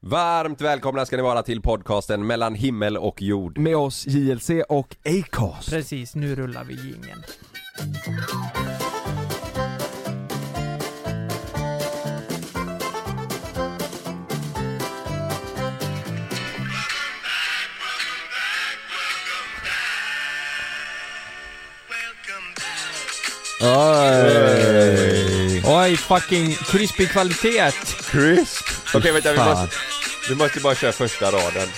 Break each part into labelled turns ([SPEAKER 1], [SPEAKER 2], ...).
[SPEAKER 1] Varmt välkomna ska ni vara till podcasten mellan himmel och jord.
[SPEAKER 2] Med oss JLC och Acast.
[SPEAKER 3] Precis, nu rullar vi jingeln.
[SPEAKER 1] Oj!
[SPEAKER 3] Oj, fucking krispig kvalitet!
[SPEAKER 1] Crisp! Okej vänta, vi
[SPEAKER 2] Fan.
[SPEAKER 1] måste, vi måste bara köra första raden.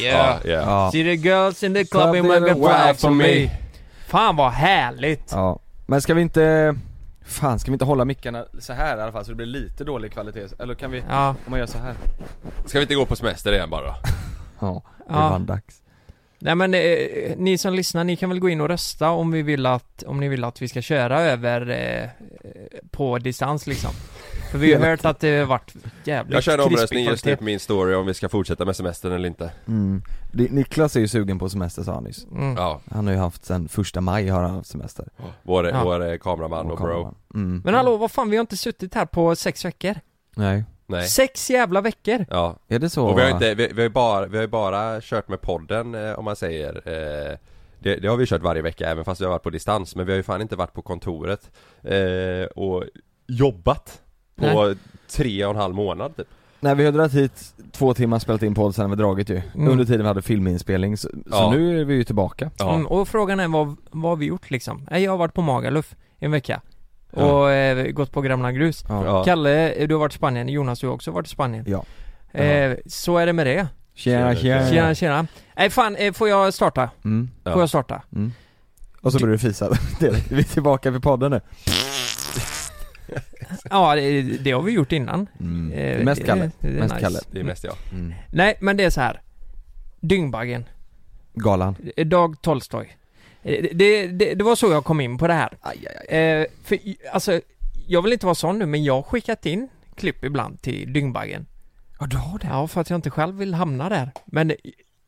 [SPEAKER 3] Yeah.
[SPEAKER 1] yeah.
[SPEAKER 2] Ja.
[SPEAKER 3] See the girls in the club and make a wild for me. Fan vad härligt!
[SPEAKER 2] Ja. Men ska vi inte... Fan, ska vi inte hålla mickarna så här i alla fall så det blir lite dålig kvalitet? Eller kan vi...
[SPEAKER 3] Ja,
[SPEAKER 2] Om man gör så här.
[SPEAKER 1] Ska vi inte gå på semester igen bara då?
[SPEAKER 2] Ja, det
[SPEAKER 3] Ja.
[SPEAKER 2] vann dags.
[SPEAKER 3] nej men eh, ni som lyssnar, ni kan väl gå in och rösta om vi vill att, om ni vill att vi ska köra över eh, eh, på distans liksom. För vi har ju hört att det har varit jävligt
[SPEAKER 1] Jag kör en
[SPEAKER 3] krispig
[SPEAKER 1] omröstning just nu
[SPEAKER 3] kvalitet.
[SPEAKER 1] på min story om vi ska fortsätta med semestern eller inte.
[SPEAKER 2] Mm. Det- Niklas är ju sugen på semester sa han nyss.
[SPEAKER 3] Mm.
[SPEAKER 1] Ja,
[SPEAKER 2] Han har ju haft sen första maj har han haft semester.
[SPEAKER 1] vår,
[SPEAKER 3] Ja.
[SPEAKER 1] vår eh, kameraman och bro.
[SPEAKER 2] kameran. Mm.
[SPEAKER 3] Men hallå, vad fan, vi har inte suttit här på sex veckor.
[SPEAKER 2] Nej.
[SPEAKER 1] Nej.
[SPEAKER 3] Sex jävla veckor!
[SPEAKER 1] Ja,
[SPEAKER 2] Är det så?
[SPEAKER 1] och vi har inte, vi, vi har ju bara, vi har ju bara kört med podden eh, om man säger eh, det, det har vi kört varje vecka även fast vi har varit på distans men vi har ju fan inte varit på kontoret eh, och jobbat på tre och en halv månad typ.
[SPEAKER 2] Nej vi har dragit hit två timmar, spelat in podd, sen har vi dragit ju.
[SPEAKER 3] Mm.
[SPEAKER 2] Under tiden vi hade filminspelning, så,
[SPEAKER 1] Ja.
[SPEAKER 2] så nu är vi ju tillbaka.
[SPEAKER 3] Mm, och frågan är vad, vad har vi gjort liksom? Nej, Jag har varit på Magaluf en vecka och
[SPEAKER 1] Ja.
[SPEAKER 3] eh, gått på Gröna Grus
[SPEAKER 1] Ja.
[SPEAKER 3] Kalle, eh, du har varit i Spanien, Jonas du har också varit i Spanien
[SPEAKER 2] Ja. Eh.
[SPEAKER 3] eh, Så är det med det,
[SPEAKER 2] Tjena tjena.
[SPEAKER 3] tjena tjena Nej fan, eh, får jag starta?
[SPEAKER 2] Mm.
[SPEAKER 1] Ja.
[SPEAKER 3] Får jag starta?
[SPEAKER 2] Mm. Och så börjar du fisa direkt. Vi är tillbaka vid podden nu.
[SPEAKER 3] Ja, det, det har vi gjort innan
[SPEAKER 1] Mm.
[SPEAKER 3] Eh,
[SPEAKER 2] Mm. Det är Mest Kalle.
[SPEAKER 3] det är
[SPEAKER 2] Mest Kalle.
[SPEAKER 1] Det är mest jag.
[SPEAKER 2] Mm.
[SPEAKER 3] Nej men det är så här. Dyngbaggen,
[SPEAKER 2] Galan.
[SPEAKER 3] Eh, Dag Tolstoj Eh, det, det, det var så jag kom in på det här
[SPEAKER 2] Aj, aj, aj.
[SPEAKER 3] Eh, för, alltså, jag vill inte vara sån nu, men jag har skickat in klipp ibland till Dyngbaggen.
[SPEAKER 2] Ja du har
[SPEAKER 3] Ja, för att jag inte själv vill hamna där. Men
[SPEAKER 1] Det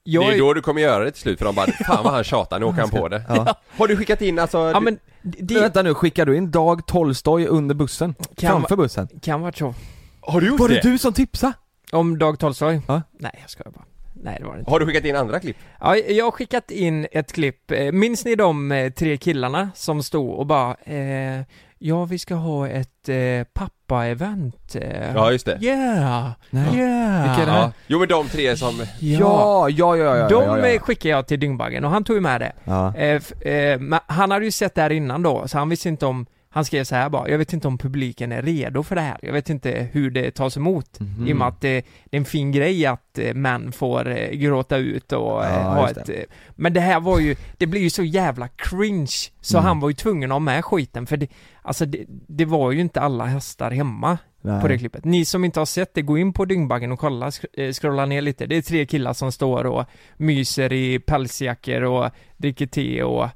[SPEAKER 3] jag
[SPEAKER 1] är ju då du kommer göra det till slut för de bara 'Fan vad han tjatar, nu åker han på det'
[SPEAKER 2] Ja.
[SPEAKER 1] Har du skickat in alltså?
[SPEAKER 3] Ja, men
[SPEAKER 2] Men
[SPEAKER 3] det
[SPEAKER 2] vänta nu, skickar du in Dag Tolstoj under bussen? Framför bussen?
[SPEAKER 3] kan vara så.
[SPEAKER 1] Har du gjort
[SPEAKER 2] Var
[SPEAKER 1] det?
[SPEAKER 2] det du som tipsade?
[SPEAKER 3] Om Dag Tolstoj?
[SPEAKER 2] Ja.
[SPEAKER 3] Nej, jag skojar bara. Nej, det var det inte.
[SPEAKER 1] Har du skickat in andra klipp?
[SPEAKER 3] Ja, jag har skickat in ett klipp. Eh, Minns ni de eh, tre killarna som stod och bara eh, Ja, vi ska ha ett eh, pappa-event. eh.
[SPEAKER 1] Ja just det.
[SPEAKER 3] Yeah!
[SPEAKER 2] Nej.
[SPEAKER 3] Yeah!
[SPEAKER 2] Vilka är det här?
[SPEAKER 1] Ja. Jo men de tre som,
[SPEAKER 2] Ja, ja, ja, ja, ja,
[SPEAKER 3] De
[SPEAKER 2] ja,
[SPEAKER 3] eh,
[SPEAKER 2] ja.
[SPEAKER 3] skickade jag till Dyngbaggen och han tog ju med det.
[SPEAKER 2] ja.
[SPEAKER 3] Eh, f- eh, men han hade ju sett det här innan då, så han visste inte om han skrev så här bara, jag vet inte om publiken är redo för det här, jag vet inte hur det tas emot.
[SPEAKER 2] Mm.
[SPEAKER 3] I och med att det, det är en fin grej att eh, män får eh, gråta ut och eh,
[SPEAKER 2] Ja,
[SPEAKER 3] ha
[SPEAKER 2] just
[SPEAKER 3] ett... eh, Men det här var ju, det blir ju så jävla cringe, så
[SPEAKER 2] Mm.
[SPEAKER 3] han var ju tvungen att ha med skiten för det, alltså det, det var ju inte alla hästar hemma
[SPEAKER 2] Nej.
[SPEAKER 3] på det klippet. Ni som inte har sett det, gå in på Dyngbaggen och kolla, sk- eh, scrolla ner lite. Det är tre killar som står och myser i pälsjackor och dricker te och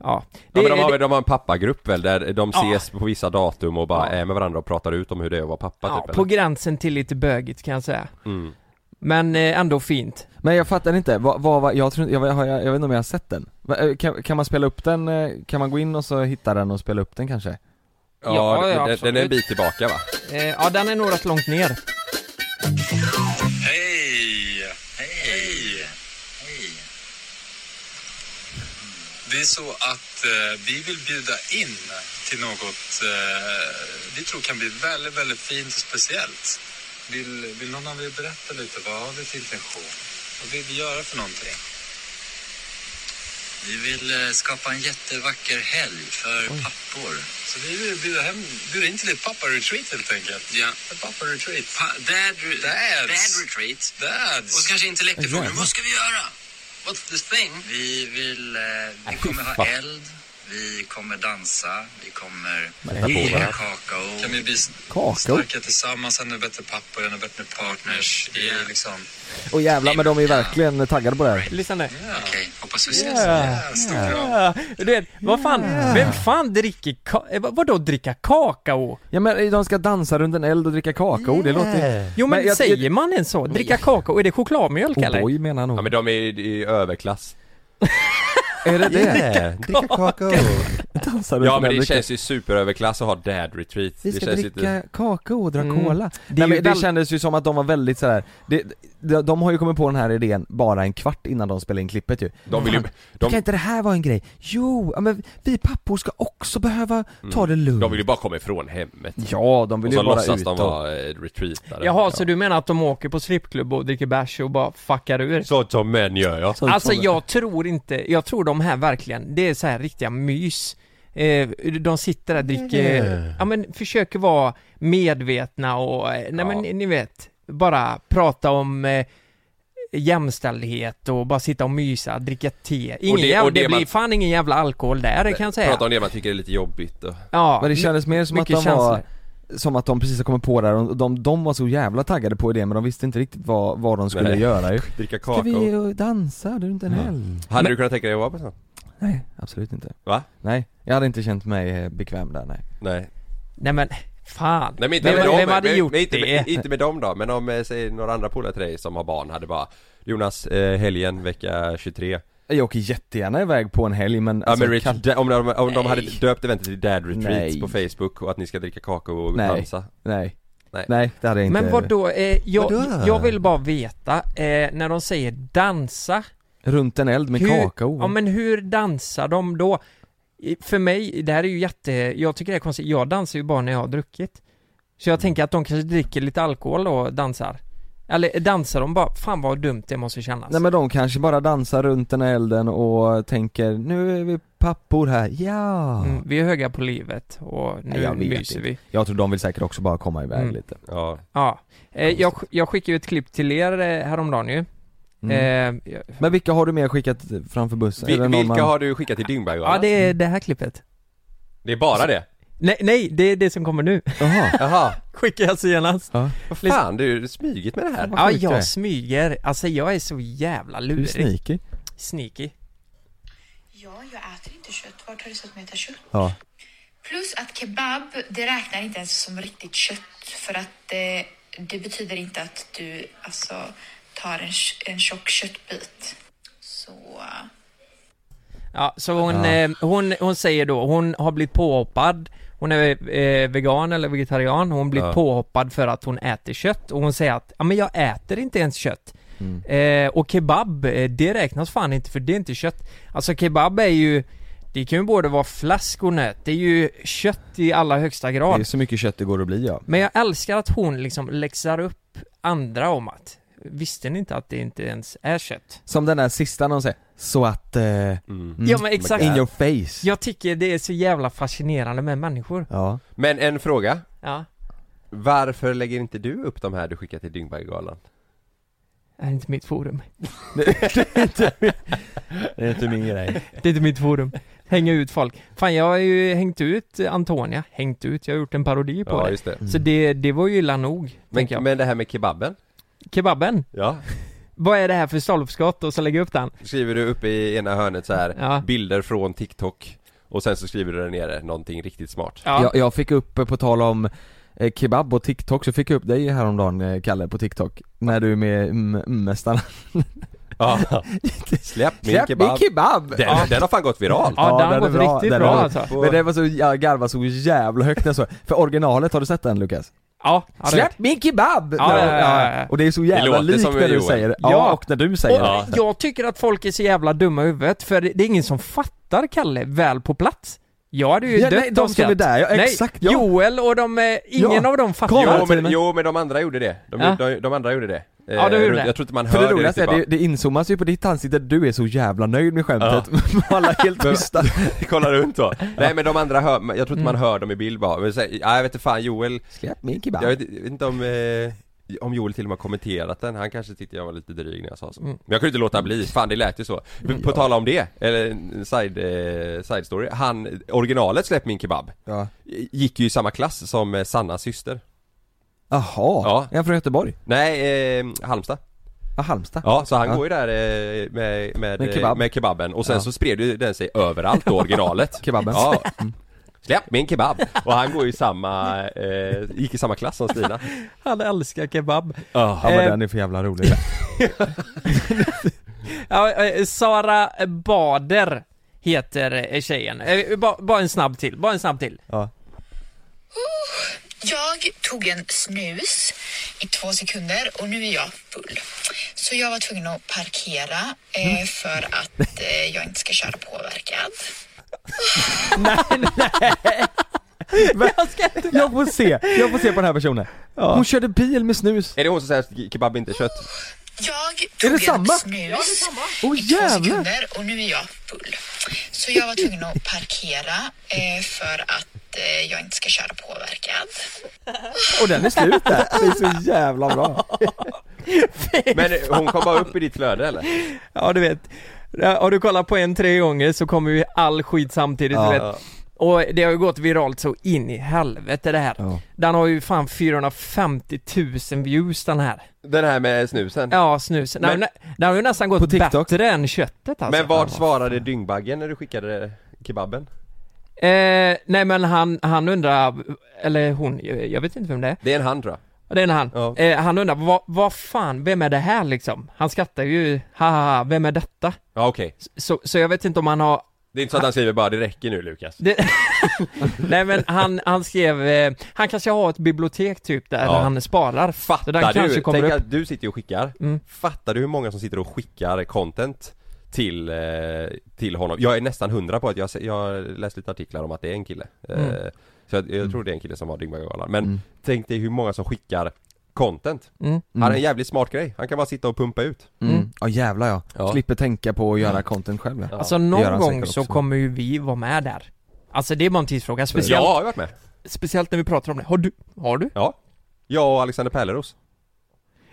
[SPEAKER 3] ja. Det,
[SPEAKER 1] ja, men de, har,
[SPEAKER 3] det,
[SPEAKER 1] väl- de har en pappagrupp väl där de
[SPEAKER 3] Ja.
[SPEAKER 1] ses på vissa datum och bara
[SPEAKER 3] Ja.
[SPEAKER 1] är med varandra och pratar ut om hur det är att vara pappa
[SPEAKER 3] ja,
[SPEAKER 1] typ
[SPEAKER 3] på
[SPEAKER 1] eller?
[SPEAKER 3] gränsen till lite bögigt kan jag säga.
[SPEAKER 1] Mm.
[SPEAKER 3] Men eh, ändå fint.
[SPEAKER 2] Men jag fattar inte, vad, vad, vad jag, tror, jag, jag, jag vet inte om jag har sett den? Va, eh, Kan, kan man spela upp den, eh, kan man gå in och så hitta den och spela upp den kanske?
[SPEAKER 1] Ja,
[SPEAKER 3] Ja,
[SPEAKER 1] den-
[SPEAKER 3] ja,
[SPEAKER 1] den, den är en
[SPEAKER 3] absolut.
[SPEAKER 1] bit tillbaka va?
[SPEAKER 3] Eh, ja, den är nog rätt långt ner.
[SPEAKER 4] Hej! Hej! Hej! Det är så att eh, vi vill bjuda in till något eh, vi tror kan bli väldigt, väldigt fint och speciellt. Vill, vill någon av er berätta lite? Vad har vi för intention? Vad vill vi göra för någonting? Vi vill eh, skapa en jättevacker helg för pappor. Så vi vill bjuda, hem, bjuda in till ett papparetreat helt enkelt. Ja. Ett papparetreat. Pa dad, Dads.
[SPEAKER 5] Bad retreat.
[SPEAKER 4] Dads.
[SPEAKER 5] Och så kanske intellektet frågar,
[SPEAKER 2] Jävlar.
[SPEAKER 5] vad ska vi göra? What's the thing?
[SPEAKER 4] Vi vill... eh, Vi kommer ha
[SPEAKER 1] fan.
[SPEAKER 4] eld. Vi kommer dansa. Vi kommer
[SPEAKER 2] på
[SPEAKER 4] dricka
[SPEAKER 2] varandra.
[SPEAKER 4] kakao. Kan vi bli
[SPEAKER 2] Kakao?
[SPEAKER 4] starka tillsammans, ännu bättre pappor, ännu bättre partners. I, liksom.
[SPEAKER 2] Och jävlar men de är ju verkligen taggade på det här.
[SPEAKER 3] Lyssna nu.
[SPEAKER 4] Okej, hoppas vi ses.
[SPEAKER 3] Yeah.
[SPEAKER 4] Stora
[SPEAKER 3] Ah, Du vet, vad fan, vem fan dricker ka- eh, vad- vadå dricka kakao?
[SPEAKER 2] Ja men de ska dansa runt en eld och dricka kakao, det låter...
[SPEAKER 3] Jo men,
[SPEAKER 2] Men jag-
[SPEAKER 3] säger man ens så?
[SPEAKER 2] Oh
[SPEAKER 3] Dricka kakao? Är det chokladmjölk eller?
[SPEAKER 2] O'boy menar han
[SPEAKER 1] Ja
[SPEAKER 2] nog.
[SPEAKER 1] men de är i, i överklass
[SPEAKER 2] Är det det?
[SPEAKER 1] Yeah, dricka kakao!
[SPEAKER 2] Dansar du
[SPEAKER 1] Ja
[SPEAKER 2] på
[SPEAKER 1] men det
[SPEAKER 2] den drickan?
[SPEAKER 1] känns ju superöverklass att ha dad retreat
[SPEAKER 2] Vi
[SPEAKER 1] det
[SPEAKER 2] ska
[SPEAKER 1] känns ju
[SPEAKER 2] dricka kakao och dra
[SPEAKER 3] Mm.
[SPEAKER 2] cola.
[SPEAKER 3] Det, är
[SPEAKER 2] Nej,
[SPEAKER 3] ju
[SPEAKER 2] men det
[SPEAKER 3] väl-
[SPEAKER 2] kändes ju som att de var väldigt sådär, det, de, de har ju kommit på den här idén bara en kvart innan de spelade in klippet ju.
[SPEAKER 1] De vill ju,
[SPEAKER 2] Fan,
[SPEAKER 1] de,
[SPEAKER 2] Kan inte det här vara en grej? Jo, ja, men vi pappor ska också behöva ta det lugnt.
[SPEAKER 1] Mm. de vill ju bara komma ifrån hemmet
[SPEAKER 2] Ja, de vill
[SPEAKER 1] Och så
[SPEAKER 2] ju bara
[SPEAKER 1] låtsas
[SPEAKER 2] ut
[SPEAKER 1] de
[SPEAKER 2] och...
[SPEAKER 1] vara eh, retreatare
[SPEAKER 3] Jaha, så du menar att de åker på strippklubb och dricker bärs och bara fuckar ur?
[SPEAKER 1] Sånt som män gör ja
[SPEAKER 2] Sånt
[SPEAKER 3] Alltså
[SPEAKER 2] som-
[SPEAKER 3] jag tror inte, jag tror de här verkligen, det är så här riktiga mys Eh, de sitter där, dricker,
[SPEAKER 1] Mm.
[SPEAKER 3] ja men försöker vara medvetna och, eh, nej
[SPEAKER 1] Ja.
[SPEAKER 3] men ni vet, bara prata om eh, jämställdhet och bara sitta och mysa, dricka te. Ingen
[SPEAKER 1] det-
[SPEAKER 3] det, jävla,
[SPEAKER 1] och det
[SPEAKER 3] det, blir
[SPEAKER 1] man-
[SPEAKER 3] fan ingen jävla alkohol där det kan jag säga.
[SPEAKER 1] Prata om det man tycker är lite jobbigt och...
[SPEAKER 3] Ja,
[SPEAKER 2] Men det kändes mer som att de
[SPEAKER 3] mycket
[SPEAKER 2] var,
[SPEAKER 3] känslor.
[SPEAKER 2] som att de precis har kommit på det här och de, de var så jävla taggade på idén men de visste inte riktigt vad, vad de skulle
[SPEAKER 1] Nej.
[SPEAKER 2] göra ju. Mm.
[SPEAKER 1] Dricka
[SPEAKER 2] Ska
[SPEAKER 1] kakao
[SPEAKER 2] vi eh, dansa? Det är inte en helg.
[SPEAKER 1] Hade du kunnat tänka dig att vara på sånt?
[SPEAKER 2] Nej, absolut inte.
[SPEAKER 1] Va?
[SPEAKER 2] Nej, jag hade inte känt mig eh, bekväm där nej.
[SPEAKER 1] Nej
[SPEAKER 3] Nej men, fan.
[SPEAKER 1] Nej men inte
[SPEAKER 3] vem,
[SPEAKER 1] med dem,
[SPEAKER 3] vem hade
[SPEAKER 1] men,
[SPEAKER 3] gjort
[SPEAKER 1] men, inte,
[SPEAKER 3] det?
[SPEAKER 1] Med, inte med dem då, men om eh, säg, några andra polare till dig som har barn hade bara Jonas, eh, helgen vecka 23
[SPEAKER 2] Jag åker jättegärna iväg på en helg men alltså,
[SPEAKER 1] Ja men
[SPEAKER 2] kan-
[SPEAKER 1] Rich, da, om, de, om de hade
[SPEAKER 3] Nej.
[SPEAKER 1] döpt eventet till Dad Retreats
[SPEAKER 2] Nej.
[SPEAKER 1] på Facebook och att ni ska dricka kakao och
[SPEAKER 2] Nej.
[SPEAKER 1] dansa
[SPEAKER 2] nej.
[SPEAKER 1] Nej.
[SPEAKER 2] nej. det hade jag inte.
[SPEAKER 3] Men vadå, eh, jag,
[SPEAKER 1] Vadå?
[SPEAKER 3] jag vill bara veta, eh, när de säger dansa,
[SPEAKER 2] Runt en eld med
[SPEAKER 3] hur,
[SPEAKER 2] kakao.
[SPEAKER 3] Ja men hur dansar de då? I- För mig, det här är ju jätte, jag tycker det är konstigt, jag dansar ju bara när jag har druckit. Så
[SPEAKER 2] Mm.
[SPEAKER 3] jag tänker att de kanske dricker lite alkohol och dansar. Eller dansar de bara, fan vad dumt det måste kännas.
[SPEAKER 2] Nej men de kanske bara dansar runt den här elden och tänker nu är vi pappor här, ja!
[SPEAKER 3] mm, vi är höga på livet och
[SPEAKER 2] Nej,
[SPEAKER 3] nu
[SPEAKER 2] jag vet
[SPEAKER 3] myser
[SPEAKER 2] inte.
[SPEAKER 3] vi.
[SPEAKER 2] Jag tror de vill säkert också bara komma iväg
[SPEAKER 3] Mm.
[SPEAKER 2] lite.
[SPEAKER 1] Ja,
[SPEAKER 3] Ja. Eh, jag, sk- jag skickade ju ett klipp till er eh, häromdagen ju.
[SPEAKER 2] Mm.
[SPEAKER 3] Eh, jag-
[SPEAKER 2] Men vilka har du mer skickat framför bussen?
[SPEAKER 1] Vi,
[SPEAKER 2] Är det
[SPEAKER 1] vilka
[SPEAKER 2] någon man-
[SPEAKER 1] har du skickat till Dyngberg
[SPEAKER 3] ja
[SPEAKER 1] Johanna?
[SPEAKER 3] det är det här klippet.
[SPEAKER 1] det är bara det?
[SPEAKER 3] Nej, nej, det är det som kommer nu.
[SPEAKER 2] Jaha,
[SPEAKER 1] Jaha,
[SPEAKER 3] Skickade jag senast.
[SPEAKER 2] ja.
[SPEAKER 1] vad fan du är smygigt med det här
[SPEAKER 2] Vad
[SPEAKER 3] Ja,
[SPEAKER 2] sjukt det är.
[SPEAKER 3] jag smyger. Alltså jag är så jävla
[SPEAKER 2] du är
[SPEAKER 3] lurig.
[SPEAKER 2] sneaky.
[SPEAKER 3] Sneaky.
[SPEAKER 6] Ja, jag äter inte kött. Vart har du sett mig äta kött?
[SPEAKER 2] Ja.
[SPEAKER 6] Plus att kebab, det räknar inte ens som riktigt kött. För att eh, det betyder inte att du alltså, tar en, tj- en tjock köttbit. Så... eh,
[SPEAKER 3] Ja, så hon, eh, hon, hon säger då, hon har blivit påhoppad Hon är eh, vegan eller vegetarian, hon blir
[SPEAKER 1] Ja.
[SPEAKER 3] påhoppad för att hon äter kött och hon säger att ja men jag äter inte ens kött eh, Och kebab, eh, det räknas fan inte för det är inte kött Alltså kebab är ju Det kan ju både vara fläsk och nöt, det är ju kött i allra högsta
[SPEAKER 2] Det
[SPEAKER 3] grad
[SPEAKER 2] är så mycket kött det går att bli ja.
[SPEAKER 3] Men jag älskar att hon liksom läxar upp andra om att Visste ni inte att det inte ens är kött?
[SPEAKER 2] Som den där sista någon säger, så att... Eh, mm,
[SPEAKER 3] Ja men exakt!
[SPEAKER 2] In your face.
[SPEAKER 3] Jag tycker det är så jävla fascinerande med människor
[SPEAKER 2] Ja.
[SPEAKER 1] Men en fråga
[SPEAKER 3] Ja,
[SPEAKER 1] Varför lägger inte du upp de här du skickar till Dyngberggalan?
[SPEAKER 3] det är inte mitt forum.
[SPEAKER 2] Det är inte min grej.
[SPEAKER 3] Det är inte mitt forum. Hänga ut folk. Fan jag har ju hängt ut Antonia, hängt ut, jag har gjort en parodi på
[SPEAKER 1] Ja
[SPEAKER 3] det.
[SPEAKER 1] just det
[SPEAKER 2] Mm.
[SPEAKER 3] Så det, det var ju illa nog, tänker
[SPEAKER 1] men,
[SPEAKER 3] jag.
[SPEAKER 1] men det här med kebaben?
[SPEAKER 3] Kebaben,
[SPEAKER 1] Ja
[SPEAKER 3] vad är det här för stolpskott? Och så lägger jag upp den.
[SPEAKER 1] Skriver du uppe i ena hörnet så här
[SPEAKER 3] Ja.
[SPEAKER 1] bilder från TikTok Och sen så skriver du där nere någonting riktigt smart
[SPEAKER 3] Ja.
[SPEAKER 2] Jag, jag fick upp, eh, på tal om eh, kebab och TikTok, så fick jag upp dig häromdagen eh, Kalle på TikTok. När du är med mm, mästarna.
[SPEAKER 1] Ja. Släpp min
[SPEAKER 2] Släpp
[SPEAKER 1] kebab!
[SPEAKER 2] min kebab!
[SPEAKER 1] Den, den har fan gått viral!
[SPEAKER 3] Ja, den har
[SPEAKER 2] är
[SPEAKER 3] gått riktigt
[SPEAKER 2] den
[SPEAKER 3] bra,
[SPEAKER 2] är
[SPEAKER 3] alltså.
[SPEAKER 2] Men det var så, jag garvade så jävla högt när jag såg För originalet, har du sett den Lukas?
[SPEAKER 3] Ja, ja, det vet
[SPEAKER 2] Släpp min kebab!
[SPEAKER 3] Ja,
[SPEAKER 2] När-
[SPEAKER 3] ja, ja, ja.
[SPEAKER 2] Och det är så
[SPEAKER 1] Det
[SPEAKER 2] jävla
[SPEAKER 1] låter
[SPEAKER 2] likt
[SPEAKER 1] som
[SPEAKER 2] när du
[SPEAKER 1] Joel.
[SPEAKER 2] säger det,
[SPEAKER 3] Ja.
[SPEAKER 2] ja. och när du
[SPEAKER 3] jag.
[SPEAKER 2] säger det
[SPEAKER 3] Och jag tycker att folk är så jävla dumma i huvudet, för det är ingen som fattar Kalle väl på plats. Jag hade ju
[SPEAKER 2] Ja,
[SPEAKER 3] dött
[SPEAKER 2] nej, de
[SPEAKER 3] av
[SPEAKER 2] som
[SPEAKER 3] skratt.
[SPEAKER 2] är där, ja, exakt, ja.
[SPEAKER 3] Joel och de, eh, ingen
[SPEAKER 2] Ja.
[SPEAKER 3] av dem fattar.
[SPEAKER 2] Kom.
[SPEAKER 1] Jo
[SPEAKER 2] Här till
[SPEAKER 1] men,
[SPEAKER 2] mig.
[SPEAKER 1] jo men de andra gjorde det, de,
[SPEAKER 3] Ja.
[SPEAKER 1] de, de andra gjorde det Eh,
[SPEAKER 3] Ja, de gjorde det.
[SPEAKER 1] Jag tror inte man
[SPEAKER 2] För
[SPEAKER 1] hör
[SPEAKER 2] det roligaste är,
[SPEAKER 1] riktigt,
[SPEAKER 2] det,
[SPEAKER 1] va?
[SPEAKER 2] det inzoomas ju på ditt ansikte, du är så jävla nöjd med skämtet, men alla är helt tysta
[SPEAKER 1] Kolla runt då Nej men de andra hör, men jag tror inte
[SPEAKER 3] Mm.
[SPEAKER 1] man hör dem i bild bara, men så, här, ja, jag vet inte fan Joel
[SPEAKER 2] Släpp min kebab
[SPEAKER 1] Jag vet, jag vet inte om, eh, om Joel till och med har kommenterat den, han kanske tyckte jag var lite dryg när jag sa så
[SPEAKER 2] Mm.
[SPEAKER 1] Men jag kunde inte låta bli, fan det lät ju så På på tala om det, eller en side, eh, side story, han, originalet Släpp min kebab
[SPEAKER 2] ja.
[SPEAKER 1] Gick ju i samma klass som eh, Sannas syster
[SPEAKER 2] Jaha,
[SPEAKER 1] Ja.
[SPEAKER 2] är han från Göteborg?
[SPEAKER 1] Nej, eh, Halmstad
[SPEAKER 2] Ja, Halmstad?
[SPEAKER 1] Ja, så han
[SPEAKER 2] Ja.
[SPEAKER 1] går ju där eh, med, med,
[SPEAKER 2] Med
[SPEAKER 1] eh,
[SPEAKER 2] kebab.
[SPEAKER 1] med kebaben och sen
[SPEAKER 2] Ja.
[SPEAKER 1] så spred ju den sig överallt då, originalet
[SPEAKER 2] Kebaben. Mm.
[SPEAKER 1] Ja Släpp min kebab! Och han går ju i samma, eh, gick i samma klass som Stina
[SPEAKER 3] Han älskar kebab.
[SPEAKER 1] Ja
[SPEAKER 2] Ja men
[SPEAKER 3] Eh.
[SPEAKER 2] den är för jävla rolig
[SPEAKER 3] Ja, eh, Sara Bader heter eh, tjejen. Eh, Bara bara en snabb till, bara en snabb till.
[SPEAKER 2] Ja.
[SPEAKER 6] Jag tog en snus i två sekunder och nu är jag full. Så jag var tvungen att parkera eh, för att eh, jag inte ska köra påverkad.
[SPEAKER 3] Jag ska inte...
[SPEAKER 2] Jag får se, jag får se på den här personen. Hon körde bil med snus.
[SPEAKER 1] Är det hon som säger att kebab inte är kött?
[SPEAKER 6] Jag
[SPEAKER 2] det
[SPEAKER 6] tog en
[SPEAKER 2] samma?
[SPEAKER 6] snus
[SPEAKER 2] Åh oh,
[SPEAKER 6] i två
[SPEAKER 2] jävlar!
[SPEAKER 6] sekunder och nu är jag full. Så jag var tvungen att parkera eh, för att eh, jag inte ska köra påverkad.
[SPEAKER 2] Och den är slut där. Det är så jävla bra.
[SPEAKER 1] Men hon kom bara upp i ditt flöde eller?
[SPEAKER 3] Ja du vet, har du kollat på en tre gånger så kommer ju all skit samtidigt
[SPEAKER 2] Ja.
[SPEAKER 3] du vet. Och det har ju gått viralt så in i helvete det här.
[SPEAKER 2] Ja.
[SPEAKER 3] Den har ju fan 450 000 views den här.
[SPEAKER 1] Den här med snusen?
[SPEAKER 3] Ja snusen, den, har ju nä- den har ju nästan gått
[SPEAKER 2] På TikTok?
[SPEAKER 3] bättre än köttet alltså.
[SPEAKER 1] Men vad svarade dyngbaggen när du skickade kebaben?
[SPEAKER 3] Eh, nej men han, han undrar, eller hon, jag vet inte vem det är.
[SPEAKER 1] Det är en han tror jag
[SPEAKER 3] Det är han.
[SPEAKER 1] Ja.
[SPEAKER 3] Eh, han undrar, vad, vad fan, vem är det här liksom? Han skrattar ju, haha, vem är detta?
[SPEAKER 1] Ja okej
[SPEAKER 3] Så, så jag vet inte om han har
[SPEAKER 1] Det är inte så att han skriver bara 'Det räcker nu Lukas'
[SPEAKER 3] Det... Nej men han, han skrev, eh, han kanske har ett bibliotek typ där
[SPEAKER 1] Ja.
[SPEAKER 3] han sparar. Så den
[SPEAKER 1] Fattar
[SPEAKER 3] kanske
[SPEAKER 1] du?
[SPEAKER 3] kommer
[SPEAKER 1] Tänk
[SPEAKER 3] upp.
[SPEAKER 1] att du sitter ju och skickar
[SPEAKER 3] Mm.
[SPEAKER 1] Fattar du hur många som sitter och skickar content till, eh, till honom? Jag är nästan hundra på att jag, har se- jag har läst lite artiklar om att det är en kille
[SPEAKER 3] Mm.
[SPEAKER 1] eh, Så jag, jag tror det är en kille som var Dyngbaggegalan Men tänk dig hur många som skickar content
[SPEAKER 3] Mm.
[SPEAKER 1] Han är en jävligt smart grej, han kan bara sitta och pumpa ut
[SPEAKER 2] Mm. Ja jävlar ja.
[SPEAKER 1] Ja. Mm.
[SPEAKER 2] Slipper tänka på att göra content själv ja.
[SPEAKER 3] Alltså
[SPEAKER 2] gör
[SPEAKER 3] någon
[SPEAKER 2] han
[SPEAKER 3] gång
[SPEAKER 2] säkert
[SPEAKER 3] så
[SPEAKER 2] också.
[SPEAKER 3] kommer ju vi vara med där. Alltså det är bara en tidsfråga,
[SPEAKER 1] Jag
[SPEAKER 3] speciellt,
[SPEAKER 1] har varit med!
[SPEAKER 3] speciellt när vi pratar om det. Har du? Har du?
[SPEAKER 1] Ja Jag och Alexander Pärleros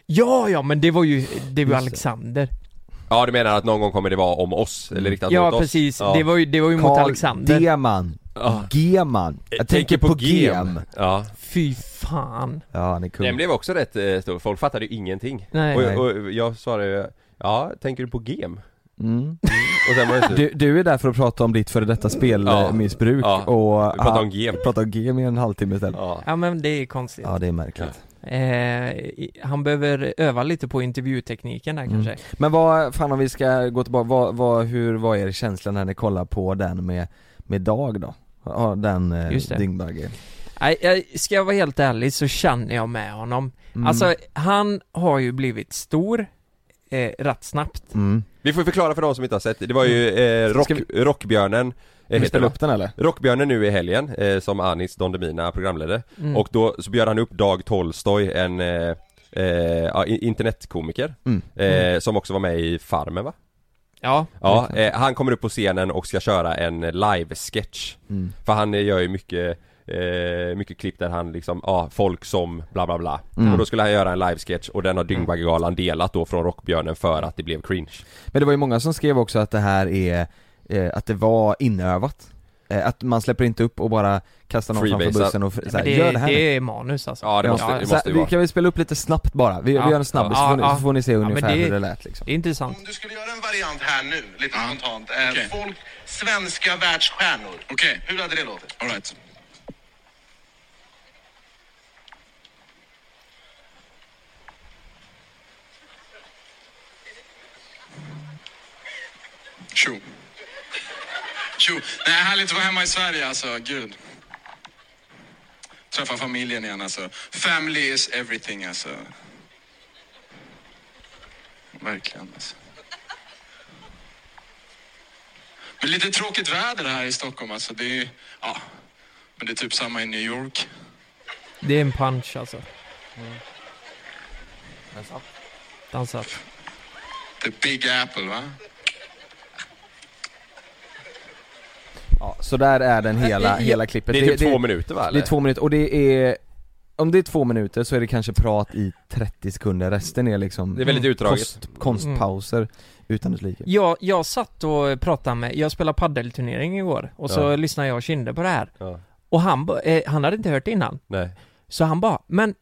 [SPEAKER 3] Ja, ja men det var ju, det var ju Alexander.
[SPEAKER 1] Ja du menar att någon gång kommer det vara om oss, eller riktat
[SPEAKER 3] Ja
[SPEAKER 1] mot oss?
[SPEAKER 3] precis,
[SPEAKER 1] Ja.
[SPEAKER 3] det var ju, det var ju mot Alexander.
[SPEAKER 2] Deman.
[SPEAKER 1] Ja. Eh,
[SPEAKER 2] Geman. Jag tänker på Gem.
[SPEAKER 1] Ja
[SPEAKER 3] Fy fan.
[SPEAKER 2] Ja han är
[SPEAKER 1] Den
[SPEAKER 2] kung.
[SPEAKER 1] blev också rätt eh, stor, folk fattade ju ingenting
[SPEAKER 3] Nej.
[SPEAKER 1] och, och jag svarade ju Ja, tänker du på gem?
[SPEAKER 2] Mm.
[SPEAKER 1] Och sen var det slut.
[SPEAKER 2] Du, du är där för att prata om ditt före detta
[SPEAKER 1] Ja.
[SPEAKER 2] spelmissbruk
[SPEAKER 1] Ja.
[SPEAKER 2] och...
[SPEAKER 1] Vi pratar om
[SPEAKER 2] ah,
[SPEAKER 1] gem
[SPEAKER 2] prata om gem i en halvtimme istället. Ja,
[SPEAKER 1] Ja,
[SPEAKER 3] Ja men det är konstigt.
[SPEAKER 2] det är märkligt.
[SPEAKER 3] Eh, i- han behöver öva lite på intervjutekniken där kanske.
[SPEAKER 2] Men vad, fan om vi ska gå tillbaka, vad, vad, hur, vad är känslan när ni kollar på den med, med Dag då? Ja, den eh,
[SPEAKER 3] Just det.
[SPEAKER 2] Dyngbagge.
[SPEAKER 3] Nej, jag- ska jag vara helt ärlig så känner jag med honom.
[SPEAKER 2] Mm.
[SPEAKER 3] Alltså, han har ju blivit stor eh, rätt snabbt.
[SPEAKER 2] Mm.
[SPEAKER 1] Vi får förklara för de som inte har sett, det var ju
[SPEAKER 3] Mm.
[SPEAKER 1] eh, rock,
[SPEAKER 2] Ska vi-
[SPEAKER 1] Rockbjörnen eh,
[SPEAKER 2] Ska vi
[SPEAKER 1] heter det,
[SPEAKER 2] spela
[SPEAKER 1] va?
[SPEAKER 2] upp den eller?
[SPEAKER 1] Rockbjörnen nu i helgen, eh, som Anis Don Demina programledde
[SPEAKER 3] Mm.
[SPEAKER 1] Och då så bjöd han upp Dag Tolstoy, en eh, eh, ja, i- internetkomiker
[SPEAKER 2] Mm.
[SPEAKER 1] eh, Som också var med i Farmen va?
[SPEAKER 3] Ja.
[SPEAKER 1] Ja, eh, han kommer upp på scenen och ska köra en live-sketch
[SPEAKER 2] Mm.
[SPEAKER 1] För han eh, gör ju mycket Eh, mycket klipp där han liksom, ja, folk som bla bla bla
[SPEAKER 2] Mm.
[SPEAKER 1] Och då skulle han göra en livesketch och den har Dyngbaggegalan delat då från Rockbjörnen för att det blev cringe
[SPEAKER 2] Men det var ju många som skrev också att det här är, eh, att det var inövat. Eh, att man släpper inte upp och bara kastar någon framför
[SPEAKER 1] Freebasea.
[SPEAKER 2] bussen och fr- så här,
[SPEAKER 3] Men det,
[SPEAKER 2] gör det här nu.
[SPEAKER 3] det är manus alltså.
[SPEAKER 1] Ja, det måste-
[SPEAKER 3] ja,
[SPEAKER 1] det
[SPEAKER 2] så
[SPEAKER 1] måste-
[SPEAKER 2] här,
[SPEAKER 1] ju vara.
[SPEAKER 2] vi, kan vi spela upp lite snabbt bara? Vi,
[SPEAKER 3] Ja.
[SPEAKER 2] vi gör en snabbis
[SPEAKER 3] Ja,
[SPEAKER 2] så, får ni,
[SPEAKER 3] ja.
[SPEAKER 2] så får ni se
[SPEAKER 3] Ja, men
[SPEAKER 2] ungefär
[SPEAKER 3] det-
[SPEAKER 2] hur det lät liksom.
[SPEAKER 3] Det är intressant.
[SPEAKER 7] Om du skulle göra en variant här nu, lite
[SPEAKER 5] Ja.
[SPEAKER 7] spontant. Eh,
[SPEAKER 5] Okej.
[SPEAKER 7] Folk, svenska världsstjärnor.
[SPEAKER 5] Okej.
[SPEAKER 7] Hur hade det låtit?
[SPEAKER 5] All right. Tjo. Tjo. Nej, härligt att vara hemma i Sverige alltså. Gud. Träffa familjen igen alltså. Family is everything alltså. Verkligen alltså. Men lite tråkigt väder här i Stockholm alltså. Det är, ja, men det är typ samma i New York.
[SPEAKER 3] Det är en punch alltså.
[SPEAKER 1] Mm.
[SPEAKER 3] Dansat.
[SPEAKER 5] The Big Apple va?
[SPEAKER 2] Ja, så där är den hela, hela klippet.
[SPEAKER 1] Det är typ två minuter va?
[SPEAKER 2] Det
[SPEAKER 1] eller?
[SPEAKER 2] är två minuter och det är, om det är två minuter så är det kanske prat i 30 sekunder, resten är liksom
[SPEAKER 1] Det är väldigt utdraget. Mm.
[SPEAKER 2] Konst, konstpauser utan dess like.
[SPEAKER 3] Jag, jag satt och pratade med, jag spelade paddelturnering igår och så
[SPEAKER 1] Ja.
[SPEAKER 3] lyssnade jag och Kinde på det här.
[SPEAKER 1] Ja.
[SPEAKER 3] Och han, ba- eh, han hade inte hört det innan.
[SPEAKER 1] Nej
[SPEAKER 3] Så han bara, men,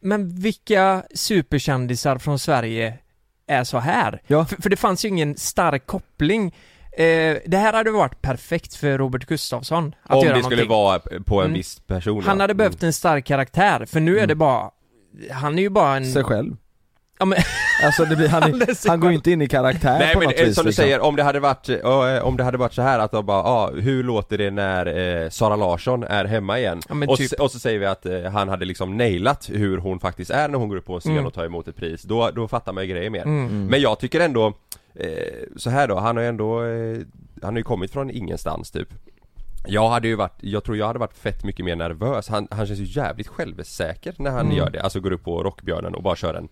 [SPEAKER 3] men vilka superkändisar från Sverige är så här?
[SPEAKER 2] Ja.
[SPEAKER 3] För, för det fanns ju ingen stark koppling. Eh, det här hade varit perfekt för Robert Gustafsson att
[SPEAKER 1] Om
[SPEAKER 3] göra
[SPEAKER 1] det skulle
[SPEAKER 3] någonting.
[SPEAKER 1] vara på en
[SPEAKER 3] Mm.
[SPEAKER 1] viss person
[SPEAKER 3] Han
[SPEAKER 1] ja. Mm.
[SPEAKER 3] hade behövt en stark karaktär, för nu är det bara, han är ju bara en,
[SPEAKER 2] Sig själv.
[SPEAKER 3] Ja men,
[SPEAKER 2] Alltså det blir, han,
[SPEAKER 3] Anders
[SPEAKER 2] är- han går ju inte in i karaktär
[SPEAKER 1] Nej
[SPEAKER 2] på
[SPEAKER 1] men
[SPEAKER 2] något
[SPEAKER 1] eh,
[SPEAKER 2] vis
[SPEAKER 1] som du
[SPEAKER 2] liksom.
[SPEAKER 1] säger, om det hade varit, eh, om det hade varit så här att de bara, ah, hur låter det när eh, Sara Larsson är hemma igen?
[SPEAKER 3] Ja, men
[SPEAKER 1] och,
[SPEAKER 3] typ.
[SPEAKER 1] s- och så säger vi att eh, han hade liksom nailat hur hon faktiskt är när hon går upp på en scen
[SPEAKER 3] Mm.
[SPEAKER 1] och tar emot ett pris, då, då fattar man ju grejer mer. Men jag tycker ändå, eh, så här då, han har ju ändå, eh, han har ju kommit från ingenstans typ. Jag hade ju varit, jag tror jag hade varit fett mycket mer nervös, han, han känns ju jävligt självsäker när han gör det, alltså går upp på Rockbjörnen och bara kör en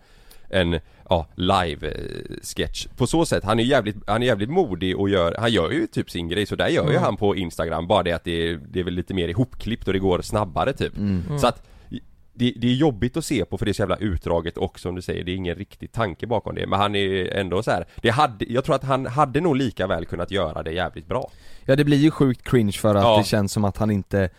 [SPEAKER 1] en, ja, live-sketch. På så sätt, han är jävligt, han är jävligt modig och gör, han gör ju typ sin grej, så där gör ju han på Instagram, bara det att det är, det är väl lite mer ihopklippt och det går snabbare typ. Så att det, det är jobbigt att se på för det är så jävla utdraget och som du säger, det är ingen riktig tanke bakom det. Men han är ju ändå så här. Det hade, jag tror att han hade nog lika väl kunnat göra det jävligt bra.
[SPEAKER 2] Ja det blir ju sjukt cringe för att
[SPEAKER 1] Ja.
[SPEAKER 2] det känns som att han inte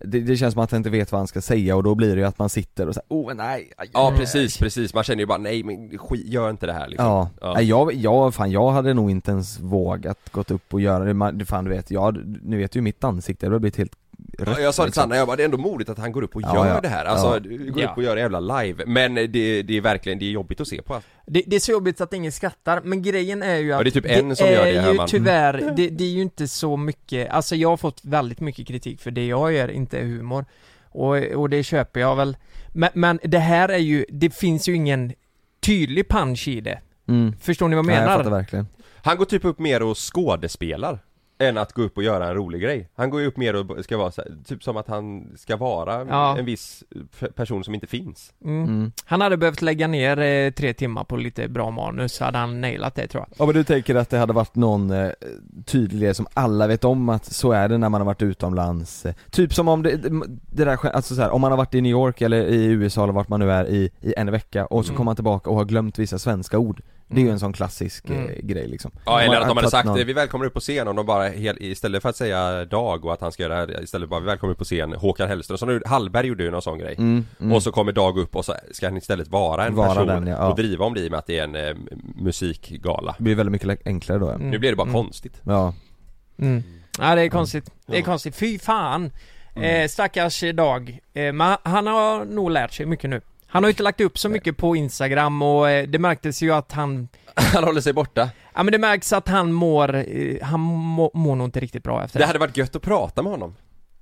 [SPEAKER 2] det, det känns som att han inte vet vad han ska säga och då blir det ju att man sitter och säger oh nej, aj,
[SPEAKER 1] Ja precis, precis. Man känner ju bara nej men skit, gör inte det här liksom.
[SPEAKER 2] Ja, Nej, jag, jag, fan jag hade nog inte ens vågat gått upp och göra det, Man- fan du vet, jag, nu vet du ju mitt ansikte, det har blivit helt rött
[SPEAKER 1] Ja, jag sa till
[SPEAKER 2] liksom.
[SPEAKER 1] Sanna, jag bara, det är ändå modigt att han går upp och
[SPEAKER 2] Ja,
[SPEAKER 1] gör
[SPEAKER 2] ja.
[SPEAKER 1] det här. Alltså,
[SPEAKER 2] Ja.
[SPEAKER 1] du går
[SPEAKER 3] Ja.
[SPEAKER 1] upp och gör det jävla live. Men eh, det, det är verkligen, det är jobbigt att se på.
[SPEAKER 3] det, det är så jobbigt att ingen skrattar, men grejen är ju att
[SPEAKER 1] Ja, det är typ en som gör det,
[SPEAKER 3] är ju
[SPEAKER 1] Herman.
[SPEAKER 3] tyvärr, det, det är ju inte så mycket, alltså jag har fått väldigt mycket kritik för det jag gör inte är humor. Och, och det köper jag väl. Men, men det här är ju, det finns ju ingen tydlig punch i det.
[SPEAKER 2] Mm.
[SPEAKER 3] Förstår ni vad jag
[SPEAKER 2] Nej, jag
[SPEAKER 3] menar?
[SPEAKER 2] fattar verkligen
[SPEAKER 1] Han går typ upp mer och skådespelar. Än att gå upp och göra en rolig grej. Han går ju upp mer och ska vara så här, typ som att han ska vara
[SPEAKER 3] Ja.
[SPEAKER 1] en viss f- person som inte finns.
[SPEAKER 3] mm.
[SPEAKER 2] mm.
[SPEAKER 3] Han hade behövt lägga ner eh, tre timmar på lite bra manus, så hade han nailat det tror jag.
[SPEAKER 2] Ja men du tänker att det hade varit någon eh, tydlig grej som alla vet om att så är det när man har varit utomlands Eh, Typ som om det, det där, sk- alltså så här, om man har varit i New York eller i USA eller vart man nu är i, i en vecka och så
[SPEAKER 3] Mm.
[SPEAKER 2] kommer man tillbaka och har glömt vissa svenska ord Det är ju en sån klassisk eh,
[SPEAKER 3] Mm.
[SPEAKER 2] grej liksom
[SPEAKER 1] Ja, eller
[SPEAKER 2] Man
[SPEAKER 1] att de hade
[SPEAKER 2] tagit
[SPEAKER 1] sagt
[SPEAKER 2] någon-
[SPEAKER 1] eh, vi välkomnar upp på scen om de bara hel, istället för att säga Dag och att han ska göra det här, istället bara vi välkomnar upp på scen Håkan Hellström. Som nu, Hallberg gjorde ju någon sån grej.
[SPEAKER 2] Mm, mm.
[SPEAKER 1] Och så kommer Dag upp och så ska han istället vara en
[SPEAKER 2] Vara
[SPEAKER 1] person
[SPEAKER 2] den, ja, ja.
[SPEAKER 1] och driva om det i och med att det är en eh, musikgala.
[SPEAKER 2] Det blir väldigt mycket enklare då ja.
[SPEAKER 3] Mm.
[SPEAKER 1] Nu blir det bara
[SPEAKER 3] Mm.
[SPEAKER 1] konstigt.
[SPEAKER 2] ja.
[SPEAKER 3] Mm. Ja det är konstigt, det
[SPEAKER 1] Ja.
[SPEAKER 3] är
[SPEAKER 1] Mm.
[SPEAKER 3] konstigt, fy fan! Eh, stackars Dag, eh, men han har nog lärt sig mycket nu Han har ju inte lagt upp så mycket på Instagram och eh, det märktes ju att han
[SPEAKER 1] Han håller sig borta.
[SPEAKER 3] Ja men det märks att han mår, eh, han må, mår nog inte riktigt bra efter
[SPEAKER 1] Det
[SPEAKER 3] det
[SPEAKER 1] hade varit gött att prata med honom.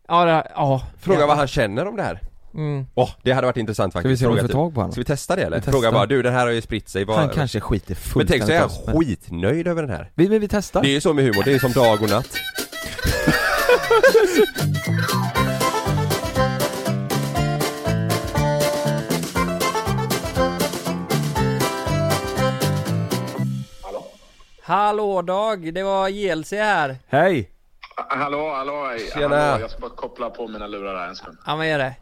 [SPEAKER 3] Ja, det, ja
[SPEAKER 1] Fråga
[SPEAKER 3] ja.
[SPEAKER 1] vad han känner om det här.
[SPEAKER 3] mm.
[SPEAKER 1] Åh, det hade varit intressant
[SPEAKER 2] Ska vi
[SPEAKER 1] faktiskt.
[SPEAKER 2] se om vi
[SPEAKER 1] Fråga
[SPEAKER 2] får
[SPEAKER 1] typ.
[SPEAKER 2] tag på honom?
[SPEAKER 1] Ska vi testa det eller?
[SPEAKER 2] Vi testar.
[SPEAKER 1] Fråga bara, du den här har ju spritt sig. Vad...
[SPEAKER 2] Han kanske skiter
[SPEAKER 1] Men
[SPEAKER 2] fullständigt
[SPEAKER 1] tänk så är
[SPEAKER 2] i oss, men-
[SPEAKER 1] han skitnöjd över den här.
[SPEAKER 2] vi, men vi testar!
[SPEAKER 1] Det är ju så med humor, det är ju som dag och natt.
[SPEAKER 3] Hallå Dag, det var JLC här
[SPEAKER 2] Hej!
[SPEAKER 5] Hallå, hallå. hej.
[SPEAKER 1] Tjena.
[SPEAKER 5] hallå. Jag ska bara koppla på mina lurar här en sekund.
[SPEAKER 3] Ja men är det?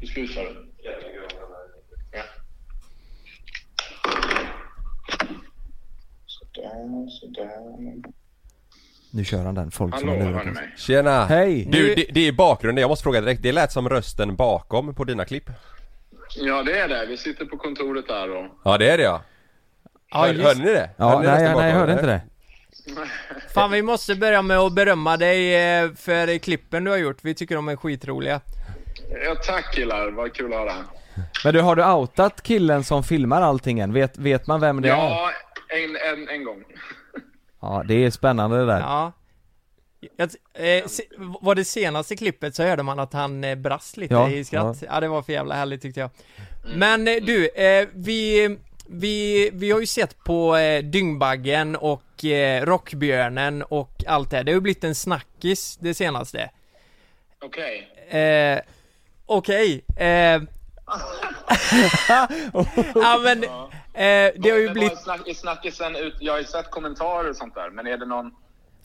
[SPEAKER 5] Hur ska du ta det? Ja. Sådär, sådär.
[SPEAKER 2] Nu kör han den, folk som
[SPEAKER 5] Hallå,
[SPEAKER 2] har
[SPEAKER 5] hör ni
[SPEAKER 2] lurat oss.
[SPEAKER 5] mig?
[SPEAKER 1] Tjena!
[SPEAKER 2] Hej!
[SPEAKER 1] Du, det, det är bakgrunden, jag måste fråga direkt. Det lät som rösten bakom på dina klipp.
[SPEAKER 5] Ja, det är det. Vi sitter på kontoret där och...
[SPEAKER 1] Ja det är det ja.
[SPEAKER 3] Ja,
[SPEAKER 1] Hör,
[SPEAKER 3] just-
[SPEAKER 1] hörde ni det?
[SPEAKER 2] Ja,
[SPEAKER 1] Hörde ni
[SPEAKER 2] nej,
[SPEAKER 1] rösten
[SPEAKER 2] nej jag
[SPEAKER 1] bakom,
[SPEAKER 2] hörde inte
[SPEAKER 1] eller?
[SPEAKER 2] det
[SPEAKER 3] Fan vi måste börja med att berömma dig eh, för klippen du har gjort, vi tycker de är skitroliga
[SPEAKER 5] Ja, tack killar. Vad kul att höra.
[SPEAKER 2] Men du, har du outat killen som filmar allting än? Vet, vet man vem det är?
[SPEAKER 5] Ja, en, en, en gång.
[SPEAKER 2] Ja, det är spännande det där
[SPEAKER 3] Ja. Jag, eh, se, var det senaste klippet så hörde man att han eh, brast lite
[SPEAKER 2] Ja,
[SPEAKER 3] i skratt. Ja. det var för jävla härligt tyckte jag. Men eh, du, eh, vi, vi, vi har ju sett på eh, Dyngbaggen och eh, Rockbjörnen och allt det här. Det har ju blivit en snackis det senaste.
[SPEAKER 5] Okej.
[SPEAKER 3] Eh, Okej, eh, ja men, eh, det har ju
[SPEAKER 5] Men
[SPEAKER 3] blivit
[SPEAKER 5] vad är Snack, är snackisen ut, jag har ju sett kommentarer och sånt där, men är det någon,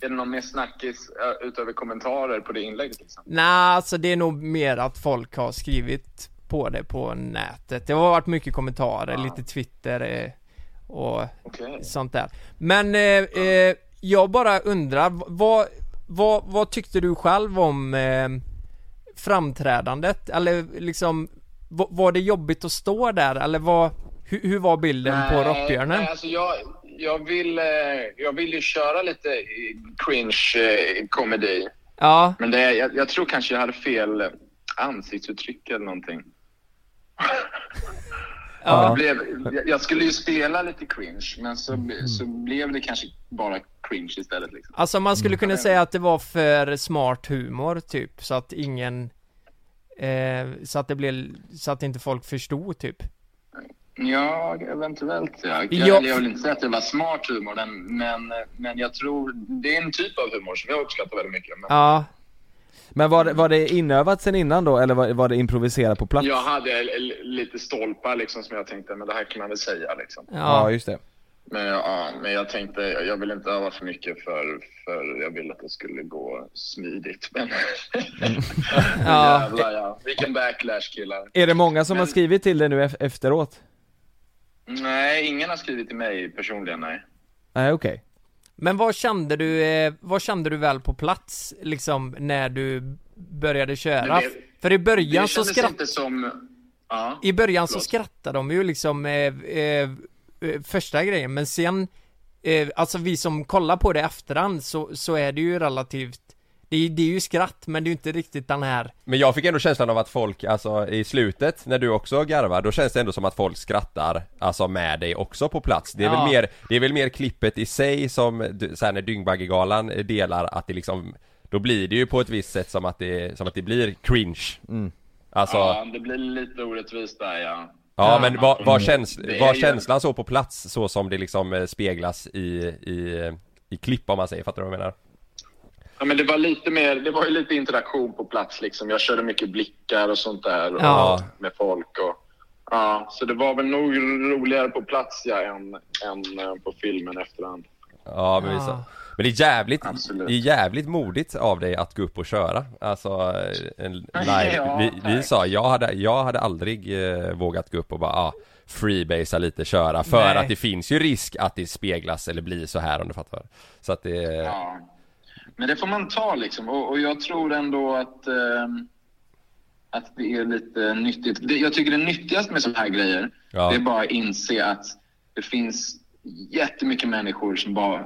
[SPEAKER 5] är det någon mer snackis eh, utöver kommentarer på det inlägget? Liksom?
[SPEAKER 3] Nej, alltså det är nog mer att folk har skrivit på det på nätet. Det har varit mycket kommentarer, lite Twitter eh, och
[SPEAKER 5] Okej.
[SPEAKER 3] sånt där. Men eh, eh, jag bara undrar, v- vad, vad, vad tyckte du själv om eh, framträdandet? Eller liksom, va- var det jobbigt att stå där? Eller vad, hur, hur var bilden på Rockbjörnen?
[SPEAKER 5] Nej, alltså jag, jag, vill, eh, jag vill ju köra lite eh, cringe-komedi.
[SPEAKER 3] Ja,
[SPEAKER 5] Men det, jag, jag tror kanske jag hade fel ansiktsuttryck eller någonting. Det
[SPEAKER 2] Ja.
[SPEAKER 5] blev, jag- jag skulle ju spela lite cringe, men så,
[SPEAKER 3] Mm.
[SPEAKER 5] så blev det kanske bara cringe istället. Liksom.
[SPEAKER 3] Alltså man skulle kunna säga att det var för smart humor typ, så att ingen eh, så att det blev, så att inte folk förstod typ.
[SPEAKER 5] Ja, eventuellt ja. Jag,
[SPEAKER 3] Ja.
[SPEAKER 5] jag vill inte säga att det var smart humor, men, men, men jag tror det är en typ av humor som jag uppskattar väldigt mycket. Men
[SPEAKER 3] Ja,
[SPEAKER 2] Men var det, var det inövat sen innan då, eller var, var det improviserat på plats?
[SPEAKER 5] Jag hade l- l- lite stolpar liksom, som jag tänkte, men det här kan man väl säga. Liksom.
[SPEAKER 2] Ja,
[SPEAKER 3] ja,
[SPEAKER 2] just det.
[SPEAKER 5] Men, ja, men jag tänkte, jag ville inte öva för mycket för, för jag ville att det skulle gå smidigt. Men
[SPEAKER 3] Mm. ja.
[SPEAKER 5] jävlar ja, vilken backlash killar.
[SPEAKER 2] Är det många som
[SPEAKER 5] Men-
[SPEAKER 2] har skrivit till dig nu ef- efteråt?
[SPEAKER 5] Nej, ingen har skrivit till mig personligen nej.
[SPEAKER 2] Nej okej.
[SPEAKER 3] Men vad kände du, eh, vad kände du väl på plats liksom när du började köra?
[SPEAKER 5] Men det-
[SPEAKER 3] för i början
[SPEAKER 5] det
[SPEAKER 3] så
[SPEAKER 5] kändes
[SPEAKER 3] skratt...
[SPEAKER 5] inte som... Ja.
[SPEAKER 3] I början så
[SPEAKER 5] Förlåt.
[SPEAKER 3] skrattade de ju liksom eh, eh, eh, första grejen, men sen eh, Alltså vi som kollar på det i efterhand så, så är det ju relativt det är, det är ju skratt, men det är ju inte riktigt den här
[SPEAKER 1] Men jag fick ändå känslan av att folk, alltså i slutet, när du också garvar, då känns det ändå som att folk skrattar, alltså med dig också på plats. Det är,
[SPEAKER 3] Ja.
[SPEAKER 1] väl, mer, det är väl mer klippet i sig som, du- så här när Dyngbaggegalan eh, delar, att det liksom, då blir det ju på ett visst sätt som att det, som att det blir cringe. Alltså, ja,
[SPEAKER 5] ja, det blir lite orättvist där ja.
[SPEAKER 1] men var, var, käns,
[SPEAKER 5] Det är
[SPEAKER 1] var
[SPEAKER 5] ju-
[SPEAKER 1] känslan så på plats, så som det liksom eh, speglas i, i, i klipp om man säger, fattar du vad jag menar?
[SPEAKER 5] Ja, men det var lite mer, det var ju lite interaktion på plats liksom. Jag körde mycket blickar och sånt där och,
[SPEAKER 3] Ja.
[SPEAKER 5] med folk och ja, så det var väl nog roligare på plats ja, än, än eh, på filmen efterhand.
[SPEAKER 1] Ja, men, vi
[SPEAKER 3] Ja.
[SPEAKER 1] sa- men det är jävligt,
[SPEAKER 5] Absolut.
[SPEAKER 1] det är jävligt modigt av dig att gå upp och köra. Alltså, eh, en live.
[SPEAKER 5] Ja,
[SPEAKER 1] vi, vi
[SPEAKER 5] tack.
[SPEAKER 1] sa, jag hade, jag hade aldrig eh, vågat gå upp och bara, ah, freebasea lite, köra. För
[SPEAKER 3] Nej.
[SPEAKER 1] att det finns ju risk att det speglas eller blir så här om du fattar. Så att det,
[SPEAKER 5] Ja. Men det får man ta liksom. Och, och jag tror ändå att, ehm, att det är lite nyttigt. Det, jag tycker det nyttigaste med sådana här grejer,
[SPEAKER 1] Ja.
[SPEAKER 5] det är bara att inse att det finns jättemycket människor som bara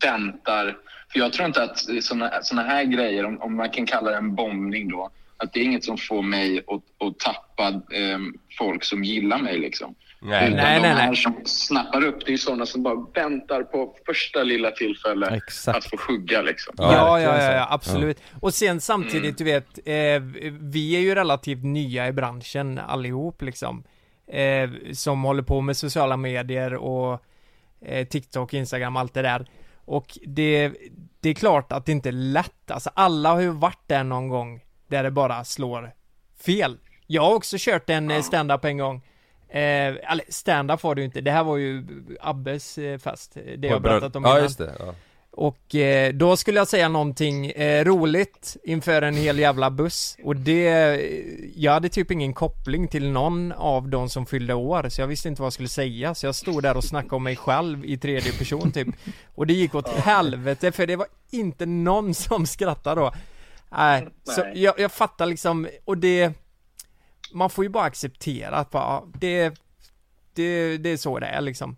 [SPEAKER 5] väntar. För jag tror inte att sådana såna här grejer, om, om man kan kalla det en bombning då, att det är inget som får mig att, att tappa ehm, folk som gillar mig liksom.
[SPEAKER 1] Nej.
[SPEAKER 5] Utan
[SPEAKER 3] Nej,
[SPEAKER 5] de
[SPEAKER 3] nej, nej.
[SPEAKER 5] här som snappar upp, det är ju sådana som bara väntar på första lilla tillfälle
[SPEAKER 2] Exakt.
[SPEAKER 5] att få sjugga liksom.
[SPEAKER 1] Ja,
[SPEAKER 3] Ja, ja,
[SPEAKER 2] verkligen
[SPEAKER 3] ja,
[SPEAKER 2] så.
[SPEAKER 3] ja absolut. Och sen samtidigt, du vet, eh, vi är ju relativt nya i branschen allihop liksom. Eh, som håller på med sociala medier och eh, TikTok, Instagram, allt det där. Och det, det är klart att det inte är lätt. Alltså alla har ju varit där någon gång där det bara slår fel. Jag har också kört en eh, stand-up en gång. Eh, eller stand-up var det ju inte, det här var ju Abbes eh, fest, det jag berättat om
[SPEAKER 1] Ja,
[SPEAKER 3] innan.
[SPEAKER 1] just det. Ja.
[SPEAKER 3] Och eh, då skulle jag säga någonting eh, roligt inför en hel jävla buss Och det, eh, jag hade typ ingen koppling till någon av de som fyllde år Så jag visste inte vad jag skulle säga Så jag stod där och snackade om mig själv i tredje person typ Och det gick åt helvete för det var inte någon som skrattade då Nej, så
[SPEAKER 5] Nej.
[SPEAKER 3] jag, jag fattar liksom, och det Man får ju bara acceptera att bara, ja, det, det, det är så det är liksom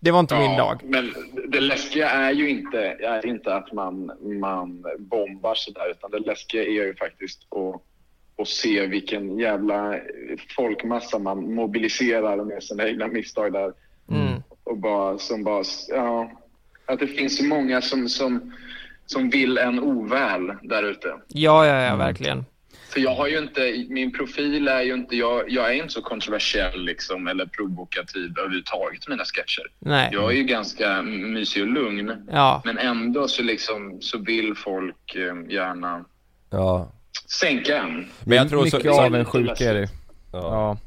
[SPEAKER 3] Det var inte min dag
[SPEAKER 5] Men det läskiga är ju inte, är inte att man, man bombar sådär, utan det läskiga är ju faktiskt att, att se vilken jävla folkmassa man mobiliserar med sina egna misstag där. Och bara, som bara, ja, att det finns så många som, som, som vill en oväl där ute.
[SPEAKER 3] Ja, ja, ja, verkligen.
[SPEAKER 5] För jag har ju inte, min profil är ju inte, jag, jag är inte så kontroversiell liksom eller provokativ överhuvudtaget i mina sketcher.
[SPEAKER 3] Nej.
[SPEAKER 5] Jag är ju ganska mysig och lugn.
[SPEAKER 3] Ja.
[SPEAKER 5] Men ändå så liksom, så vill folk eh, gärna
[SPEAKER 1] Ja.
[SPEAKER 5] sänka en.
[SPEAKER 1] Men jag tror så,
[SPEAKER 2] Mycket
[SPEAKER 1] så,
[SPEAKER 2] avundsjuk är det ju.
[SPEAKER 1] ja.
[SPEAKER 2] Ja.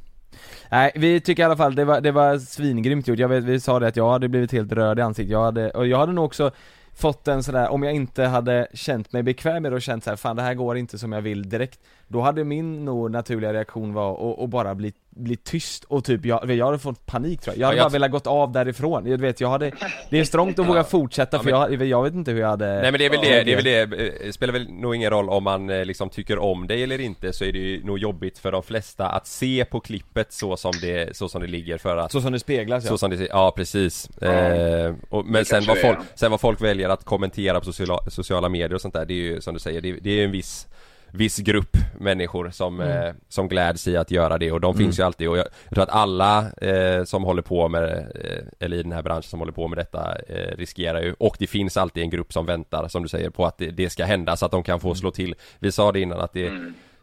[SPEAKER 2] Nej, vi tycker i alla fall det var, det var svingrymt gjort. Jag vet, vi sa det att jag hade blivit helt röd i ansiktet. Jag hade, och jag hade nog också fått en sådär, om jag inte hade känt mig bekväm med det och känt såhär, fan det här går inte som jag vill direkt. Då hade min nog naturliga reaktion var att att bara bli, bli tyst och typ, jag, jag hade fått panik tror jag. Jag hade
[SPEAKER 1] Ja, jag-
[SPEAKER 2] bara velat gått av därifrån. Jag vet, jag hade, det är strångt att våga fortsätta för jag, jag vet inte hur jag hade
[SPEAKER 1] Nej men det är väl det, det, är väl det, eh, spelar väl nog ingen roll om man eh, liksom tycker om dig eller inte så är det ju nog jobbigt för de flesta att se på klippet så som det, så som det ligger för att
[SPEAKER 2] Så som det speglas ja.
[SPEAKER 1] Så som det ser- ja precis. Eh, och, men sen
[SPEAKER 5] kanske
[SPEAKER 1] vad,
[SPEAKER 5] det är.
[SPEAKER 1] folk, sen vad folk väljer att kommentera på sociala, sociala medier och sånt där, det är ju som du säger, det, det är en viss viss grupp människor som,
[SPEAKER 5] Mm.
[SPEAKER 1] eh, som gläds i att göra det och de finns ju alltid och jag, jag tror att alla eh, som håller på med, eh, eller i den här branschen som håller på med detta eh, riskerar ju och det finns alltid en grupp som väntar som du säger på att det, det ska hända så att de
[SPEAKER 5] Mm.
[SPEAKER 1] kan få slå till. Vi sa det innan att det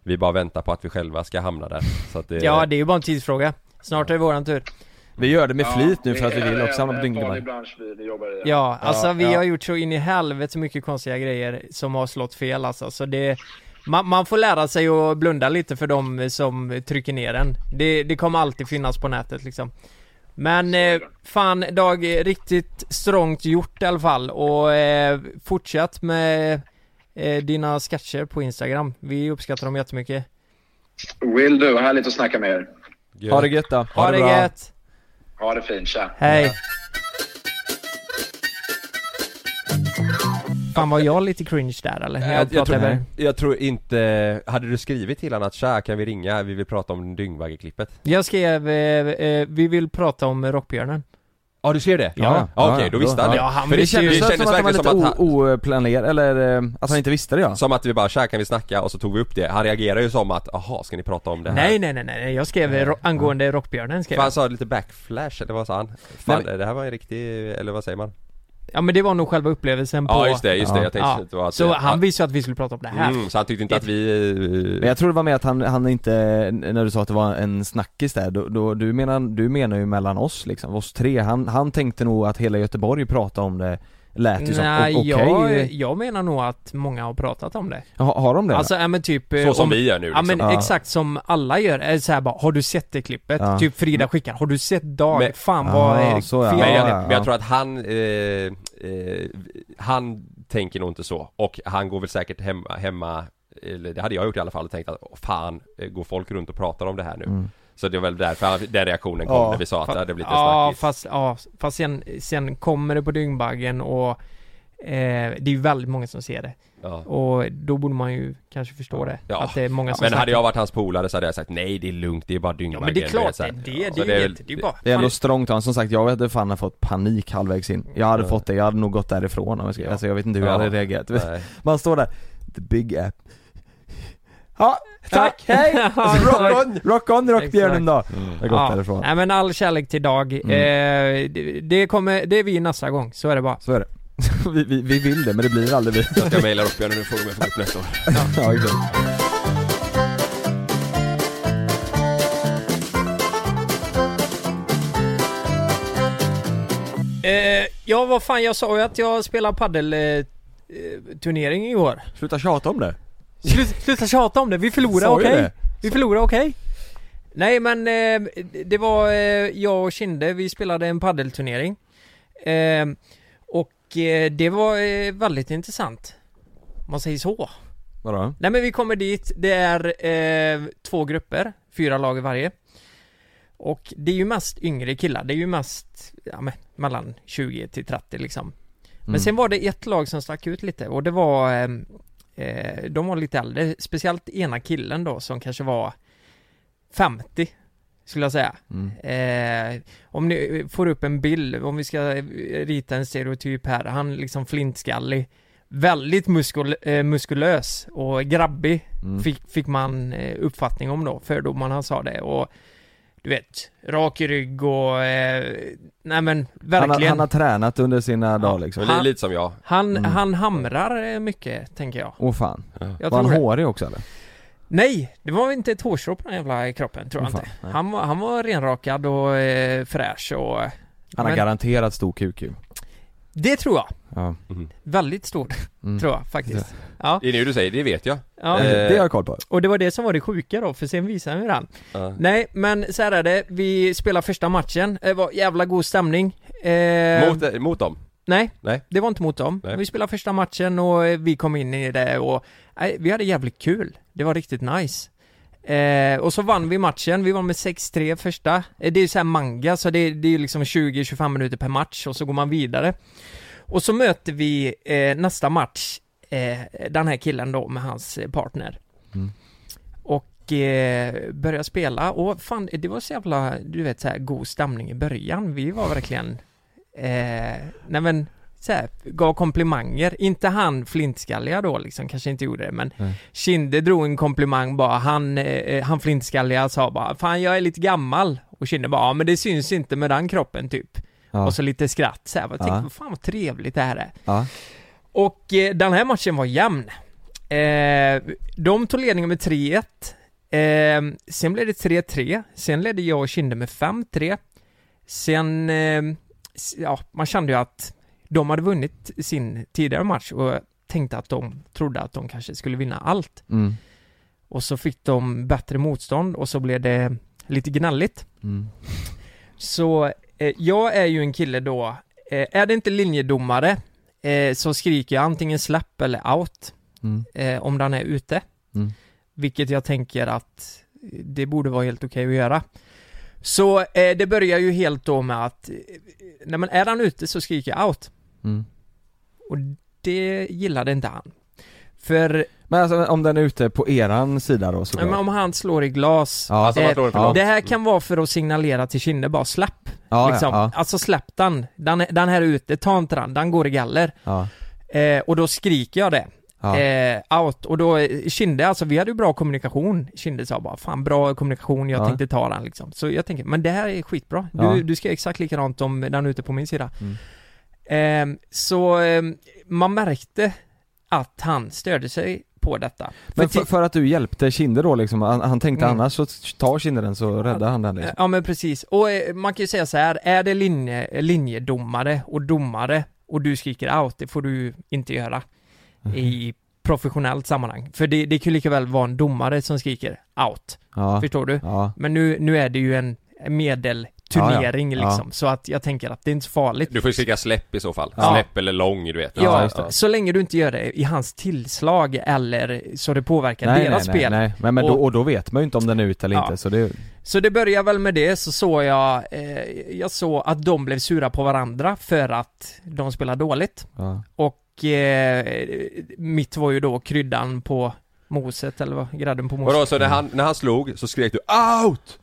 [SPEAKER 1] Vi bara väntar på att vi själva ska hamna där. Så att eh, det,
[SPEAKER 3] Ja, det är ju bara en tidsfråga. Snart är det våran tur.
[SPEAKER 2] Vi gör det med flit nu
[SPEAKER 5] det
[SPEAKER 2] för att vi
[SPEAKER 5] är
[SPEAKER 2] vill också hamna
[SPEAKER 5] en
[SPEAKER 2] på dygndemar.
[SPEAKER 5] farlig bransch vi jobbar i.
[SPEAKER 3] Ja, alltså vi
[SPEAKER 2] ja.
[SPEAKER 3] har gjort så in i helvete så mycket konstiga grejer som har slått fel alltså. Så det, man, man får lära sig att blunda lite för dem som trycker ner en. Det, det kommer alltid finnas på nätet liksom. Men eh, fan Dag, eh, riktigt strångt gjort i alla fall och eh, fortsätt med eh, dina sketcher på Instagram. Vi uppskattar dem jättemycket.
[SPEAKER 5] Will do, härligt att snacka med er.
[SPEAKER 2] Ha det gött då.
[SPEAKER 3] Ha, det
[SPEAKER 2] bra.
[SPEAKER 3] gött!
[SPEAKER 5] Ha det fint, tja.
[SPEAKER 3] Hej! Fan var jag lite cringe där eller? När
[SPEAKER 1] Eh, Jag,
[SPEAKER 3] jag
[SPEAKER 1] jag,
[SPEAKER 3] pratade
[SPEAKER 1] tror,
[SPEAKER 3] med dig.
[SPEAKER 1] jag tror inte, hade du skrivit till honom att tja kan vi ringa, vi vill prata om Dyngbagge-klippet?
[SPEAKER 3] Jag skrev, eh, eh, vi vill prata om Rockbjörnen.
[SPEAKER 1] Ja du ser det?
[SPEAKER 3] Ja.
[SPEAKER 1] ja, ja okej då visste han det.
[SPEAKER 3] Ja, han
[SPEAKER 1] För det
[SPEAKER 3] visste ju-
[SPEAKER 1] kändes,
[SPEAKER 3] Det
[SPEAKER 1] det
[SPEAKER 2] kändes
[SPEAKER 1] kändes
[SPEAKER 2] som att han var
[SPEAKER 1] verkligen
[SPEAKER 2] lite
[SPEAKER 1] som att han,
[SPEAKER 2] o- oplanerad, eller eh, att han inte visste det ja.
[SPEAKER 1] som att vi bara tja kan vi snacka och så tog vi upp det. Han reagerade ju som att jaha ska ni prata om det här?
[SPEAKER 3] Nej, nej, nej, nej, jag skrev eh, ro- angående Rockbjörnen skrev
[SPEAKER 1] För han
[SPEAKER 3] jag.
[SPEAKER 1] sa lite backflash eller vad sa han? Fan det här var en riktig, eller vad säger man?
[SPEAKER 3] Ja men det var nog själva upplevelsen på...
[SPEAKER 1] Ja just det, just det.
[SPEAKER 2] Ja.
[SPEAKER 1] Jag tänkte
[SPEAKER 3] Ja.
[SPEAKER 1] att det var att
[SPEAKER 3] Så
[SPEAKER 1] att-
[SPEAKER 3] han visste ju att vi skulle prata om det här.
[SPEAKER 1] mm, Så han tyckte inte att vi...
[SPEAKER 2] Men jag tror det var med att han, han inte, när du sa att det var en snackis där, då, då, du, menar, du menar ju mellan oss liksom, oss tre. Han, han tänkte nog att hela Göteborg pratade om det, lät ju som,
[SPEAKER 3] Nej,
[SPEAKER 2] o- okej,
[SPEAKER 3] jag, jag menar nog att många har pratat om det.
[SPEAKER 2] har, har de det?
[SPEAKER 3] Alltså, ja men typ... eh,
[SPEAKER 1] Så som
[SPEAKER 3] om,
[SPEAKER 1] vi gör nu
[SPEAKER 3] Ja
[SPEAKER 1] liksom.
[SPEAKER 3] men
[SPEAKER 2] Ja.
[SPEAKER 3] exakt som alla gör, är så här bara, har du sett det klippet?
[SPEAKER 2] Ja.
[SPEAKER 3] Typ Frida skickar, har du sett Dag?
[SPEAKER 1] Mm. Men-
[SPEAKER 3] Fan vad
[SPEAKER 2] Ah,
[SPEAKER 3] eh,
[SPEAKER 2] så ja.
[SPEAKER 3] fel
[SPEAKER 1] Men jag,
[SPEAKER 2] ja, ja.
[SPEAKER 1] men jag tror att han, eh, eh, han tänker nog inte så och han går väl säkert hemma, hemma eller det hade jag gjort i alla fall, och tänkt att "Åh, fan, eh, går folk runt och pratar om det här nu? Så det var väl därför han- den reaktionen kom
[SPEAKER 2] Mm. Ja.
[SPEAKER 1] när vi sa att det hade blivit en
[SPEAKER 3] Ja,
[SPEAKER 1] snackis.
[SPEAKER 3] fast, ja, fast sen, sen kommer det på dyngbaggen och eh, det är ju väldigt många som ser det.
[SPEAKER 1] Ja.
[SPEAKER 3] Och då borde man ju kanske förstå det.
[SPEAKER 1] Ja.
[SPEAKER 3] Att det är många som
[SPEAKER 1] Men
[SPEAKER 3] snackar.
[SPEAKER 1] hade jag varit hans polare så hade jag sagt nej det är lugnt, det är bara dyngbaggen
[SPEAKER 3] Ja men det är
[SPEAKER 1] du
[SPEAKER 3] klart
[SPEAKER 1] vet, så
[SPEAKER 3] det
[SPEAKER 1] här.
[SPEAKER 3] är det.
[SPEAKER 1] Så
[SPEAKER 3] Det är ju
[SPEAKER 1] väl-
[SPEAKER 3] inget, det är ju bara...
[SPEAKER 2] det är ändå
[SPEAKER 3] fan,
[SPEAKER 2] strångt av honom. som sagt, jag hade fan hade fått panik halvvägs in. Jag hade fått det, jag hade nog gått därifrån om jag ska, alltså jag vet inte hur jag
[SPEAKER 1] Ja.
[SPEAKER 2] hade reagerat.
[SPEAKER 1] Nej.
[SPEAKER 2] Man står där, the big app. Ja, tack,
[SPEAKER 3] Ja.
[SPEAKER 2] hej!
[SPEAKER 3] Ja,
[SPEAKER 2] rock on, rock on rockbjörnen då!
[SPEAKER 1] Mm.
[SPEAKER 2] Jag har gått
[SPEAKER 3] ja.
[SPEAKER 2] därifrån.
[SPEAKER 3] Nej men all kärlek till Dag.
[SPEAKER 2] Mm.
[SPEAKER 3] Eh, det, det kommer, det är vi nästa gång, så är det bara.
[SPEAKER 2] Så är det. vi, vi, vi vill det men det blir aldrig vi.
[SPEAKER 1] Jag ska mejla upp Björn nu får du mig få upp nästa år.
[SPEAKER 2] ja, exakt.
[SPEAKER 3] Eh, ja vad fan, jag sa ju att jag spelar padel eh, eh, turnering igår.
[SPEAKER 2] Sluta tjata om det.
[SPEAKER 3] Sluta, sluta tjata om det, vi förlorar
[SPEAKER 2] Sa ju
[SPEAKER 3] okej?
[SPEAKER 2] det.
[SPEAKER 3] Vi förlorar okej? Nej men eh, det var eh, jag och Kinde, vi spelade en paddelturnering eh, Och eh, det var eh, väldigt intressant Om man säger så
[SPEAKER 2] Vadå?
[SPEAKER 3] Nej men vi kommer dit, det är eh, två grupper, fyra lag i varje Och det är ju mest yngre killar, det är ju mest ja, men, mellan 20 till 30 liksom Men
[SPEAKER 2] Mm.
[SPEAKER 3] sen var det ett lag som stack ut lite och det var eh, eh, De var lite äldre, speciellt ena killen då som kanske var 50 Skulle jag säga
[SPEAKER 2] Mm,
[SPEAKER 3] eh, Om ni får upp en bild, om vi ska eh, rita en stereotyp här, han liksom flintskallig Väldigt muskul eh, muskulös och grabbig
[SPEAKER 2] mm.
[SPEAKER 3] fick, fick man eh, uppfattning om då, fördomarna sa det och Du vet, rak i rygg och eh, Nej men
[SPEAKER 2] Han, har-
[SPEAKER 3] verkligen
[SPEAKER 2] han har tränat under sina dagar liksom.
[SPEAKER 1] Men
[SPEAKER 2] Åh
[SPEAKER 1] det är lite som jag.
[SPEAKER 3] Han,
[SPEAKER 2] Mm.
[SPEAKER 3] han hamrar eh, mycket, tänker jag.
[SPEAKER 2] fan.
[SPEAKER 3] jag
[SPEAKER 2] Var
[SPEAKER 3] tror
[SPEAKER 2] han
[SPEAKER 3] det.
[SPEAKER 2] hårig också eller?
[SPEAKER 3] Nej, det var inte ett hårstrå på den jävla kroppen, tror jag
[SPEAKER 2] Åh, fan,
[SPEAKER 3] inte. Han, var- han var renrakad och eh, fräsch och... Han
[SPEAKER 2] Han har garanterat stor QQ.
[SPEAKER 3] Det tror jag.
[SPEAKER 2] Ja.
[SPEAKER 3] Väldigt stort,
[SPEAKER 2] Mm.
[SPEAKER 3] tror jag faktiskt. Ja,
[SPEAKER 1] Det är nu du säger, det vet jag.
[SPEAKER 3] ja.
[SPEAKER 1] Eh,
[SPEAKER 2] Det har jag koll på.
[SPEAKER 3] Och det var det som var det sjuka då, för sen visade han ju den.
[SPEAKER 1] Ja.
[SPEAKER 3] Nej, men så här är det. Vi spelar första matchen. Det var jävla god stämning.
[SPEAKER 2] Ehm.
[SPEAKER 3] Eh,
[SPEAKER 1] Mot, eh, mot dem?
[SPEAKER 3] Nej,
[SPEAKER 1] Nej.
[SPEAKER 3] det var inte mot dem.
[SPEAKER 1] Nej.
[SPEAKER 3] Vi spelade första matchen och eh, vi kom in i det och nej, vi hade jävligt kul. Det var riktigt nice. Eh, och så vann vi matchen, vi vann med 6-3 första. Eh, det är ju så här manga, så det, det är ju liksom 20-25 minuter per match och så går man vidare. Och så möter vi eh, nästa match eh, den här killen då med hans eh, partner. Och eh, började spela och fan, det var så jävla, du vet så här, god stämning i början. Vi var verkligen Eh, nej men, så här, gav komplimanger. Inte han flintskalliga då liksom, kanske inte gjorde det men Kinde drog en komplimang bara, han, eh, han flintskalliga sa bara 'Fan jag är lite gammal' och Kinde bara 'Ja men det syns inte med den kroppen' typ.
[SPEAKER 2] Ja.
[SPEAKER 3] Och så lite skratt så här. Jag tänkte,
[SPEAKER 2] Ja.
[SPEAKER 3] "Vad fan vad trevligt det här är.
[SPEAKER 2] Ja.
[SPEAKER 3] Och eh, den här matchen var jämn. Eh, de tog ledningen med 3-1. Eh, sen blev det 3-3. Sen ledde jag och Kinde med 5-3. Sen, eh, s- ja, man kände ju att de hade vunnit sin tidigare match och tänkte att de trodde att de kanske skulle vinna allt.
[SPEAKER 2] Mm.
[SPEAKER 3] Och så fick de bättre motstånd och så blev det lite gnälligt.
[SPEAKER 2] Mm.
[SPEAKER 3] Så eh, jag är ju en kille då, eh, är det inte linjedomare eh, så skriker jag antingen släpp eller out
[SPEAKER 2] Mm.
[SPEAKER 3] eh, om den är ute.
[SPEAKER 2] Mm.
[SPEAKER 3] Vilket jag tänker att det borde vara helt okej att göra. Så eh, det börjar ju helt då med att, eh, nej men är han ute så skriker jag out.
[SPEAKER 2] Mm.
[SPEAKER 3] Och det gillade inte han. För
[SPEAKER 2] Men alltså om den är ute på eran sida då såklart?
[SPEAKER 3] men om han slår i glas,
[SPEAKER 2] Ja.
[SPEAKER 1] Alltså, man slår inte
[SPEAKER 3] eh,
[SPEAKER 1] långt.
[SPEAKER 3] det
[SPEAKER 2] Mm.
[SPEAKER 3] här kan vara för att signalera till Kinne bara släpp.
[SPEAKER 2] ja,
[SPEAKER 3] liksom.
[SPEAKER 2] ja,
[SPEAKER 3] Alltså släpp den. Den, är- den här är ute, ta inte den, den går i galler.
[SPEAKER 2] ja,
[SPEAKER 3] Eh, och då skriker jag det.
[SPEAKER 2] ja,
[SPEAKER 3] Eh, out. Och då, eh, Kinde, alltså vi hade ju bra kommunikation. Kinde sa bara, fan bra kommunikation, jag
[SPEAKER 2] Ja.
[SPEAKER 3] tänkte ta den liksom. Så jag tänker, men det här är skitbra. Du,
[SPEAKER 2] Ja. Mm.
[SPEAKER 3] du ska göra exakt likadant om den är ute på min sida. Eh, så eh, man märkte att han störde sig på detta.
[SPEAKER 2] Men
[SPEAKER 3] För
[SPEAKER 2] för, för att du hjälpte Kinder då liksom, han, han tänkte
[SPEAKER 3] Mm.
[SPEAKER 2] annars så tar Kinder den så räddar han den liksom.
[SPEAKER 3] Ja men precis, och eh, man kan ju säga så här, är det linje, linjedomare och domare och du skriker out, det får du inte göra i professionellt sammanhang. För det, det kan ju lika väl vara en domare som skriker out,
[SPEAKER 2] Ja,
[SPEAKER 3] förstår du?
[SPEAKER 2] ja,
[SPEAKER 3] Men nu, nu är det ju en medelturnering
[SPEAKER 2] Ja, ja.
[SPEAKER 3] liksom, så att jag tänker att det är inte så farligt.
[SPEAKER 1] Du får ju skrika släpp i så fall.
[SPEAKER 2] Ja.
[SPEAKER 1] Släpp eller lång, du vet.
[SPEAKER 2] Ja,
[SPEAKER 3] Ja,
[SPEAKER 2] just det.
[SPEAKER 3] så länge du inte gör det i hans tillslag eller så det påverkar deras
[SPEAKER 2] nej,
[SPEAKER 3] spel.
[SPEAKER 2] nej, men, men
[SPEAKER 3] Och-
[SPEAKER 2] då, och då vet man ju inte om den är ute eller
[SPEAKER 3] Ja.
[SPEAKER 2] inte så det,
[SPEAKER 3] Så det börjar väl med det, så såg jag, eh, jag såg att de blev sura på varandra för att de spelar dåligt.
[SPEAKER 2] ja,
[SPEAKER 3] Och eh, mitt var ju då kryddan på moset, eller vad, grädden på
[SPEAKER 1] Och
[SPEAKER 3] moset.
[SPEAKER 1] då så när han, när han slog så skrek du OUT!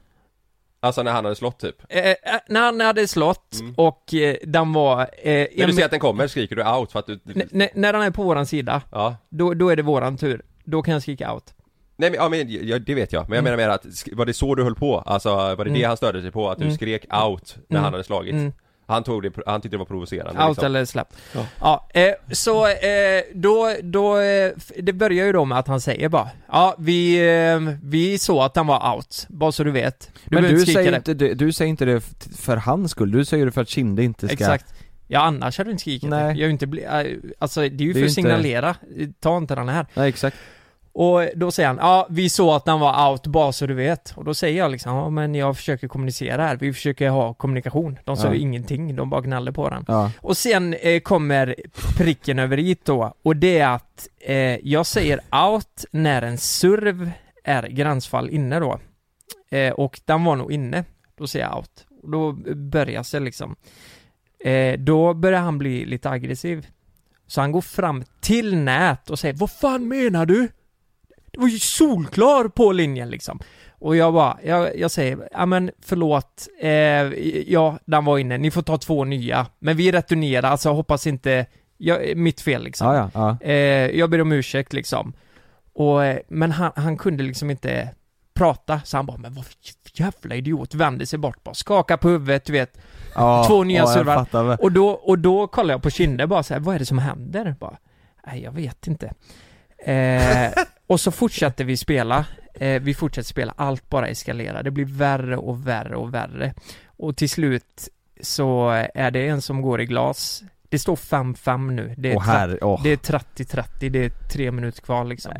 [SPEAKER 1] Alltså när han hade slått typ.
[SPEAKER 3] Eh, eh, när han hade slått och eh, den var... Eh,
[SPEAKER 1] När Mm. du
[SPEAKER 3] en-
[SPEAKER 1] ser att den kommer skriker du OUT för att du...
[SPEAKER 3] n- n- när den är på våran sida,
[SPEAKER 1] Ja.
[SPEAKER 3] då, då är det våran tur. Då kan jag skrika out.
[SPEAKER 1] Nej men, ja, men ja, det vet jag. Men jag
[SPEAKER 3] Mm.
[SPEAKER 1] menar mer att, sk- var det så du höll på? Alltså var det det han störde sig på? Att du skrek OUT när han hade slagit?
[SPEAKER 3] Mm.
[SPEAKER 1] Han tog det, pro- han tyckte det var provocerande
[SPEAKER 3] Out
[SPEAKER 1] liksom.
[SPEAKER 3] eller släpp. Ja. eh, så eh, då, då, eh, f- det börjar ju då med att han säger bara Ja, vi, eh, vi såg att han var out, bara så du vet. Du
[SPEAKER 2] Men
[SPEAKER 3] behöver
[SPEAKER 2] du
[SPEAKER 3] skrika
[SPEAKER 2] säger,
[SPEAKER 3] det.
[SPEAKER 2] inte det, du säger inte det f- för hans skull, du säger det för att Kinde inte ska...
[SPEAKER 3] Exakt. Ja, annars hade du inte skrikit
[SPEAKER 2] Nej.
[SPEAKER 3] det. Jag är ju inte bli, eh, alltså det är ju
[SPEAKER 2] Det är
[SPEAKER 3] för
[SPEAKER 2] ju
[SPEAKER 3] att
[SPEAKER 2] inte-
[SPEAKER 3] signalera, Eh, ta inte den här.
[SPEAKER 2] Nej exakt.
[SPEAKER 3] Och då säger han, ja vi såg att den var out, bara så du vet. Och då säger jag liksom, ja men jag försöker kommunicera här, vi försöker ha kommunikation. De sa
[SPEAKER 2] Ja.
[SPEAKER 3] ju ingenting, de bara gnällde på den.
[SPEAKER 2] Ja.
[SPEAKER 3] Och sen eh, kommer pricken över i då, och det är att eh, jag säger out när en serv är gränsfall inne då. Eh, och den var nog inne, då säger jag out. Och då börjar det liksom. Eh, då börjar han bli lite aggressiv. Så han går fram till nät och säger Vad fan menar du? Det var ju solklar på linjen liksom. Och jag bara, jag, jag säger, ja men förlåt, eh, ja den var inne, ni får ta två nya. Men vi returnerar, alltså hoppas inte, jag, mitt fel liksom.
[SPEAKER 2] Ja, ja, ja.
[SPEAKER 3] Eh, jag ber om ursäkt liksom. Och, eh, men han, han kunde liksom inte prata, så han bara, men vad för jävla idiot, vände sig bort bara, skaka på huvudet, du vet.
[SPEAKER 2] ja.
[SPEAKER 3] Två nya
[SPEAKER 2] ja, jag
[SPEAKER 3] servrar.
[SPEAKER 2] fattar väl.
[SPEAKER 3] Och då, och då kollar jag på Kinde bara så här, vad är det som händer? Bara, Nej, jag vet inte. Eh, och så fortsätter vi spela. Eh, vi fortsätter spela, allt bara eskalerar. Det blir värre och värre och värre. Och till slut så är det en som går i glas. Det står 5-5 nu. Det är,
[SPEAKER 2] Åh herre, åh.
[SPEAKER 3] det är 30-30, det är tre minuter kvar liksom.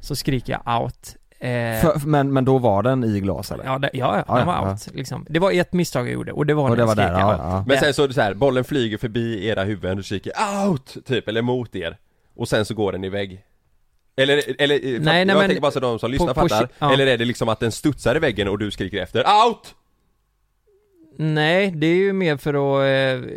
[SPEAKER 3] Så skriker jag out. Eh,
[SPEAKER 2] För- för- Men, men då var den i glas eller?
[SPEAKER 3] Ja, det, ja, ja,
[SPEAKER 2] Ja,
[SPEAKER 3] den
[SPEAKER 2] ja,
[SPEAKER 3] var
[SPEAKER 2] ja.
[SPEAKER 3] out liksom. Det var ett misstag jag gjorde och det var
[SPEAKER 2] och
[SPEAKER 3] när
[SPEAKER 2] det
[SPEAKER 3] jag
[SPEAKER 2] var där,
[SPEAKER 3] skrek
[SPEAKER 2] ja,
[SPEAKER 3] out.
[SPEAKER 2] ja.
[SPEAKER 1] Men
[SPEAKER 3] Ja.
[SPEAKER 1] sen så är det så här, bollen flyger förbi era huvuden och skriker OUT! Typ, eller mot er. Och sen så går den i vägg. Eller, eller, nej,
[SPEAKER 3] nej,
[SPEAKER 1] jag
[SPEAKER 3] men-
[SPEAKER 1] tänker bara så de som lyssnar
[SPEAKER 3] på- på
[SPEAKER 1] fattar.
[SPEAKER 3] ki- ja.
[SPEAKER 1] Eller är det liksom att den studsar i väggen och du skriker efter OUT!
[SPEAKER 3] Nej, det är ju mer för att... Eh,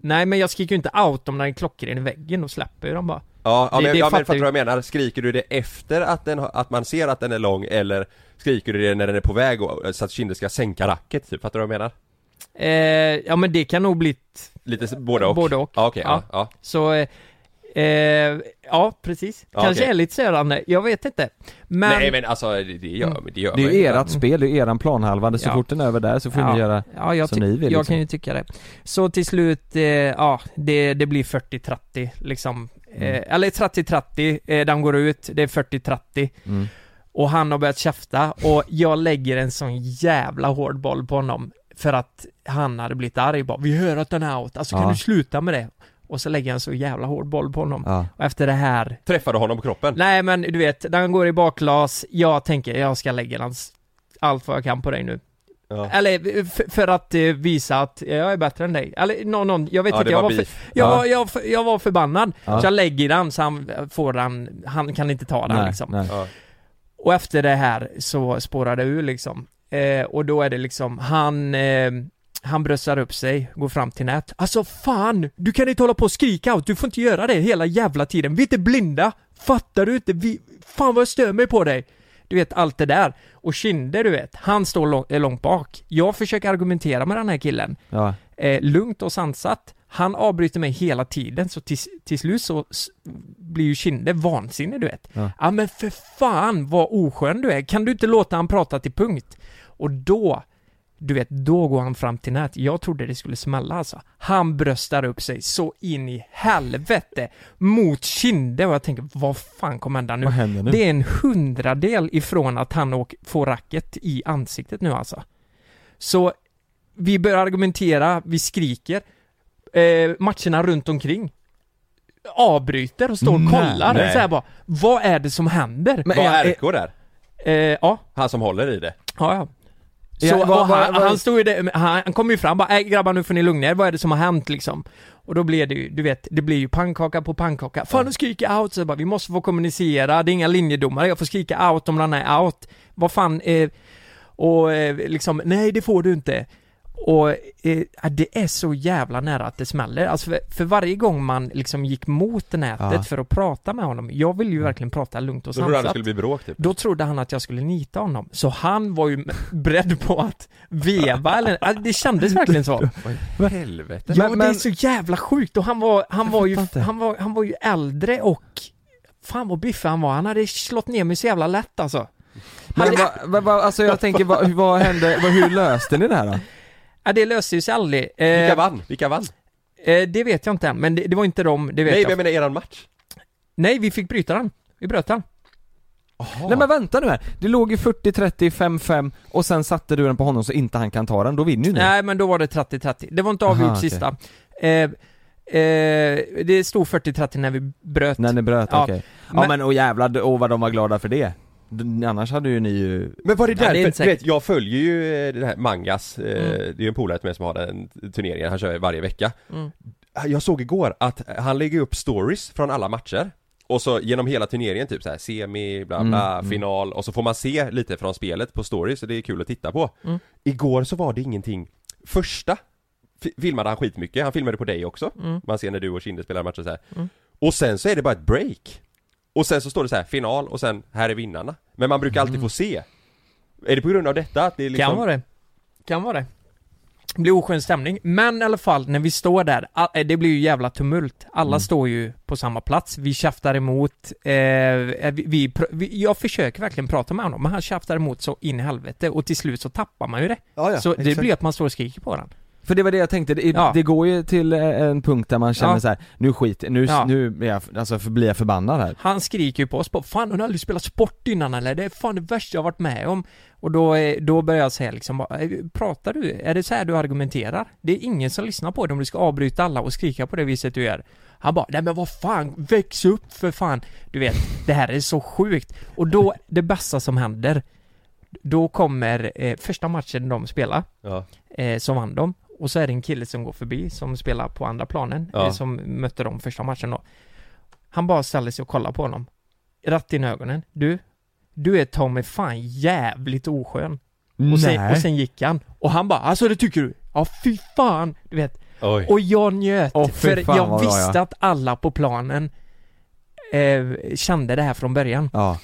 [SPEAKER 3] nej, men jag skriker ju inte out om den är klockren i väggen, och släpper ju dem bara.
[SPEAKER 1] Ja, ja
[SPEAKER 3] Det-
[SPEAKER 1] men,
[SPEAKER 3] det
[SPEAKER 1] ja, men
[SPEAKER 3] fattar
[SPEAKER 1] fattar du
[SPEAKER 3] ju-
[SPEAKER 1] vad jag menar? Skriker du det efter att, den, har- att man ser eh, att den är lång eller skriker du det när den är på väg och, så att Kinder ska sänka racket typ? Fattar du vad jag menar?
[SPEAKER 3] Eh, ja men det kan nog bli
[SPEAKER 1] Lite s- både och?
[SPEAKER 3] Både och.
[SPEAKER 1] Ja, okej, ja. ja.
[SPEAKER 3] så eh, eh, Ja precis,
[SPEAKER 1] Ja,
[SPEAKER 3] kanske
[SPEAKER 1] okej.
[SPEAKER 3] är lite störande, jag vet inte Men, Mm.
[SPEAKER 1] Nej men alltså det det gör, det gör
[SPEAKER 2] Det är
[SPEAKER 1] man
[SPEAKER 2] ju
[SPEAKER 1] inte.
[SPEAKER 2] ert spel, det är eran planhalva, det- så
[SPEAKER 3] Ja.
[SPEAKER 2] fort den är över där så får
[SPEAKER 3] ja,
[SPEAKER 2] ni göra
[SPEAKER 3] ja, jag,
[SPEAKER 2] som
[SPEAKER 3] ty-
[SPEAKER 2] ni vill
[SPEAKER 3] jag
[SPEAKER 2] liksom.
[SPEAKER 3] kan ju tycka det Så till slut, eh, ja det, det blir 40-30 liksom
[SPEAKER 2] Mm.
[SPEAKER 3] eh, Eller 30-30, eh, den går ut, det är 40-30
[SPEAKER 2] Mm.
[SPEAKER 3] Och han har börjat käfta och jag lägger en sån jävla hård boll på honom För att han hade blivit arg bara, vi hör att den är out, alltså
[SPEAKER 2] Ja.
[SPEAKER 3] kan du sluta med det? Och så lägger jag en så jävla hård boll på honom
[SPEAKER 2] Ja.
[SPEAKER 3] Och efter det här
[SPEAKER 1] Träffade honom på kroppen?
[SPEAKER 3] Nej men du vet, den går i bakglas, jag tänker jag ska lägga hans, allt vad jag kan på dig nu. äh,
[SPEAKER 1] Ja.
[SPEAKER 3] Eller f- för att eh, visa att jag är bättre än dig. Eller någon, någon jag vet
[SPEAKER 1] Ja,
[SPEAKER 3] inte,
[SPEAKER 1] det
[SPEAKER 3] jag
[SPEAKER 1] var
[SPEAKER 3] var, för,
[SPEAKER 1] beef.
[SPEAKER 3] jag,
[SPEAKER 2] Ja.
[SPEAKER 3] var, jag, f- jag var förbannad.
[SPEAKER 2] Ja.
[SPEAKER 3] Så jag lägger den så han får den, han kan inte ta den
[SPEAKER 2] Nej,
[SPEAKER 3] liksom.
[SPEAKER 2] nej.
[SPEAKER 1] Ja.
[SPEAKER 3] Och efter det här så spårar det ur liksom. Eh, och då är det liksom, han, eh, han bröstar upp sig, går fram till nät. Alltså fan! Du kan inte hålla på och skrika out, du får inte göra det hela jävla tiden. Vi är inte blinda! Fattar du inte? Vi, fan vad jag stör mig på dig! Du vet allt det där. Och Kinde du vet, han står lång, eh, långt bak. Jag försöker argumentera med den här killen.
[SPEAKER 2] Ja.
[SPEAKER 3] Eh, lugnt och sansat. Han avbryter mig hela tiden så till, till slut så s- blir ju Kinde vansinnig du vet.
[SPEAKER 2] Ja.
[SPEAKER 3] Ja men för fan vad oskön du är, kan du inte låta han prata till punkt? Och då, du vet, då går han fram till nät. Jag trodde det skulle smälla alltså. Han bröstar upp sig så in i helvete mot Kinde och jag tänker, vad fan kommer hända nu?
[SPEAKER 2] Vad händer nu?
[SPEAKER 3] Det är en hundradel ifrån att han åk, får racket i ansiktet nu alltså. Så vi börjar argumentera, vi skriker. Eh, matcherna runt omkring avbryter och står och
[SPEAKER 2] Nej.
[SPEAKER 3] kollar.
[SPEAKER 1] Nej.
[SPEAKER 3] Så här bara, vad är det som händer?
[SPEAKER 2] Men
[SPEAKER 1] Var
[SPEAKER 2] är,
[SPEAKER 1] RK där?
[SPEAKER 3] Eh, ja,
[SPEAKER 1] Han som håller i det?
[SPEAKER 3] ja, ja. Så,
[SPEAKER 2] Ja, vad-
[SPEAKER 3] och
[SPEAKER 2] vad-
[SPEAKER 3] han,
[SPEAKER 2] vad-
[SPEAKER 3] han stod ju där, han, han kom ju fram bara, "Äh, grabbar nu får ni lugna er, vad är det som har hänt liksom? Och då blev det ju, du vet, det blir ju pannkaka på pannkaka. Fan nu skriker jag out, så jag bara, vi måste få kommunicera, det är inga linjedomare, jag får skrika out om den är out. Vad fan, eh, och eh, liksom, nej det får du inte. Och eh, ja, det är så jävla nära att det smäller. Alltså för, för varje gång man liksom gick mot nätet
[SPEAKER 2] Ja.
[SPEAKER 3] för att prata med honom, jag vill ju verkligen prata lugnt och
[SPEAKER 1] Då trodde han det
[SPEAKER 3] sansat.
[SPEAKER 1] skulle bli bråk typ?
[SPEAKER 3] Då trodde han att jag skulle nita honom, så han var ju beredd på att veva eller, alltså, det kändes verkligen så.
[SPEAKER 1] Vad i helvete?
[SPEAKER 3] Ja,
[SPEAKER 2] Men-
[SPEAKER 3] det är
[SPEAKER 2] men-
[SPEAKER 3] så jävla sjukt och han var, han
[SPEAKER 2] Jag
[SPEAKER 3] var ju,
[SPEAKER 2] fattar inte.
[SPEAKER 3] han var, han var ju äldre och Fan vad biffig han var, han hade slått ner mig så jävla lätt alltså.
[SPEAKER 2] men vad, vad, vad, alltså jag tänker, vad, vad hände, vad, hur löste ni det här då?
[SPEAKER 3] Ja, det löste ju sig aldrig. Eh,
[SPEAKER 1] Vilka vann? Vilka vann?
[SPEAKER 3] eh, det vet jag inte än, men det, det var inte dem, det vet
[SPEAKER 1] Nej men
[SPEAKER 3] jag.
[SPEAKER 1] jag menar eran match?
[SPEAKER 3] Nej, vi fick bryta den. Vi bröt den.
[SPEAKER 2] Nej men vänta nu här, det låg ju 40, 30, 5, 5 och sen satte du den på honom så inte han kan ta den, då vinner ju ni.
[SPEAKER 3] Nej, men då var det 30-30. Det var inte
[SPEAKER 2] Aha,
[SPEAKER 3] avgjort
[SPEAKER 2] okej.
[SPEAKER 3] sista. Eh, eh, det stod 40-30 när vi bröt.
[SPEAKER 2] När ni bröt,
[SPEAKER 3] Ja,
[SPEAKER 2] okej. Ja
[SPEAKER 3] men-
[SPEAKER 2] men åh jävlar, åh vad de var glada för det. D- Annars hade ju ni ju...
[SPEAKER 1] Men var det
[SPEAKER 3] Ja, det är
[SPEAKER 1] därför,
[SPEAKER 3] inte
[SPEAKER 1] du
[SPEAKER 3] säkert. Mm.
[SPEAKER 1] vet, jag följer ju eh, den här Mangas, eh, det är ju en polare till mig som har den turneringen, han kör ju varje vecka
[SPEAKER 3] Mm.
[SPEAKER 1] Jag såg igår att han lägger upp stories från alla matcher och så genom hela turneringen typ så här semi, bla
[SPEAKER 3] Mm,
[SPEAKER 1] bla, final och så får man se lite från spelet på stories så det är kul att titta på
[SPEAKER 3] Mm.
[SPEAKER 1] Igår så var det ingenting Första fi- filmade han skitmycket, han filmade på dig också
[SPEAKER 3] Mm.
[SPEAKER 1] Man ser när du och Kinde spelar matcher så här. Och sen så är det bara ett break Och sen så står det så här final och sen här är vinnarna Men man brukar alltid få se Är det på grund av detta att det är liksom
[SPEAKER 3] Mm. Kan vara det. Kan vara det. Det blir oskön stämning, men i alla fall när vi står där, all- eh, det blir ju jävla tumult. Alla
[SPEAKER 2] Mm.
[SPEAKER 3] står ju på samma plats, vi käftar emot, eh, eh, vi, vi, pr- vi, jag försöker verkligen prata med honom, men han käftar emot så in i helvete och till slut så tappar man ju det.
[SPEAKER 2] Ja, ja,
[SPEAKER 3] så
[SPEAKER 2] exakt.
[SPEAKER 3] det blir att man står och skriker på den.
[SPEAKER 2] För det var det jag tänkte, det,
[SPEAKER 3] Ja.
[SPEAKER 2] det går ju till eh, en punkt där man känner
[SPEAKER 3] Ja.
[SPEAKER 2] så här, nu skit, nu,
[SPEAKER 3] Ja.
[SPEAKER 2] nu är jag, alltså för, blir jag förbannad här.
[SPEAKER 3] Han skriker ju på oss bara, Fan har ni aldrig spelat sport innan eller? Det är fan det värsta jag har varit med om Och då, eh, då börjar jag säga liksom bara, "Eh, Pratar du? Är det så här du argumenterar? Det är ingen som lyssnar på dig om du ska avbryta alla och skrika på det viset du gör Han bara Nej men vad fan, väx upp för fan Du vet, det här är så sjukt Och då, det bästa som händer Då kommer eh, första matchen de spelar
[SPEAKER 1] Ja.
[SPEAKER 3] eh, så vann de. Och så är det en kille som går förbi som spelar på andra planen,
[SPEAKER 1] Ja.
[SPEAKER 3] eh, som mötte dem första matchen då. Han bara ställer sig och kollar på honom. Rätt in i ögonen. Du, du är ta mig fan jävligt oskön. Och sen, och sen gick han. Och han bara, alltså det tycker du? Ja fy fan! Du vet.
[SPEAKER 1] Oj.
[SPEAKER 3] Och jag njöt,
[SPEAKER 2] Åh, fy
[SPEAKER 3] för
[SPEAKER 2] fan,
[SPEAKER 3] jag
[SPEAKER 2] vad bra,
[SPEAKER 3] visste
[SPEAKER 2] ja.
[SPEAKER 3] att alla på planen eh, kände det här från början.
[SPEAKER 2] Ja.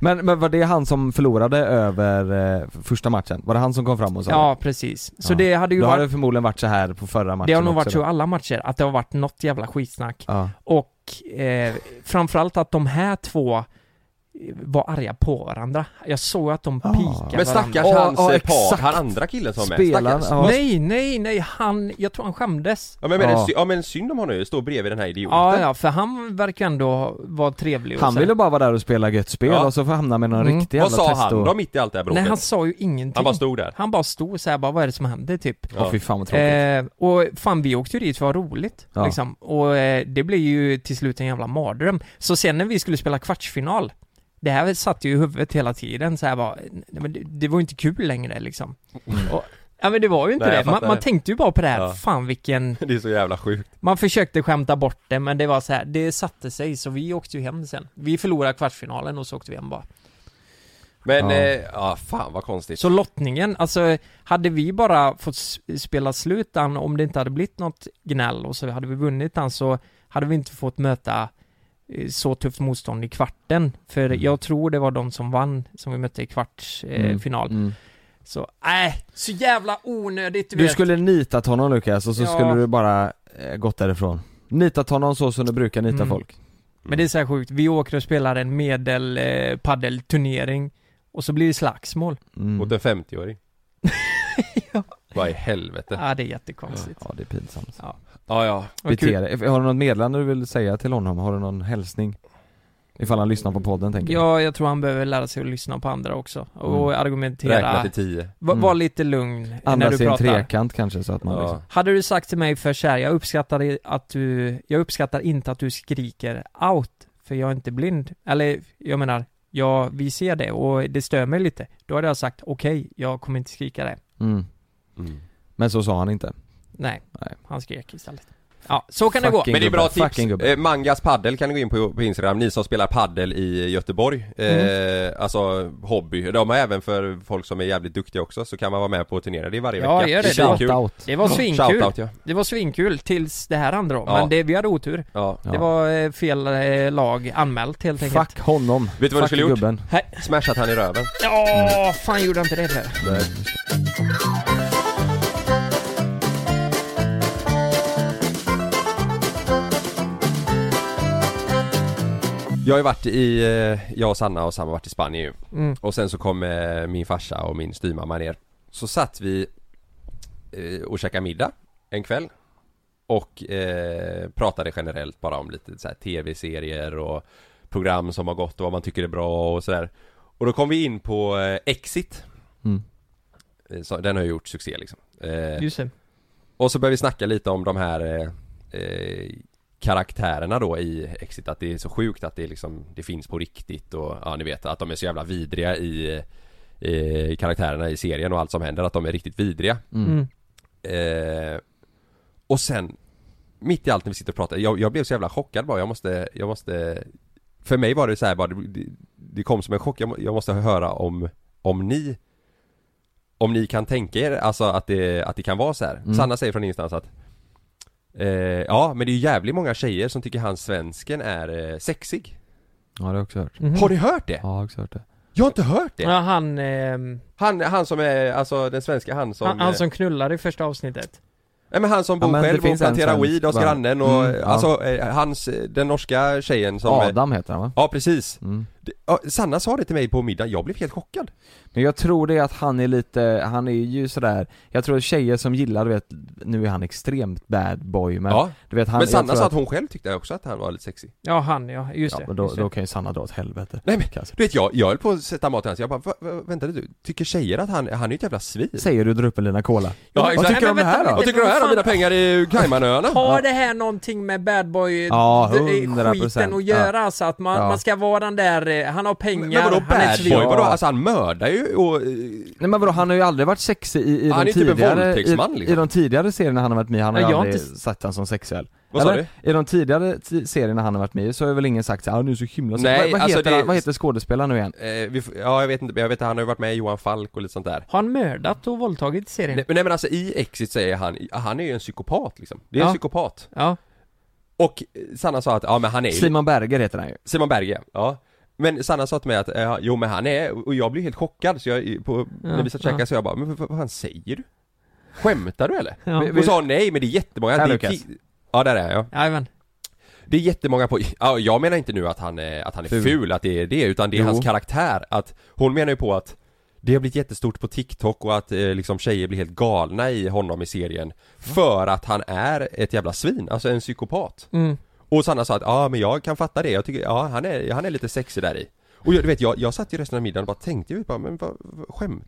[SPEAKER 2] Men, men var det han som förlorade över eh, första matchen? Var det han som kom fram och sa
[SPEAKER 3] Ja, precis. Så
[SPEAKER 2] Ja.
[SPEAKER 3] det hade ju
[SPEAKER 2] Då hade
[SPEAKER 3] varit,
[SPEAKER 2] det förmodligen varit så här på förra matchen
[SPEAKER 3] det har nog varit
[SPEAKER 2] också
[SPEAKER 3] så i
[SPEAKER 2] då.
[SPEAKER 3] alla matcher, att det har varit något jävla skitsnack.
[SPEAKER 2] Ja.
[SPEAKER 3] Och eh, framförallt att de här två eh, var arga på varandra. Jag såg att de
[SPEAKER 2] Ja.
[SPEAKER 3] pikade
[SPEAKER 1] Ah. Men
[SPEAKER 3] varandra.
[SPEAKER 1] stackars
[SPEAKER 2] Ja,
[SPEAKER 1] hans
[SPEAKER 2] ja,
[SPEAKER 1] eh, par,
[SPEAKER 2] exakt.
[SPEAKER 1] han andra killen som är med,
[SPEAKER 2] Spelaren,
[SPEAKER 1] stackars.
[SPEAKER 2] ja.
[SPEAKER 3] Nej, nej, nej, han, jag tror han skämdes.
[SPEAKER 1] Ja men, men,
[SPEAKER 2] Ja.
[SPEAKER 1] ja men synd om honom ju, står bredvid den här idioten
[SPEAKER 3] Ja, ja, för han verkar ändå vara trevlig och
[SPEAKER 2] Han
[SPEAKER 3] så.
[SPEAKER 2] ville bara vara där och spela gött spel
[SPEAKER 1] Ja.
[SPEAKER 2] och så hamna med någon
[SPEAKER 3] Mm.
[SPEAKER 2] riktig
[SPEAKER 1] Vad
[SPEAKER 2] jävla
[SPEAKER 1] sa han
[SPEAKER 2] testo.
[SPEAKER 1] då mitt i allt det här bråket?
[SPEAKER 3] Nej, han sa ju ingenting.
[SPEAKER 1] Han bara stod där
[SPEAKER 3] Han bara stod så här, bara vad är det som händer typ?
[SPEAKER 2] Åh fy fan vad tråkigt.
[SPEAKER 3] Eh, och fan vi åkte ju dit för att ha roligt
[SPEAKER 2] Ja.
[SPEAKER 3] liksom. Och eh, det blev ju till slut en jävla mardröm. Så sen när vi skulle spela kvartsfinal Det här satt ju i huvudet hela tiden så här bara, nej, men det, det var ju inte kul längre liksom. Och, ja men det var ju inte
[SPEAKER 1] Mm. Nej, jag
[SPEAKER 3] det. Man,
[SPEAKER 1] fattar
[SPEAKER 3] man
[SPEAKER 1] det.
[SPEAKER 3] tänkte ju bara på det här,
[SPEAKER 1] Ja.
[SPEAKER 3] fan vilken
[SPEAKER 1] Det är så jävla sjukt
[SPEAKER 3] Man försökte skämta bort det men det var så här, det satte sig så vi åkte ju hem sen. Vi förlorade kvartsfinalen och så åkte vi hem bara.
[SPEAKER 1] Men,
[SPEAKER 2] Ja.
[SPEAKER 1] ja, eh, ja fan vad konstigt
[SPEAKER 3] Så lottningen, alltså hade vi bara fått s- spela slut den om det inte hade blivit något gnäll och så hade vi vunnit den så hade vi inte fått möta eh, så tufft motstånd i kvarten. För jag tror det var de som vann som vi mötte i kvartsfinal. Eh,
[SPEAKER 2] Mm.
[SPEAKER 3] final.
[SPEAKER 2] Mm.
[SPEAKER 3] Så, nej, så jävla onödigt
[SPEAKER 2] Du skulle nitat honom Lukas och så
[SPEAKER 3] Ja.
[SPEAKER 2] skulle du bara eh, gått därifrån. Nitat honom så som du brukar nita
[SPEAKER 3] Mm.
[SPEAKER 2] folk.
[SPEAKER 3] Men det är så här sjukt, vi åker och spelar en medel eh, paddelturnering och så blir det slagsmål.
[SPEAKER 2] Mm.
[SPEAKER 1] Mot en 50-åring Vad i helvete
[SPEAKER 3] Ja, Äh, det är jättekonstigt.
[SPEAKER 2] Ja det är pinsamt.
[SPEAKER 1] Ja ja,
[SPEAKER 3] Vad kul.
[SPEAKER 2] Bete dig. Har du något meddelande du vill säga till honom? Har du någon hälsning? Ifall han lyssnar på podden tänker jag.
[SPEAKER 3] Ja, jag tror han behöver lära sig att lyssna på andra också och argumentera.
[SPEAKER 1] räkna till tio
[SPEAKER 3] Va-
[SPEAKER 2] Mm.
[SPEAKER 3] Var lite lugn när
[SPEAKER 2] Andas
[SPEAKER 3] du
[SPEAKER 2] i en
[SPEAKER 3] pratar.
[SPEAKER 2] trekant kanske så att man liksom...
[SPEAKER 1] ja.
[SPEAKER 3] Hade du sagt till mig för så här, jag uppskattar i- att du, jag uppskattar inte att du skriker out, för jag är inte blind. Eller, jag menar, ja, vi ser det och det stör mig lite. Då hade jag sagt, okej, jag kommer inte skrika det.
[SPEAKER 2] Mm.
[SPEAKER 1] mm.
[SPEAKER 2] Men så sa han inte.
[SPEAKER 3] Nej,
[SPEAKER 2] Nej.
[SPEAKER 3] han skrek istället. Ja, så kan det gå.
[SPEAKER 2] Fucking
[SPEAKER 1] Men det är bra
[SPEAKER 2] gubbe.
[SPEAKER 1] tips!
[SPEAKER 2] Fucking gubbe.
[SPEAKER 1] Eh, Mangas paddel kan ni gå in på, på Instagram, ni som spelar paddel i Göteborg
[SPEAKER 2] Mm.
[SPEAKER 1] eh, Alltså hobby, de har även för folk som är jävligt duktiga också så kan man vara med på turneringar, det är varje
[SPEAKER 3] Ja,
[SPEAKER 1] vecka
[SPEAKER 3] gör det.
[SPEAKER 1] är
[SPEAKER 2] Shout
[SPEAKER 1] kul.
[SPEAKER 2] out.
[SPEAKER 3] Det var svinkul.
[SPEAKER 1] Shoutout ja,
[SPEAKER 3] Det var svinkul tills det här andra då,
[SPEAKER 1] Ja.
[SPEAKER 3] men det, vi hade otur.
[SPEAKER 1] ja.
[SPEAKER 2] Ja.
[SPEAKER 3] Det var eh, fel eh, lag anmält helt enkelt.
[SPEAKER 2] Fuck honom. Vet
[SPEAKER 1] du vad du skulle gjort?
[SPEAKER 2] gubben.
[SPEAKER 1] Smashat han i röven
[SPEAKER 3] Ja, fan gjorde jag inte det för?
[SPEAKER 2] Mm.
[SPEAKER 1] Jag har ju varit i, eh, jag och Sanna och Sam har varit i Spanien ju
[SPEAKER 3] Mm.
[SPEAKER 1] Och sen så kom eh, min farsa och min styvmamma ner Så satt vi eh, och käkade middag en kväll Och eh, pratade generellt bara om lite så här tv-serier och program som har gått och vad man tycker är bra och sådär Och då kom vi in på eh, Exit
[SPEAKER 2] Mm.
[SPEAKER 1] Eh, så, Den har ju gjort succé liksom eh,
[SPEAKER 3] Just det.
[SPEAKER 1] och så börjar vi snacka lite om de här eh, eh, karaktärerna då i Exit, att det är så sjukt att det liksom, det finns på riktigt och ja ni vet att de är så jävla vidriga i eh, karaktärerna i serien och allt som händer, att de är riktigt vidriga.
[SPEAKER 3] Mm.
[SPEAKER 1] Eh, och sen, mitt i allt när vi sitter och pratar, jag, jag blev så jävla chockad bara, jag måste, jag måste För mig var det så här bara, det- det, det kom som en chock, jag, må- jag måste höra om, om ni Om ni kan tänka er, alltså att det, att det kan vara så här.
[SPEAKER 3] Mm.
[SPEAKER 1] Sanna säger från ingenstans att eh, Ja men det är ju jävligt många tjejer som tycker han svensken är eh, sexig
[SPEAKER 2] Ja det har jag också hört.
[SPEAKER 3] Mhm.
[SPEAKER 1] Har ni hört det?
[SPEAKER 2] Ja jag har också hört det.
[SPEAKER 1] Jag har inte hört det!
[SPEAKER 3] Ja, han, ehm,
[SPEAKER 1] Han, han som är, alltså den svenska han som
[SPEAKER 3] han, han som knullar i första avsnittet.
[SPEAKER 1] Nej men han som
[SPEAKER 2] Ja,
[SPEAKER 1] bor
[SPEAKER 2] men det
[SPEAKER 1] själv och
[SPEAKER 2] finns en
[SPEAKER 1] planterar
[SPEAKER 2] svensk,
[SPEAKER 1] weed hos
[SPEAKER 2] va?
[SPEAKER 1] grannen och,
[SPEAKER 2] Mm, ja.
[SPEAKER 1] alltså eh, hans, eh, den norska tjejen som... eh,
[SPEAKER 2] Adam heter han va?
[SPEAKER 1] Ja precis.
[SPEAKER 2] Mm.
[SPEAKER 1] Det- ja, Sanna sa det till mig på middagen, jag blev helt chockad.
[SPEAKER 2] Men jag tror det är att han är lite, han är ju sådär, jag tror tjejer som gillar du vet, nu är han extremt bad boy men
[SPEAKER 1] ja.
[SPEAKER 2] du vet han
[SPEAKER 1] men
[SPEAKER 2] jag
[SPEAKER 1] Sanna
[SPEAKER 2] tror
[SPEAKER 1] sa att hon själv tyckte också att han var lite sexig.
[SPEAKER 3] Ja, han ja, just
[SPEAKER 2] Ja,
[SPEAKER 3] det.
[SPEAKER 2] men då,
[SPEAKER 3] just det.
[SPEAKER 2] då kan ju Sanna dra åt helvete.
[SPEAKER 1] Nej men,
[SPEAKER 2] Kanske.
[SPEAKER 1] du vet jag, jag höll på att sätta mat i hans, jag bara, "Va- va- vänta lite, tycker tjejer att han, han är ju ett jävla svin?
[SPEAKER 2] Säger du drar upp en lina cola.
[SPEAKER 1] Ja,
[SPEAKER 2] Vad
[SPEAKER 1] exakt.
[SPEAKER 2] tycker du
[SPEAKER 3] Nej,
[SPEAKER 2] om
[SPEAKER 3] men
[SPEAKER 2] det här
[SPEAKER 3] vänta
[SPEAKER 2] då?
[SPEAKER 1] Vad tycker du här om mina pengar i Caymanöarna?
[SPEAKER 3] Har det här någonting med bad boy
[SPEAKER 2] Ja,
[SPEAKER 3] d- eh,
[SPEAKER 2] 100%.
[SPEAKER 3] skiten att göra? Så att man,
[SPEAKER 2] Ja.
[SPEAKER 3] man ska vara den där, eh, han har pengar,
[SPEAKER 1] Men vadå
[SPEAKER 3] han är ett
[SPEAKER 1] bad
[SPEAKER 3] svin.
[SPEAKER 1] boy? Vadå?
[SPEAKER 2] Ja.
[SPEAKER 1] Alltså han mördar ju och... eh,
[SPEAKER 2] Nej men vadå, han har ju aldrig varit sexig i, i,
[SPEAKER 1] Han är
[SPEAKER 2] de,
[SPEAKER 1] ju typ en
[SPEAKER 2] tidigare,
[SPEAKER 1] våldtäktsman,
[SPEAKER 2] i,
[SPEAKER 1] liksom.
[SPEAKER 2] i de tidigare serierna han har varit med i, han har
[SPEAKER 3] Ja,
[SPEAKER 2] ju
[SPEAKER 3] jag har
[SPEAKER 2] aldrig
[SPEAKER 3] inte-
[SPEAKER 2] satt han som sexuell.
[SPEAKER 1] Vad sa
[SPEAKER 2] Eller? I de tidigare ti- serierna han har varit med i så har väl ingen sagt såhär, ah, nu är så himla sexig."
[SPEAKER 1] Nej,
[SPEAKER 2] vad, vad,
[SPEAKER 1] alltså,
[SPEAKER 2] heter
[SPEAKER 1] det-
[SPEAKER 2] han, vad heter skådespelaren nu igen?
[SPEAKER 1] Eh, vi, får- ja jag vet inte, men jag vet att han har ju varit med i Johan Falk och lite sånt där.
[SPEAKER 3] Har han mördat och våldtagit i serien?
[SPEAKER 1] Nej, men- nej men alltså i Exit säger han, han är ju en psykopat liksom. Det är
[SPEAKER 3] Ja.
[SPEAKER 1] en psykopat.
[SPEAKER 3] Ja.
[SPEAKER 1] Och Sanna sa att, ja men han är ju
[SPEAKER 2] Simon Berger heter han ju.
[SPEAKER 1] Simon Berge, ja Men Sanna sa till mig att, eh, jo men han är, och jag blev helt chockad så jag, på, när vi satt och käkade
[SPEAKER 3] ja.
[SPEAKER 1] så jag bara, men vad, vad fan säger du? Skämtar du eller?
[SPEAKER 3] Ja.
[SPEAKER 1] och sa nej men det är jättemånga,
[SPEAKER 2] Här,
[SPEAKER 1] det är
[SPEAKER 2] Lukas.
[SPEAKER 1] ki- Ja där är jag.
[SPEAKER 3] Jajamän.
[SPEAKER 1] Det är jättemånga på, ja, jag menar inte nu att han är, att han är ful,
[SPEAKER 2] Ful.
[SPEAKER 1] att det är det, utan det är
[SPEAKER 2] Jo.
[SPEAKER 1] hans karaktär att Hon menar ju på att Det har blivit jättestort på TikTok och att eh, liksom tjejer blir helt galna i honom i serien För att han är ett jävla svin, alltså en psykopat
[SPEAKER 3] Mm.
[SPEAKER 1] Och Sanna sa att ja men jag kan fatta det, jag tycker, ja han är, han är lite sexig där i Och jag, du vet, jag, jag satt ju resten av middagen och bara tänkte ju bara, men vad, vad skämt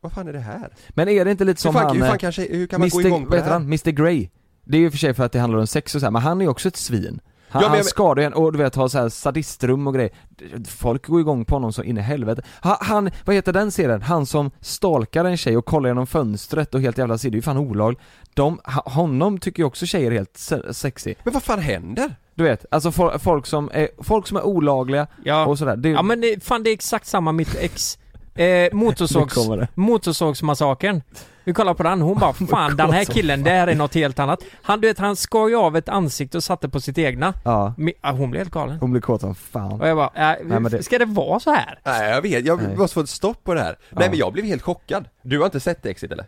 [SPEAKER 1] Vad fan är det här?
[SPEAKER 2] Men är det inte lite som
[SPEAKER 1] hur, fan,
[SPEAKER 2] han...
[SPEAKER 1] hur
[SPEAKER 2] eh,
[SPEAKER 1] fan kanske, hur kan man
[SPEAKER 2] Mr.
[SPEAKER 1] gå igång på
[SPEAKER 2] vad
[SPEAKER 1] det
[SPEAKER 2] heter
[SPEAKER 1] här?
[SPEAKER 2] han? Mr Grey Det är ju för sig för att det handlar om sex och så här, men han är ju också ett svin Han,
[SPEAKER 1] Ja, men-
[SPEAKER 2] han skadar ju en och du vet har så här sadistrum och grejer Folk går igång på honom så in i helvete han, han, vad heter den serien? Han som stalkar en tjej och kollar genom fönstret och helt jävla ser det är ju fan olagligt De, ha- honom tycker ju också tjejer är helt se- sexy
[SPEAKER 1] Men vad fan händer?
[SPEAKER 2] Du vet, alltså fo- folk som är, folk som är olagliga
[SPEAKER 3] Ja.
[SPEAKER 2] och sådär det,
[SPEAKER 3] Ja men det, fan det är exakt samma mitt ex. Eh, motorsågs,
[SPEAKER 2] Nu kommer det.
[SPEAKER 3] motorsågsmassakern. Vi kollar på den, hon bara fan den här killen, det här är något helt annat. Han du vet, han skar ju av ett ansikte och satte på sitt egna.
[SPEAKER 2] ja,
[SPEAKER 3] Mi- ah, hon blev helt galen.
[SPEAKER 2] hon blir kåt som fan
[SPEAKER 3] Och jag bara, äh,
[SPEAKER 2] men det-
[SPEAKER 3] ska det vara så här?
[SPEAKER 1] Nej jag vet, jag
[SPEAKER 2] Nej.
[SPEAKER 1] måste få ett stopp på det här. Nej men jag blev helt chockad. Du har inte sett Exit eller?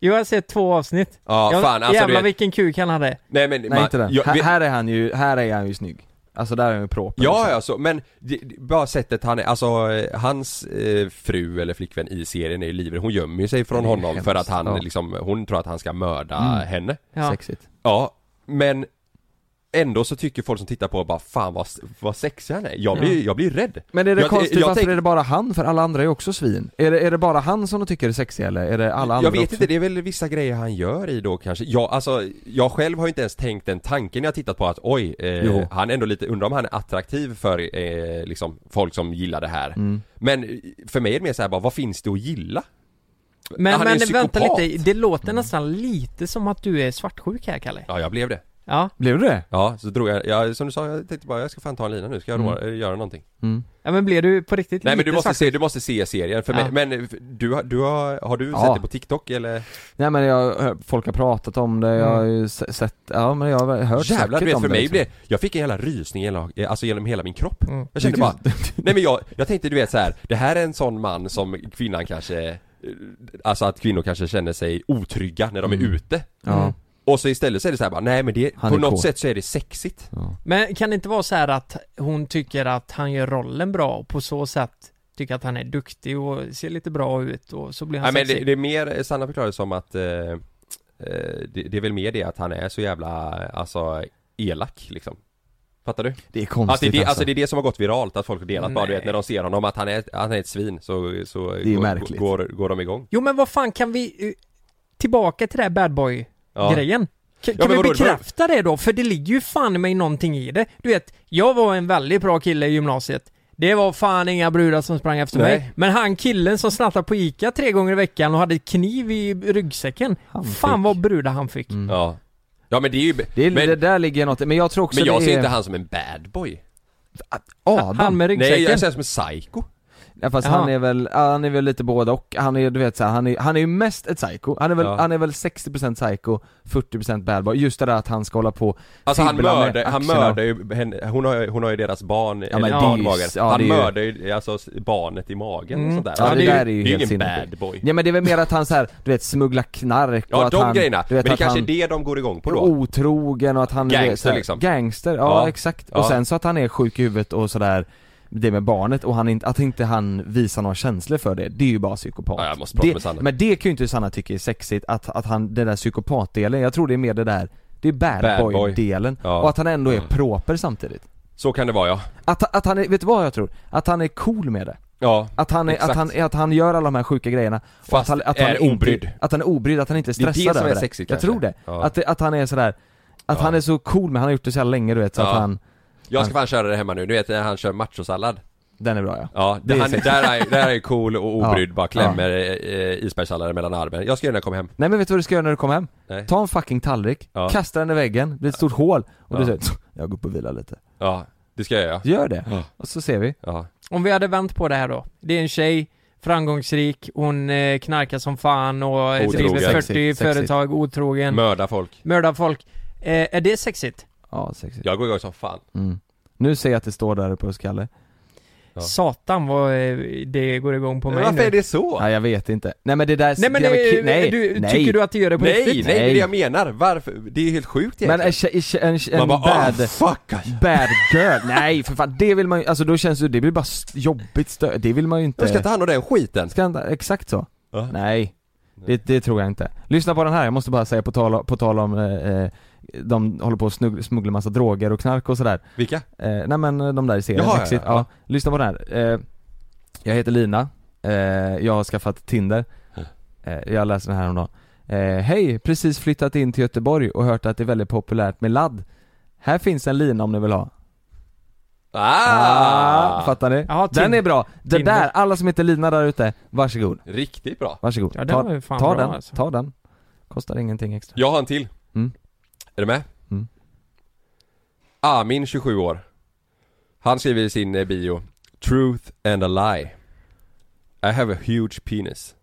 [SPEAKER 3] Jo jag har sett två avsnitt.
[SPEAKER 1] Ja,
[SPEAKER 3] Jag-
[SPEAKER 1] fan, alltså,
[SPEAKER 3] jävlar
[SPEAKER 1] du vet-
[SPEAKER 3] vilken kuk han hade.
[SPEAKER 1] Nej men
[SPEAKER 2] Nej inte den,
[SPEAKER 1] Jag,
[SPEAKER 2] här,
[SPEAKER 1] vi,
[SPEAKER 2] här är han ju, här är han ju snygg Alltså där är han ju proper
[SPEAKER 1] ja alltså, men det, det, bara sättet han är, alltså eh, hans eh, fru eller flickvän i serien är ju livrädd. Hon gömmer ju sig från
[SPEAKER 2] Det är
[SPEAKER 1] honom för att
[SPEAKER 2] hemskt,
[SPEAKER 1] han
[SPEAKER 2] ja.
[SPEAKER 1] liksom, hon tror att han ska mörda
[SPEAKER 2] Mm.
[SPEAKER 1] henne.
[SPEAKER 3] Ja.
[SPEAKER 2] Sexigt
[SPEAKER 1] Ja, men Ändå så tycker folk som tittar på bara fan vad, vad sexig han är. Jag blir,
[SPEAKER 2] Mm.
[SPEAKER 1] jag blir rädd.
[SPEAKER 2] Men är det
[SPEAKER 1] jag,
[SPEAKER 2] konstigt,
[SPEAKER 1] jag
[SPEAKER 2] varför
[SPEAKER 1] tänk-
[SPEAKER 2] är det bara han? För alla andra är ju också svin. Är det, är det bara han som de tycker är sexig eller är det alla andra
[SPEAKER 1] Jag vet
[SPEAKER 2] också?
[SPEAKER 1] inte, det är väl vissa grejer han gör i då kanske. Jag, alltså, jag själv har ju inte ens tänkt den tanken när jag tittat på att oj, eh,
[SPEAKER 2] Jo.
[SPEAKER 1] han är ändå lite, undrar om han är attraktiv för eh, liksom, folk som gillar det här.
[SPEAKER 2] Mm.
[SPEAKER 1] Men eh, för mig är det mer såhär bara, vad finns det att gilla?
[SPEAKER 3] Men,
[SPEAKER 1] Han är
[SPEAKER 3] men
[SPEAKER 1] en
[SPEAKER 3] vänta
[SPEAKER 1] psykopat.
[SPEAKER 3] lite, det låter nästan lite som att du är svartsjuk här Kalle.
[SPEAKER 1] Ja, jag blev det.
[SPEAKER 3] Ja.
[SPEAKER 2] Blev du det?
[SPEAKER 1] Ja, så drog jag, jag som du sa, jag tänkte bara jag ska fan ta en lina nu, ska jag
[SPEAKER 2] Mm.
[SPEAKER 1] rå, eh, göra någonting?
[SPEAKER 3] ja men blev du på riktigt
[SPEAKER 1] Nej men
[SPEAKER 3] lite
[SPEAKER 1] du måste,
[SPEAKER 3] svartsjuk?
[SPEAKER 1] se, du måste se serien, för
[SPEAKER 3] Ja.
[SPEAKER 1] mig, men eh, du, har- du har, har du
[SPEAKER 2] Ja.
[SPEAKER 1] sett det på TikTok eller?
[SPEAKER 2] Nej men jag, hör- folk har pratat om det, jag har ju se- sett, ja men jag har hört
[SPEAKER 1] Mm. Jävlar du
[SPEAKER 2] snacket
[SPEAKER 1] vet,
[SPEAKER 2] om
[SPEAKER 1] för
[SPEAKER 2] det,
[SPEAKER 1] mig
[SPEAKER 2] liksom.
[SPEAKER 1] blev, jag fick en jävla rysning genom, alltså genom hela min kropp
[SPEAKER 3] Mm.
[SPEAKER 1] Jag kände bara, nej men jag, jag tänkte du vet så här. det här är en sån man som kvinnan kanske eh, Alltså att kvinnor kanske känner sig otrygga när de är ute
[SPEAKER 2] Mm. Ja,
[SPEAKER 1] Och så istället så är det så här bara, nej men det,
[SPEAKER 2] Han
[SPEAKER 1] på
[SPEAKER 2] är
[SPEAKER 1] något
[SPEAKER 2] kåt.
[SPEAKER 1] sätt så är det sexigt
[SPEAKER 3] Men kan det inte vara så här att hon tycker att han gör rollen bra och på så sätt tycker att han är duktig och ser lite bra ut och så blir han
[SPEAKER 1] Nej men
[SPEAKER 3] sexig?
[SPEAKER 1] det, det är mer, Sanna förklarade som att eh, eh, det, det är väl mer det att han är så jävla, alltså elak liksom Fattar du?
[SPEAKER 2] det är
[SPEAKER 1] Att det, är
[SPEAKER 2] konstigt
[SPEAKER 1] det, alltså. det är det som har gått viralt, att folk har delat bara du vet
[SPEAKER 3] Nej.
[SPEAKER 1] när de ser honom att han är, han är ett svin så, så
[SPEAKER 2] är ju
[SPEAKER 1] går-
[SPEAKER 2] märkligt.
[SPEAKER 1] Går, går de igång
[SPEAKER 3] Jo men vad fan kan vi, eh, tillbaka till det här bad boy grejen? Kan,
[SPEAKER 1] men
[SPEAKER 3] kan vi
[SPEAKER 1] vadå, det var-
[SPEAKER 3] bekräfta det då? För det ligger ju fan i mig någonting i det. Du vet, jag var en väldigt bra kille i gymnasiet. Det var fan inga brudar som sprang efter
[SPEAKER 1] Nej.
[SPEAKER 3] mig. Men han killen som snattade på ICA tre gånger i veckan och hade kniv i ryggsäcken.
[SPEAKER 2] Han
[SPEAKER 3] fan
[SPEAKER 2] fick.
[SPEAKER 3] vad brudar han fick.
[SPEAKER 1] Ja Ja men det är ju,
[SPEAKER 2] det, är,
[SPEAKER 1] men,
[SPEAKER 2] det där ligger något, men jag tror också
[SPEAKER 1] men jag
[SPEAKER 2] det
[SPEAKER 1] ser
[SPEAKER 2] är
[SPEAKER 1] inte han som en bad boy
[SPEAKER 2] Adam,
[SPEAKER 3] Han med ryggsäcken.
[SPEAKER 1] Nej jag ser honom som en psycho
[SPEAKER 2] ja, fast
[SPEAKER 3] Jaha.
[SPEAKER 2] han är väl, ja, han är väl lite både och, han är du vet så här, han är, han är ju mest ett psycho, han är väl,
[SPEAKER 1] Ja.
[SPEAKER 2] han är väl 60% psycho, 40% bad boy, just det där att han ska hålla på
[SPEAKER 1] Alltså han
[SPEAKER 2] fibbla med
[SPEAKER 1] mördar, han
[SPEAKER 2] axlarna.
[SPEAKER 1] mördar ju henne, hon har, ju- hon har ju deras barn,
[SPEAKER 2] men
[SPEAKER 1] eller
[SPEAKER 2] det är ju-
[SPEAKER 1] barnmagen
[SPEAKER 2] ja,
[SPEAKER 1] Han
[SPEAKER 2] det är ju-
[SPEAKER 1] mördar ju alltså s- barnet i magen och
[SPEAKER 3] Mm.
[SPEAKER 1] sådär
[SPEAKER 2] Ja,
[SPEAKER 1] Han
[SPEAKER 2] det
[SPEAKER 1] är
[SPEAKER 2] där är ju
[SPEAKER 1] Det är
[SPEAKER 2] helt
[SPEAKER 1] ingen
[SPEAKER 2] sinnessjukt.
[SPEAKER 1] bad boy
[SPEAKER 2] Ja men det är väl mer att han så här, du vet smugglar knark och
[SPEAKER 1] Ja
[SPEAKER 2] att
[SPEAKER 1] de
[SPEAKER 2] han,
[SPEAKER 1] grejerna,
[SPEAKER 2] du
[SPEAKER 1] men
[SPEAKER 2] vet,
[SPEAKER 1] det
[SPEAKER 2] att
[SPEAKER 1] kanske
[SPEAKER 2] han
[SPEAKER 1] är
[SPEAKER 2] Oh.
[SPEAKER 1] det de går igång på
[SPEAKER 2] är
[SPEAKER 1] då
[SPEAKER 2] otrogen och att han är
[SPEAKER 1] Gangster,
[SPEAKER 2] så här,
[SPEAKER 1] liksom.
[SPEAKER 2] gangster, ja,
[SPEAKER 1] Ja.
[SPEAKER 2] exakt.
[SPEAKER 1] Ja.
[SPEAKER 2] Och sen så att han är sjuk i huvudet och sådär det med barnet och han inte, att inte han visar några känslor för det, det är ju bara psykopat.
[SPEAKER 1] Ja, jag måste prata med
[SPEAKER 2] det,
[SPEAKER 1] Sanna.
[SPEAKER 2] men det kan ju inte Sanna tycka är sexigt, att, att han, den där psykopatdelen, jag tror det är mer det där, det är bad,
[SPEAKER 1] Bad boy.
[SPEAKER 2] boy-delen.
[SPEAKER 1] Ja. Mm.
[SPEAKER 2] Och att han ändå är proper samtidigt.
[SPEAKER 1] Så kan det vara ja
[SPEAKER 2] Att, att han är, vet du vad jag tror? Att han är cool med det.
[SPEAKER 1] Ja,
[SPEAKER 2] Att han, är, att,
[SPEAKER 1] Exakt.
[SPEAKER 2] han, att han gör alla de här sjuka grejerna och
[SPEAKER 1] Fast
[SPEAKER 2] att han, att
[SPEAKER 1] är
[SPEAKER 2] han inte-
[SPEAKER 1] obrydd.
[SPEAKER 2] Att han är obrydd, att han inte är
[SPEAKER 1] Det är det
[SPEAKER 2] stressad
[SPEAKER 1] som är
[SPEAKER 2] över
[SPEAKER 1] sexigt
[SPEAKER 2] Jag
[SPEAKER 1] kanske.
[SPEAKER 2] tror det.
[SPEAKER 1] Ja.
[SPEAKER 2] Att, det- att han är sådär, att han är så cool men han har gjort det så jävla länge du vet så
[SPEAKER 1] Ja.
[SPEAKER 2] att han,
[SPEAKER 1] jag ska fan köra det hemma nu, du vet när han kör machosallad
[SPEAKER 2] den är bra ja.
[SPEAKER 1] Ja, det
[SPEAKER 2] Det är
[SPEAKER 1] han,
[SPEAKER 2] sexigt.
[SPEAKER 1] där, är, där är ju cool och obrydd,
[SPEAKER 2] Ja.
[SPEAKER 1] bara klämmer eh, isbergssalladen mellan armen Jag ska göra det när jag kommer hem
[SPEAKER 2] Nej men vet du vad du ska göra när du kommer hem?
[SPEAKER 1] Nej.
[SPEAKER 2] Ta en fucking tallrik,
[SPEAKER 1] Ja.
[SPEAKER 2] kasta den i väggen, blir ett stort hål och
[SPEAKER 1] Ja.
[SPEAKER 2] du säger jag går upp och vilar lite.
[SPEAKER 1] Ja, det ska jag göra
[SPEAKER 2] Gör det,
[SPEAKER 1] Ja.
[SPEAKER 2] och så ser vi.
[SPEAKER 1] Ja,
[SPEAKER 3] Om vi hade vänt på det här då. Det är en tjej, framgångsrik, hon eh, knarkar som fan och eh,
[SPEAKER 1] Otrogen.
[SPEAKER 3] driver 40
[SPEAKER 2] Sexigt, sexigt.
[SPEAKER 3] företag, otrogen,
[SPEAKER 1] mörda folk
[SPEAKER 3] mördar folk. Eh, är det sexigt?
[SPEAKER 2] Ja, sexigt. Mm.
[SPEAKER 1] Jag går igång som fan
[SPEAKER 2] Nu ser jag att det står där uppe hos Kalle.
[SPEAKER 3] Satan vad eh, det går igång på mig
[SPEAKER 1] Varför
[SPEAKER 3] nu.
[SPEAKER 1] är det så?
[SPEAKER 2] Ja, jag vet inte. Nej men det där
[SPEAKER 3] Nej men
[SPEAKER 2] jävla
[SPEAKER 3] det,
[SPEAKER 2] ki- nej,
[SPEAKER 3] du,
[SPEAKER 2] nej.
[SPEAKER 3] tycker du att det gör det på
[SPEAKER 1] nej, nej,
[SPEAKER 3] riktigt?
[SPEAKER 1] det är det
[SPEAKER 2] Nej.
[SPEAKER 1] jag menar! Varför? Det är ju helt sjukt
[SPEAKER 2] Men
[SPEAKER 1] egentligen
[SPEAKER 2] en, tjej- en, tjej- en, tjej- en
[SPEAKER 1] Man bara
[SPEAKER 2] bad,
[SPEAKER 1] oh, fuck!
[SPEAKER 2] bad girl, nej för fan det vill man ju, alltså då känns det, det blir bara st- jobbigt stö- det vill man ju inte
[SPEAKER 1] Jag ska ta hand om den skiten!
[SPEAKER 2] Ska inte- exakt så.
[SPEAKER 1] Ja.
[SPEAKER 2] Eh. Nej, det, det tror jag inte. Lyssna på den här, jag måste bara säga på tal, på tal om, eh, eh, de håller på att snugg- smuggla massa droger och knark och sådär.
[SPEAKER 1] Vilka?
[SPEAKER 2] Eh, nej men de där i serien,
[SPEAKER 1] Jaha, ja,
[SPEAKER 2] Exit.
[SPEAKER 1] ja, ja.
[SPEAKER 2] Lyssna på den här. Eh, jag heter Lina, eh, jag har skaffat Tinder. Eh, jag läste den här häromdagen. Eh, Hej, precis flyttat in till Göteborg och hört att det är väldigt populärt med ladd. Här finns en lina om ni vill ha. Ah, fattar ni?
[SPEAKER 3] Ja,
[SPEAKER 2] den
[SPEAKER 3] Tin-
[SPEAKER 2] är bra. Den
[SPEAKER 3] Tinder.
[SPEAKER 2] där, alla som heter Lina där ute, varsågod.
[SPEAKER 1] Riktigt bra!
[SPEAKER 2] Varsågod.
[SPEAKER 3] Ja, den
[SPEAKER 2] ta
[SPEAKER 3] var ju fan
[SPEAKER 2] ta
[SPEAKER 3] bra,
[SPEAKER 2] den,
[SPEAKER 3] alltså.
[SPEAKER 2] ta den. Kostar ingenting extra.
[SPEAKER 1] Jag har en till.
[SPEAKER 2] Mm.
[SPEAKER 1] Är du med?
[SPEAKER 2] Mm.
[SPEAKER 1] Amin, 27 år. Han skriver i sin eh, bio Truth and a lie. I have a huge penis.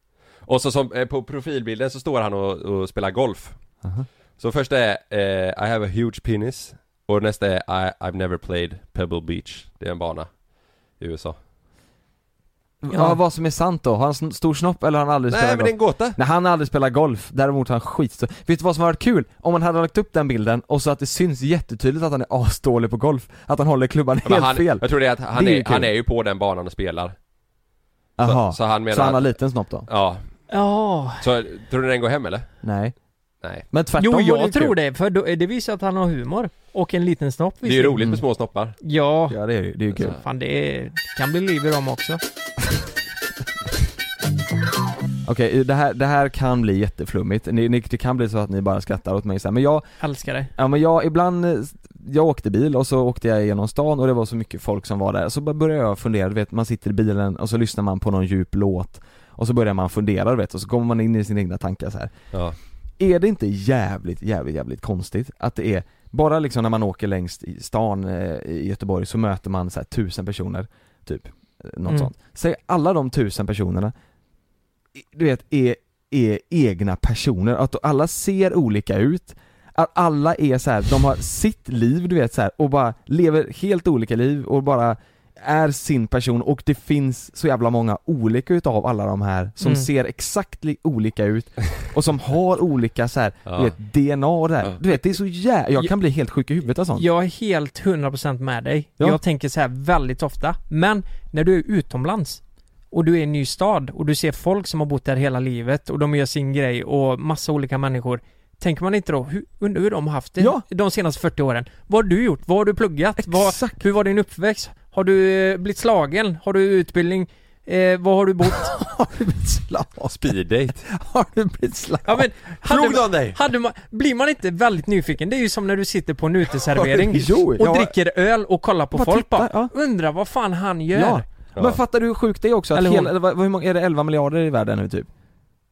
[SPEAKER 1] Och så som, eh, på profilbilden så står han och, och spelar golf.
[SPEAKER 2] Aha.
[SPEAKER 1] Så första är eh, I have a huge penis. Och nästa är I, I've never played Pebble Beach. Det är en bana i USA.
[SPEAKER 2] Ja.
[SPEAKER 3] Ja.
[SPEAKER 2] vad som är sant då? Har han sn- stor snopp eller har han aldrig
[SPEAKER 1] Nej
[SPEAKER 2] spelat
[SPEAKER 1] men det är en
[SPEAKER 2] golf?
[SPEAKER 1] gåta.
[SPEAKER 2] Nej han har aldrig spelat golf, däremot har han skit Vet du vad som hade varit kul? Om man hade lagt upp den bilden och så att det syns jättetydligt att han är asdålig på golf, att han håller klubban
[SPEAKER 1] Ja,
[SPEAKER 2] helt
[SPEAKER 1] Men han,
[SPEAKER 2] fel
[SPEAKER 1] jag tror det är att han,
[SPEAKER 2] Det är
[SPEAKER 1] är,
[SPEAKER 2] ju kul.
[SPEAKER 1] han är ju på den banan och spelar.
[SPEAKER 2] Aha.
[SPEAKER 1] så han menar
[SPEAKER 2] så han har
[SPEAKER 1] att-
[SPEAKER 2] liten snopp då?
[SPEAKER 1] Ja.
[SPEAKER 3] Ja.
[SPEAKER 1] Så tror du den går hem eller?
[SPEAKER 2] Nej
[SPEAKER 1] Nej.
[SPEAKER 2] Men tvärtom
[SPEAKER 3] Jo
[SPEAKER 2] var
[SPEAKER 3] jag
[SPEAKER 2] ju
[SPEAKER 3] tror
[SPEAKER 2] kul.
[SPEAKER 3] det, för då, det visar att han har humor. Och en liten snopp
[SPEAKER 1] Det är ju
[SPEAKER 3] visserligen.
[SPEAKER 2] Mm.
[SPEAKER 1] roligt med små snoppar.
[SPEAKER 3] Ja.
[SPEAKER 2] Ja det är ju, det är ju kul
[SPEAKER 3] Fan det är, kan bli liv i dem också.
[SPEAKER 2] Okej, det, här, det här kan bli jätteflummigt, ni, ni, det kan bli så att ni bara skrattar åt mig sen men jag,
[SPEAKER 3] Älskar det.
[SPEAKER 2] Ja men jag, ibland, eh, jag åkte bil och så åkte jag genom stan och det var så mycket folk som var där, så bara började jag fundera, du vet man sitter i bilen och så lyssnar man på någon djup låt och så börjar man fundera du vet, och så kommer man in i sina egna tankar så här.
[SPEAKER 1] Ja.
[SPEAKER 2] Är det inte jävligt, jävligt, jävligt konstigt att det är, bara liksom när man åker längs i stan eh, i Göteborg så möter man så här tusen personer, typ, eh, något
[SPEAKER 3] Mm.
[SPEAKER 2] sånt. Säg alla de tusen personerna, i- du vet, är, är egna personer, att alla ser olika ut, att alla är så här, de har sitt liv du vet så här, och bara lever helt olika liv och bara är sin person och det finns så jävla många olika utav alla de här som
[SPEAKER 3] Mm.
[SPEAKER 2] ser exakt li- olika ut och som har olika så här,
[SPEAKER 1] Ja.
[SPEAKER 2] du vet DNA och det här.
[SPEAKER 1] Ja.
[SPEAKER 2] Du vet det är så jävla, jag kan bli helt sjuk i huvudet av sånt.
[SPEAKER 3] Jag är helt 100% med dig.
[SPEAKER 2] Ja.
[SPEAKER 3] Jag tänker så här väldigt ofta. Men när du är utomlands och du är i en ny stad och du ser folk som har bott där hela livet och de gör sin grej och massa olika människor. Tänker man inte då, hur, undrar hur de har haft det
[SPEAKER 2] Ja.
[SPEAKER 3] de senaste 40 åren? Vad har du gjort? Vad har du pluggat? Vad,
[SPEAKER 2] Exakt.
[SPEAKER 3] hur var din uppväxt? Har du eh, blivit slagen? Har du utbildning? Eh, vad har du bott?
[SPEAKER 2] Har du blivit slav?
[SPEAKER 1] Speed date.
[SPEAKER 2] Har du blivit slav?
[SPEAKER 3] Ja, men, hade
[SPEAKER 1] Drog
[SPEAKER 3] man,
[SPEAKER 1] någon dig?
[SPEAKER 3] hade man, blir man inte väldigt nyfiken? Det är ju som när du sitter på en uteservering
[SPEAKER 2] Jo,
[SPEAKER 3] och
[SPEAKER 2] ja.
[SPEAKER 3] dricker öl och kollar på
[SPEAKER 2] Bara
[SPEAKER 3] folk
[SPEAKER 2] tittar,
[SPEAKER 3] bara. Undrar vad fan han gör?
[SPEAKER 2] Ja.
[SPEAKER 1] Ja.
[SPEAKER 2] Men fattar du hur sjukt det är också? Att
[SPEAKER 3] Eller hon.
[SPEAKER 2] hela, eller vad- hur många, är det 11 miljarder i världen nu typ?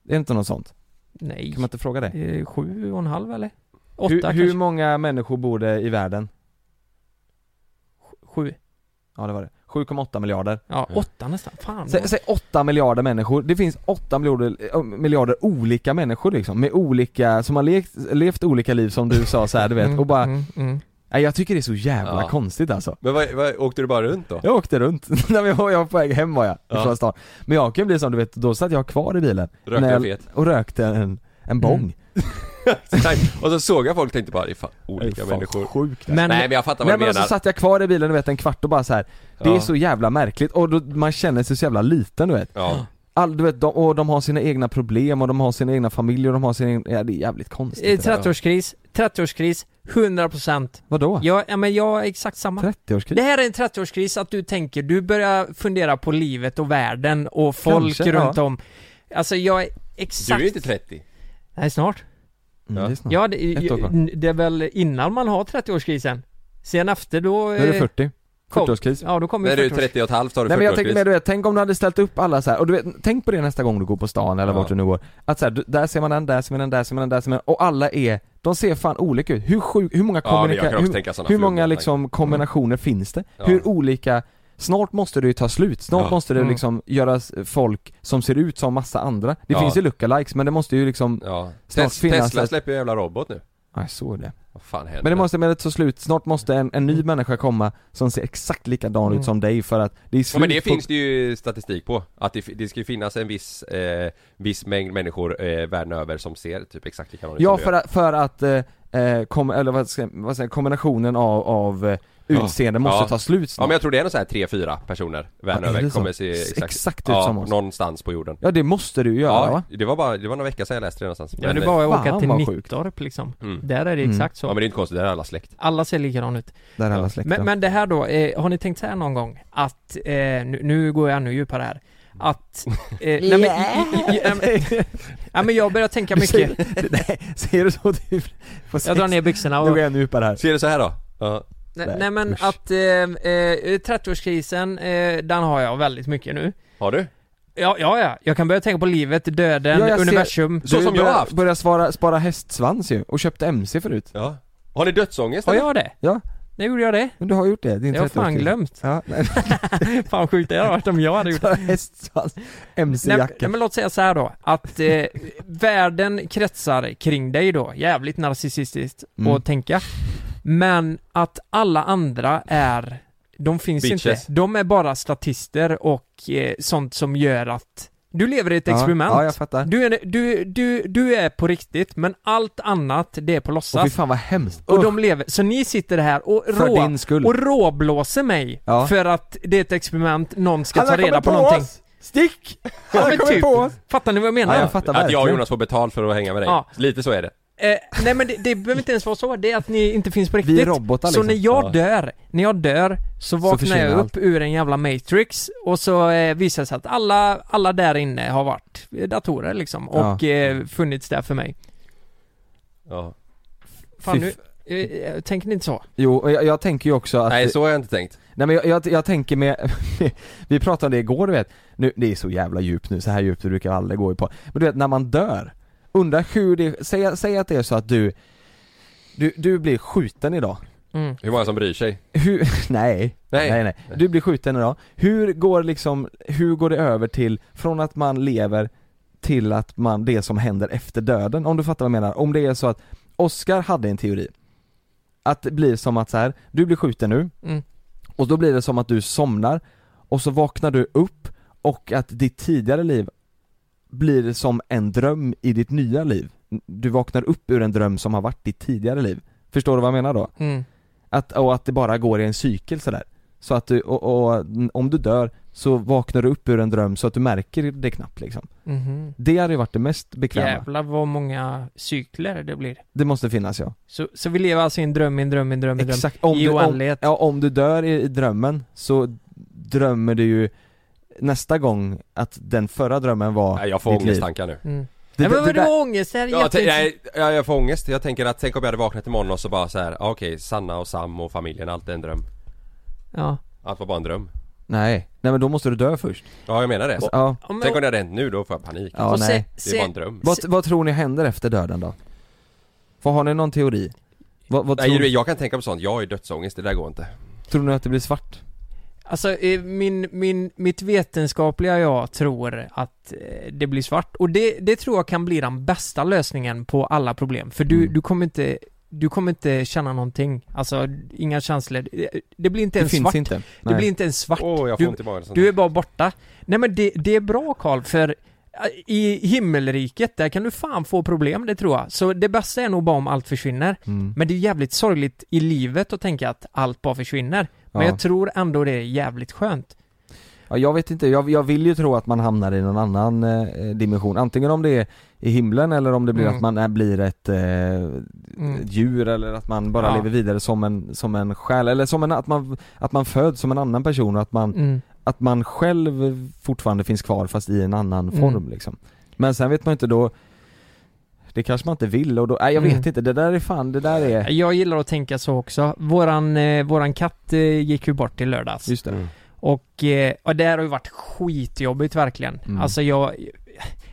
[SPEAKER 2] Är det inte något sånt?
[SPEAKER 3] Nej.
[SPEAKER 2] Kan man inte fråga det?
[SPEAKER 3] Eh, Sju och en halv eller? Åtta
[SPEAKER 2] Hur,
[SPEAKER 3] kanske?
[SPEAKER 2] hur många människor bor det i världen?
[SPEAKER 3] Sju?
[SPEAKER 2] Ja det var det. 7,8 miljarder.
[SPEAKER 3] Ja, åtta nästan. Fan.
[SPEAKER 2] Sä, säg 8 miljarder människor, det finns 8 miljarder, äh, miljarder olika människor liksom, med olika, som har lekt, levt olika liv som du sa så här, du vet,
[SPEAKER 3] Mm,
[SPEAKER 2] och bara,
[SPEAKER 3] mm, mm.
[SPEAKER 2] nej jag tycker det är så jävla
[SPEAKER 1] Ja.
[SPEAKER 2] konstigt alltså
[SPEAKER 1] Men vad, vad, åkte du bara runt då?
[SPEAKER 2] Jag åkte runt, när jag var jag var på väg hem var jag,
[SPEAKER 1] Ja.
[SPEAKER 2] ifrån stan Men jag kan ju bli som du vet, då satt jag kvar i bilen
[SPEAKER 1] Rökte
[SPEAKER 2] när jag,
[SPEAKER 1] en fet.
[SPEAKER 2] och rökte en, en bong
[SPEAKER 3] Mm.
[SPEAKER 1] Nej, och så såg jag folk och tänkte bara, det är fan
[SPEAKER 2] Det är
[SPEAKER 1] olika
[SPEAKER 2] fan
[SPEAKER 1] människor.
[SPEAKER 2] Sjukt
[SPEAKER 3] Men,
[SPEAKER 1] Nej men jag fattar
[SPEAKER 2] Nej
[SPEAKER 1] vad du
[SPEAKER 2] men
[SPEAKER 1] menar.
[SPEAKER 2] alltså satt jag kvar i bilen du vet en kvart och bara så här. det
[SPEAKER 1] Ja.
[SPEAKER 2] är så jävla märkligt och då, man känner sig så jävla liten du vet
[SPEAKER 1] Ja.
[SPEAKER 2] All, du vet, de, och de har sina egna problem och de har sina egna familjer och de har sina egna, ja, det är jävligt konstigt
[SPEAKER 3] eh,
[SPEAKER 2] det där.
[SPEAKER 3] 30-årskris, 30-årskris, 100%.
[SPEAKER 2] Vadå?
[SPEAKER 3] Jag, ja, men jag är exakt samma.
[SPEAKER 2] 30-årskris?
[SPEAKER 3] Det här är en 30-årskris att du tänker, du börjar fundera på livet och världen och folk
[SPEAKER 2] Kanske,
[SPEAKER 3] runt
[SPEAKER 2] ja.
[SPEAKER 3] om. Alltså jag är
[SPEAKER 1] Du är
[SPEAKER 3] exakt...
[SPEAKER 1] ju inte 30.
[SPEAKER 3] Nej, snart.
[SPEAKER 2] Mm, det är snart.
[SPEAKER 3] Ja, det,
[SPEAKER 2] Ett år kvar.
[SPEAKER 3] n- det är väl innan man har 30-årskrisen. Sen efter då...
[SPEAKER 2] Nu är det
[SPEAKER 3] eh,
[SPEAKER 2] 40,
[SPEAKER 3] kom-
[SPEAKER 2] 40-årskris
[SPEAKER 3] Ja, då kommer
[SPEAKER 1] När du är
[SPEAKER 3] 40-årskris.
[SPEAKER 1] 30 och ett halvt har du
[SPEAKER 2] Nej men jag
[SPEAKER 1] 40
[SPEAKER 2] tänker mer du vet, tänk om du hade ställt upp alla så här, och du vet, tänk på det nästa gång du går på stan eller
[SPEAKER 1] Ja.
[SPEAKER 2] vart du nu går Att så här, du- där ser man en, där ser man en, där ser man en, där ser man en, och alla är, de ser fan olika ut, hur sjuk, hur många
[SPEAKER 1] Ja, men jag
[SPEAKER 2] kommunika-
[SPEAKER 1] kan också tänka
[SPEAKER 2] hur,
[SPEAKER 1] såna
[SPEAKER 2] hur många
[SPEAKER 1] flummiga
[SPEAKER 2] liksom kombinationer finns det?
[SPEAKER 1] Ja.
[SPEAKER 2] Hur olika, snart måste det ju ta slut, snart
[SPEAKER 1] Ja.
[SPEAKER 2] måste det
[SPEAKER 3] Mm.
[SPEAKER 2] liksom göras folk som ser ut som massa andra Det
[SPEAKER 1] Ja.
[SPEAKER 2] finns ju lookalikes men det måste ju liksom
[SPEAKER 1] Ja.
[SPEAKER 2] Snart
[SPEAKER 1] Tes-
[SPEAKER 2] finnas
[SPEAKER 1] Tesla
[SPEAKER 2] ett-
[SPEAKER 1] släpper ju en jävla robot nu.
[SPEAKER 2] Nej, så är det.
[SPEAKER 1] Vad fan händer?
[SPEAKER 2] Men det måste med ta slut, snart måste en, en ny människa komma som ser exakt likadan
[SPEAKER 3] Mm.
[SPEAKER 2] ut som dig för att det är
[SPEAKER 1] Ja,
[SPEAKER 2] slut
[SPEAKER 1] men det
[SPEAKER 2] på...
[SPEAKER 1] finns det ju statistik på. Att det, fi- det ska ju finnas en viss, eh, viss mängd människor eh, världen över som ser typ exakt likadana ut
[SPEAKER 2] Ja,
[SPEAKER 1] som du
[SPEAKER 2] för att, för att eh, eh, kom, eller vad ska, vad säger, jag, kombinationen av, av eh, utseende måste
[SPEAKER 1] Ja.
[SPEAKER 2] ta slut
[SPEAKER 1] Ja
[SPEAKER 2] snart.
[SPEAKER 1] men jag tror det är nog så här 3-4 personer världen
[SPEAKER 2] Ja, är
[SPEAKER 1] över
[SPEAKER 2] det så?
[SPEAKER 1] kommer se
[SPEAKER 2] S-
[SPEAKER 1] exakt,
[SPEAKER 2] exakt ut
[SPEAKER 1] ja,
[SPEAKER 2] som oss.
[SPEAKER 1] någonstans på jorden
[SPEAKER 2] Ja, det måste du ju göra va?
[SPEAKER 1] det var bara, det var några veckor sedan jag läste det någonstans
[SPEAKER 3] Ja, men det är bara att
[SPEAKER 2] fan,
[SPEAKER 3] åka till
[SPEAKER 2] vad sjukt.
[SPEAKER 3] Nittorp liksom.
[SPEAKER 1] Mm.
[SPEAKER 3] Där är det
[SPEAKER 2] Mm.
[SPEAKER 3] exakt så.
[SPEAKER 1] Ja men det är inte konstigt, det är alla släkt
[SPEAKER 3] Alla ser likadana ut.
[SPEAKER 2] Där är alla
[SPEAKER 1] Ja.
[SPEAKER 2] släkten.
[SPEAKER 3] Men, men det här då, eh, har ni tänkt så här någon gång? Att, eh, nu, nu går jag ännu djupare här. Att, eh, nej, men, ja, men, ja, men jag börjar tänka
[SPEAKER 2] Du säger-
[SPEAKER 3] mycket.
[SPEAKER 2] Nej, ser du så du får
[SPEAKER 3] Jag drar ner byxorna och
[SPEAKER 2] Nu går jag ännu djupare här.
[SPEAKER 1] Ser det så här då? Ja,
[SPEAKER 3] Nej,
[SPEAKER 2] Nej,
[SPEAKER 3] nej men
[SPEAKER 2] usch.
[SPEAKER 3] att eh, eh, 30-årskrisen, eh, den har jag väldigt mycket nu.
[SPEAKER 1] har du?
[SPEAKER 3] Ja, ja, ja. Jag kan börja tänka på livet, döden,
[SPEAKER 2] Ja, jag ser-
[SPEAKER 3] universum.
[SPEAKER 1] Så som
[SPEAKER 2] Du
[SPEAKER 1] jag
[SPEAKER 2] börjar-
[SPEAKER 1] har haft.
[SPEAKER 2] Började svara, spara hästsvans ju, och köpte MC förut.
[SPEAKER 1] Ja Har ni dödsångest
[SPEAKER 3] Har
[SPEAKER 1] eller?
[SPEAKER 3] jag det?
[SPEAKER 2] Ja.
[SPEAKER 3] När gjorde jag det?
[SPEAKER 2] Men du har gjort det, din
[SPEAKER 3] Jag har
[SPEAKER 2] 30-årskris.
[SPEAKER 3] fan glömt.
[SPEAKER 2] Ja, nej,
[SPEAKER 3] Fan vad sjukt det hade varit om jag hade gjort det.
[SPEAKER 2] spara hästsvans,
[SPEAKER 3] Nej,
[SPEAKER 2] MC-jacka.
[SPEAKER 3] nej, men låt säga så här då, att eh, världen kretsar kring dig då, jävligt narcissistiskt
[SPEAKER 2] Mm.
[SPEAKER 3] att tänka. Men att alla andra är, de finns
[SPEAKER 1] Bitches.
[SPEAKER 3] inte. De är bara statister och eh, sånt som gör att du lever i ett
[SPEAKER 2] Ja,
[SPEAKER 3] experiment.
[SPEAKER 2] Ja, jag fattar.
[SPEAKER 3] Du är, du, du, du är på riktigt, men allt annat det är på
[SPEAKER 2] Och fy
[SPEAKER 3] låtsas.
[SPEAKER 2] fan vad hemskt.
[SPEAKER 3] Och,
[SPEAKER 2] Usch,
[SPEAKER 3] de lever, så ni sitter här och,
[SPEAKER 2] för
[SPEAKER 3] rå,
[SPEAKER 2] din skull.
[SPEAKER 3] och råblåser mig
[SPEAKER 2] Ja.
[SPEAKER 3] för att det är ett experiment, någon ska ta reda på,
[SPEAKER 2] på
[SPEAKER 3] någonting.
[SPEAKER 2] Oss. Stick! Han
[SPEAKER 3] Ja,
[SPEAKER 2] har
[SPEAKER 3] men
[SPEAKER 2] kommit
[SPEAKER 3] typ.
[SPEAKER 2] på oss.
[SPEAKER 3] Fattar ni vad jag menar?
[SPEAKER 2] Ja, jag fattar
[SPEAKER 1] Att jag och
[SPEAKER 2] verkligen.
[SPEAKER 1] Jonas får betalt för att hänga med dig?
[SPEAKER 3] Ja.
[SPEAKER 1] Lite så är det
[SPEAKER 3] Eh, nej men det, det behöver inte ens vara så, det är att ni inte finns på riktigt.
[SPEAKER 2] Vi är robotar
[SPEAKER 3] Så
[SPEAKER 2] liksom.
[SPEAKER 3] när jag
[SPEAKER 1] Ja.
[SPEAKER 3] dör, när jag dör så vaknar
[SPEAKER 2] försvinner
[SPEAKER 3] jag upp
[SPEAKER 2] allt.
[SPEAKER 3] ur en jävla matrix och så eh, visar det sig att alla, alla där inne har varit eh, datorer liksom
[SPEAKER 2] Ja.
[SPEAKER 3] och eh, funnits där för mig.
[SPEAKER 1] ja.
[SPEAKER 3] Fan
[SPEAKER 2] Fy
[SPEAKER 3] nu,
[SPEAKER 2] f-
[SPEAKER 3] eh, eh, tänker ni inte så?
[SPEAKER 2] Jo, och jag, jag tänker ju också att...
[SPEAKER 1] Nej så har jag inte tänkt
[SPEAKER 2] Nej men jag, jag, jag tänker med, vi pratade om det igår du vet, nu, det är så jävla djupt nu, så här djupt brukar jag aldrig gå i på. Men du vet när man dör, undra hur det, säg, säg att det är så att du, du, du blir skjuten idag.
[SPEAKER 3] Mm.
[SPEAKER 1] Hur många som bryr sig?
[SPEAKER 2] Hur, nej,
[SPEAKER 1] Nej.
[SPEAKER 2] nej, nej, Du blir skjuten idag. Hur går liksom, hur går det över till, från att man lever till att man, det som händer efter döden? Om du fattar vad jag menar? Om det är så att Oscar hade en teori. Att det blir som att så här, du blir skjuten nu.
[SPEAKER 3] Mm.
[SPEAKER 2] Och då blir det som att du somnar. Och så vaknar du upp och att ditt tidigare liv blir som en dröm i ditt nya liv. Du vaknar upp ur en dröm som har varit ditt tidigare liv. Förstår du vad jag menar då?
[SPEAKER 3] Mm.
[SPEAKER 2] Att, och att det bara går i en cykel sådär. Så att du, och, och om du dör så vaknar du upp ur en dröm så att du märker det knappt liksom.
[SPEAKER 3] Mhm.
[SPEAKER 2] Det hade ju varit det mest bekväma.
[SPEAKER 3] Jävlar vad många cykler det blir.
[SPEAKER 2] Det måste finnas ja.
[SPEAKER 3] Så, så vi lever alltså i en dröm, i en dröm, i en dröm, i en dröm.
[SPEAKER 2] Exakt. Om
[SPEAKER 3] I
[SPEAKER 2] du, om,
[SPEAKER 3] oändlighet.
[SPEAKER 2] ja, om du dör i, i drömmen så drömmer du ju nästa gång att den förra drömmen var
[SPEAKER 1] Nej, Jag får
[SPEAKER 2] ditt liv.
[SPEAKER 1] ångesttankar nu
[SPEAKER 3] Mm.
[SPEAKER 2] Det,
[SPEAKER 3] nej, men
[SPEAKER 2] det, det,
[SPEAKER 3] vadå
[SPEAKER 2] där,
[SPEAKER 3] ångest? Det här är
[SPEAKER 1] Ja, t-
[SPEAKER 3] jätteintressant.
[SPEAKER 1] nej, ja, jag får ångest. Jag tänker att tänk om jag hade vaknat imorgon och så bara så här, ah, okej, Sanna och Sam och familjen, allt är en dröm.
[SPEAKER 3] ja.
[SPEAKER 1] Allt var bara en dröm.
[SPEAKER 2] nej. nej, men då måste du dö först.
[SPEAKER 1] Ja, jag menar det.
[SPEAKER 2] Ja,
[SPEAKER 3] Ja, men-
[SPEAKER 1] Tänk om det hade hänt nu, då får jag panik.
[SPEAKER 2] ja
[SPEAKER 3] och se-
[SPEAKER 2] nej.
[SPEAKER 1] Det är bara en
[SPEAKER 3] se-
[SPEAKER 1] dröm.
[SPEAKER 2] Vad, vad tror ni händer efter döden då? Vad har ni någon teori? Vad, vad
[SPEAKER 1] Nej,
[SPEAKER 2] tror,
[SPEAKER 1] du, jag kan tänka på sånt. Jag är dödsångest, det där går inte.
[SPEAKER 2] tror ni att det blir svart?
[SPEAKER 3] Alltså eh, min, min, mitt vetenskapliga jag tror att eh, det blir svart och det, det tror jag kan bli den bästa lösningen på alla problem för du,
[SPEAKER 2] Mm.
[SPEAKER 3] du kommer inte du kommer inte känna någonting, alltså inga känslor. Det- Det blir inte
[SPEAKER 2] Det
[SPEAKER 3] ens
[SPEAKER 2] finns
[SPEAKER 3] svart.
[SPEAKER 2] inte.
[SPEAKER 3] Det
[SPEAKER 2] Nej.
[SPEAKER 3] blir inte ens svart.
[SPEAKER 1] Åh, jag får
[SPEAKER 3] du,
[SPEAKER 1] ont i magen. och sånt
[SPEAKER 3] du är
[SPEAKER 1] där.
[SPEAKER 3] bara borta. Nej men det, det är bra Karl, för eh, i himmelriket, där kan du fan få problem, det tror jag. Så det bästa är nog bara om allt försvinner.
[SPEAKER 2] Mm.
[SPEAKER 3] Men det är jävligt sorgligt i livet att tänka att allt bara försvinner. Men
[SPEAKER 2] Ja.
[SPEAKER 3] jag tror ändå det är jävligt skönt.
[SPEAKER 2] Ja, jag vet inte, jag, jag vill ju tro att man hamnar i någon annan eh, dimension. Antingen om det är i himlen eller om det blir
[SPEAKER 3] Mm.
[SPEAKER 2] att man är, blir ett eh,
[SPEAKER 3] Mm.
[SPEAKER 2] djur eller att man bara
[SPEAKER 3] Ja.
[SPEAKER 2] lever vidare som en, som en själ. Eller som en, att, man, att man föds som en annan person och att man,
[SPEAKER 3] Mm.
[SPEAKER 2] att man själv fortfarande finns kvar fast i en annan
[SPEAKER 3] Mm.
[SPEAKER 2] form liksom. Men sen vet man inte då det kanske man inte vill och då, nej jag vet
[SPEAKER 3] Mm.
[SPEAKER 2] inte, det där är fan, det där är...
[SPEAKER 3] Jag gillar att tänka så också. Våran, eh, våran katt eh, gick ju bort i lördags.
[SPEAKER 2] Just det.
[SPEAKER 1] Mm.
[SPEAKER 3] Och, eh, och det här har ju varit skitjobbigt verkligen.
[SPEAKER 2] Mm.
[SPEAKER 3] Alltså jag...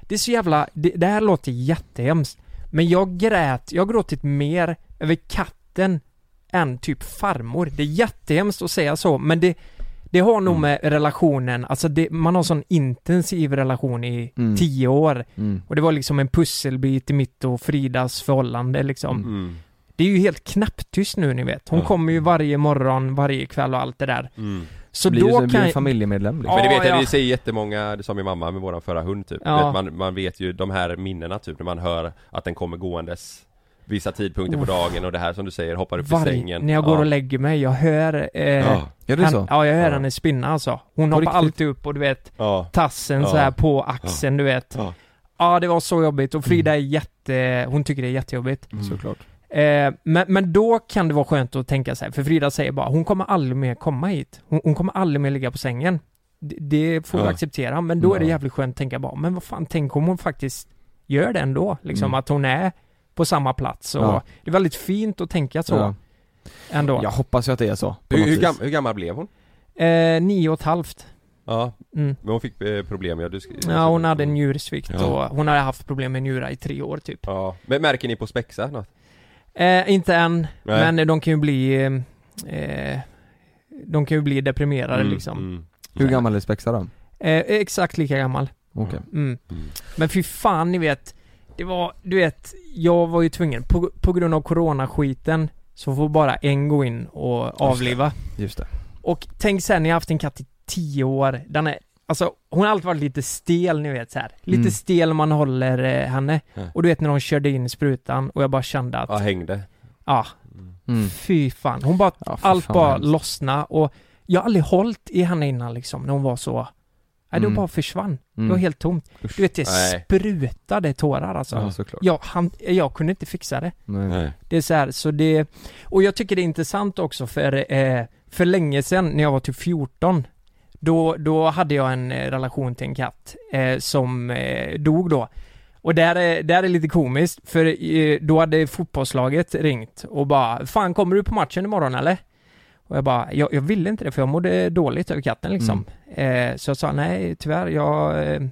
[SPEAKER 3] Det är så jävla... Det, det här låter jättehemskt. Men jag grät, jag har gråtit mer över katten än typ farmor. Det är jättehemskt att säga så, men det... Det har nog
[SPEAKER 2] Mm.
[SPEAKER 3] med relationen, alltså det, man har sån intensiv relation i
[SPEAKER 2] Mm.
[SPEAKER 3] tio år.
[SPEAKER 2] Mm.
[SPEAKER 3] Och det var liksom en pusselbit i mitt och Fridas förhållande liksom.
[SPEAKER 1] Mm.
[SPEAKER 3] Det är ju helt knäpptyst nu ni vet. Hon
[SPEAKER 1] Ja.
[SPEAKER 3] kommer ju varje morgon, varje kväll och allt det där.
[SPEAKER 1] Mm.
[SPEAKER 3] Så
[SPEAKER 2] blir
[SPEAKER 3] då
[SPEAKER 2] ju blir
[SPEAKER 3] kan
[SPEAKER 2] en familjemedlem liksom.
[SPEAKER 1] Men det
[SPEAKER 3] Ja,
[SPEAKER 1] vet jag,
[SPEAKER 3] ja.
[SPEAKER 1] det säger jättemånga, det sa min mamma med våran förra hund typ
[SPEAKER 3] Ja.
[SPEAKER 1] vet, man, man vet ju de här minnena typ när man hör att den kommer gåendes Vissa tidpunkter på dagen och det här som du säger hoppar upp i
[SPEAKER 3] varje,
[SPEAKER 1] sängen
[SPEAKER 3] när jag går
[SPEAKER 1] ja.
[SPEAKER 3] och lägger mig, jag hör eh,
[SPEAKER 1] Ja,
[SPEAKER 2] Ja det är så?
[SPEAKER 3] Han, ja, jag hör
[SPEAKER 1] Ja.
[SPEAKER 3] henne spinna alltså. Hon
[SPEAKER 2] På
[SPEAKER 3] hoppar
[SPEAKER 2] riktigt?
[SPEAKER 3] alltid upp och du vet,
[SPEAKER 1] ja.
[SPEAKER 3] tassen så
[SPEAKER 1] Ja.
[SPEAKER 3] här på axeln, du vet.
[SPEAKER 1] Ja.
[SPEAKER 3] Ja. det var så jobbigt och Frida är jätte, hon tycker det är jättejobbigt.
[SPEAKER 2] Mm. Såklart.
[SPEAKER 3] Eh, men, men då kan det vara skönt att tänka så här, för Frida säger bara, hon kommer aldrig mer komma hit. Hon, hon kommer aldrig mer ligga på sängen. Det, det får vi
[SPEAKER 1] Ja.
[SPEAKER 3] acceptera, men då är det
[SPEAKER 1] Ja.
[SPEAKER 3] jävligt skönt att tänka bara, men vad fan, tänk om hon faktiskt gör det ändå, liksom att hon är på samma plats och
[SPEAKER 2] Mm. Ja.
[SPEAKER 3] det är väldigt fint att tänka så
[SPEAKER 2] Ja.
[SPEAKER 3] ändå.
[SPEAKER 2] Jag hoppas ju att det är så. på
[SPEAKER 1] hur,
[SPEAKER 2] något
[SPEAKER 1] hur,
[SPEAKER 2] vis.
[SPEAKER 1] gam, hur gammal blev hon?
[SPEAKER 3] Eh, nio och ett halvt.
[SPEAKER 1] Ja,
[SPEAKER 3] Mm.
[SPEAKER 1] men hon fick eh, problem ja, du sk-
[SPEAKER 3] Ja, hon hade en njursvikt
[SPEAKER 1] Ja.
[SPEAKER 3] och hon hade haft problem med njurar i tre år typ.
[SPEAKER 1] Ja, men märker ni på spexa något?
[SPEAKER 3] Eh, inte än,
[SPEAKER 1] Nej.
[SPEAKER 3] men de kan ju bli eh, eh, De kan ju bli deprimerade liksom.
[SPEAKER 1] mm.
[SPEAKER 2] Hur gammal är Spexa då?
[SPEAKER 3] Eh, exakt lika gammal.
[SPEAKER 2] Okej.
[SPEAKER 3] Mm.
[SPEAKER 1] Mm.
[SPEAKER 3] Men fy fan, ni vet. Det var, du vet, jag var ju tvungen, på, på grund av coronaskiten så får bara en gå in och avliva.
[SPEAKER 2] Just det.
[SPEAKER 3] Och tänk sen, ni har haft en katt i tio år. Den är, alltså hon har alltid varit lite stel ni vet så här. Lite
[SPEAKER 2] Mm.
[SPEAKER 3] stel man håller eh, henne.
[SPEAKER 1] Ja.
[SPEAKER 3] Och du vet när hon körde in sprutan och jag bara kände att,
[SPEAKER 1] Ja,
[SPEAKER 3] ja,
[SPEAKER 1] hängde
[SPEAKER 2] Mm.
[SPEAKER 3] fy fan. Hon bara,
[SPEAKER 2] Ja, fy
[SPEAKER 3] allt
[SPEAKER 2] fan,
[SPEAKER 3] bara
[SPEAKER 2] vad hemskt.
[SPEAKER 3] lossna och jag har aldrig hållit i henne innan liksom, när hon var så, nej det
[SPEAKER 2] Mm.
[SPEAKER 3] bara försvann. Det var
[SPEAKER 2] Mm.
[SPEAKER 3] helt tomt. Du vet det
[SPEAKER 1] Nej.
[SPEAKER 3] sprutade tårar alltså.
[SPEAKER 2] Ja såklart.
[SPEAKER 3] Jag, han, jag kunde inte fixa det.
[SPEAKER 2] Nej.
[SPEAKER 1] Nej.
[SPEAKER 3] Det är så här, så det, och jag tycker det är intressant också för, eh, för länge sedan när jag var typ 14 då, då hade jag en eh, relation till en katt eh, som eh, dog då. Och där är, där är lite komiskt för eh, då hade fotbollslaget ringt och bara Fan kommer du på matchen imorgon eller? Och jag bara, jag, jag ville inte det för jag mådde dåligt över katten liksom. Eh, så jag sa nej tyvärr, jag, eh,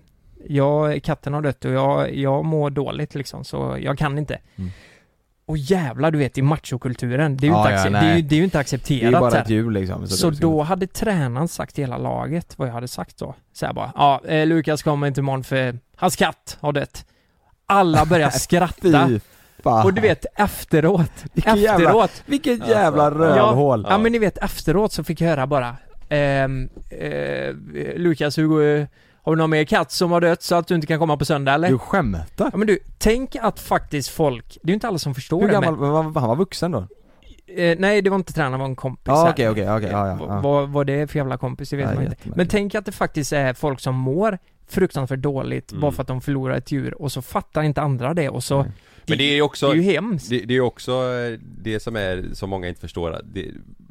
[SPEAKER 3] jag, katten har dött och jag, jag mår dåligt liksom så jag kan inte.
[SPEAKER 2] Mm.
[SPEAKER 3] Och jävlar du vet i machokulturen, det är ju,
[SPEAKER 2] Ja,
[SPEAKER 3] inte,
[SPEAKER 2] ja,
[SPEAKER 3] accep-
[SPEAKER 2] nej.
[SPEAKER 3] det är ju, det är ju inte
[SPEAKER 2] Det är ju
[SPEAKER 3] accepterat.
[SPEAKER 2] bara
[SPEAKER 3] här.
[SPEAKER 2] ett hjul liksom.
[SPEAKER 3] Så
[SPEAKER 2] det-
[SPEAKER 3] då hade tränaren sagt till hela laget vad jag hade sagt då. Så här bara, ja, eh, Lukas kommer inte imorgon för hans katt har dött. Alla börjar skratta.
[SPEAKER 2] Fy fan.
[SPEAKER 3] Och du vet efteråt,
[SPEAKER 2] Vilken jävla-
[SPEAKER 3] efteråt,
[SPEAKER 2] Vilket jävla
[SPEAKER 1] Alltså,
[SPEAKER 2] rövhål.
[SPEAKER 3] ja men ni vet efteråt så fick jag höra bara ehm, eh, Lukas, hur, går- har du någon mer katt som har dött så att du inte kan komma på söndag eller?
[SPEAKER 2] Du skämtar?
[SPEAKER 3] Ja men du, tänk att faktiskt folk, det är ju inte alla som förstår
[SPEAKER 2] Hur
[SPEAKER 3] det
[SPEAKER 2] gammal, men han var- han var vuxen då?
[SPEAKER 3] men, eh, nej det var inte tränaren, det var en kompis
[SPEAKER 2] Ja
[SPEAKER 3] här.
[SPEAKER 2] okej okej okej, ja ja.
[SPEAKER 3] Vad-
[SPEAKER 2] ja.
[SPEAKER 3] Vad, vad det är för jävla kompis, det vet
[SPEAKER 2] Nej,
[SPEAKER 3] man
[SPEAKER 2] det
[SPEAKER 3] inte.
[SPEAKER 2] vet man
[SPEAKER 3] Men
[SPEAKER 2] inte.
[SPEAKER 3] tänk att det faktiskt är folk som mår fruktansvärt dåligt
[SPEAKER 1] Mm.
[SPEAKER 3] bara för att de förlorar ett djur och så fattar inte andra det och så...
[SPEAKER 1] Men det är ju också
[SPEAKER 3] det är ju hemskt.
[SPEAKER 1] Det, det är ju också eh, det som är, som många inte förstår att det,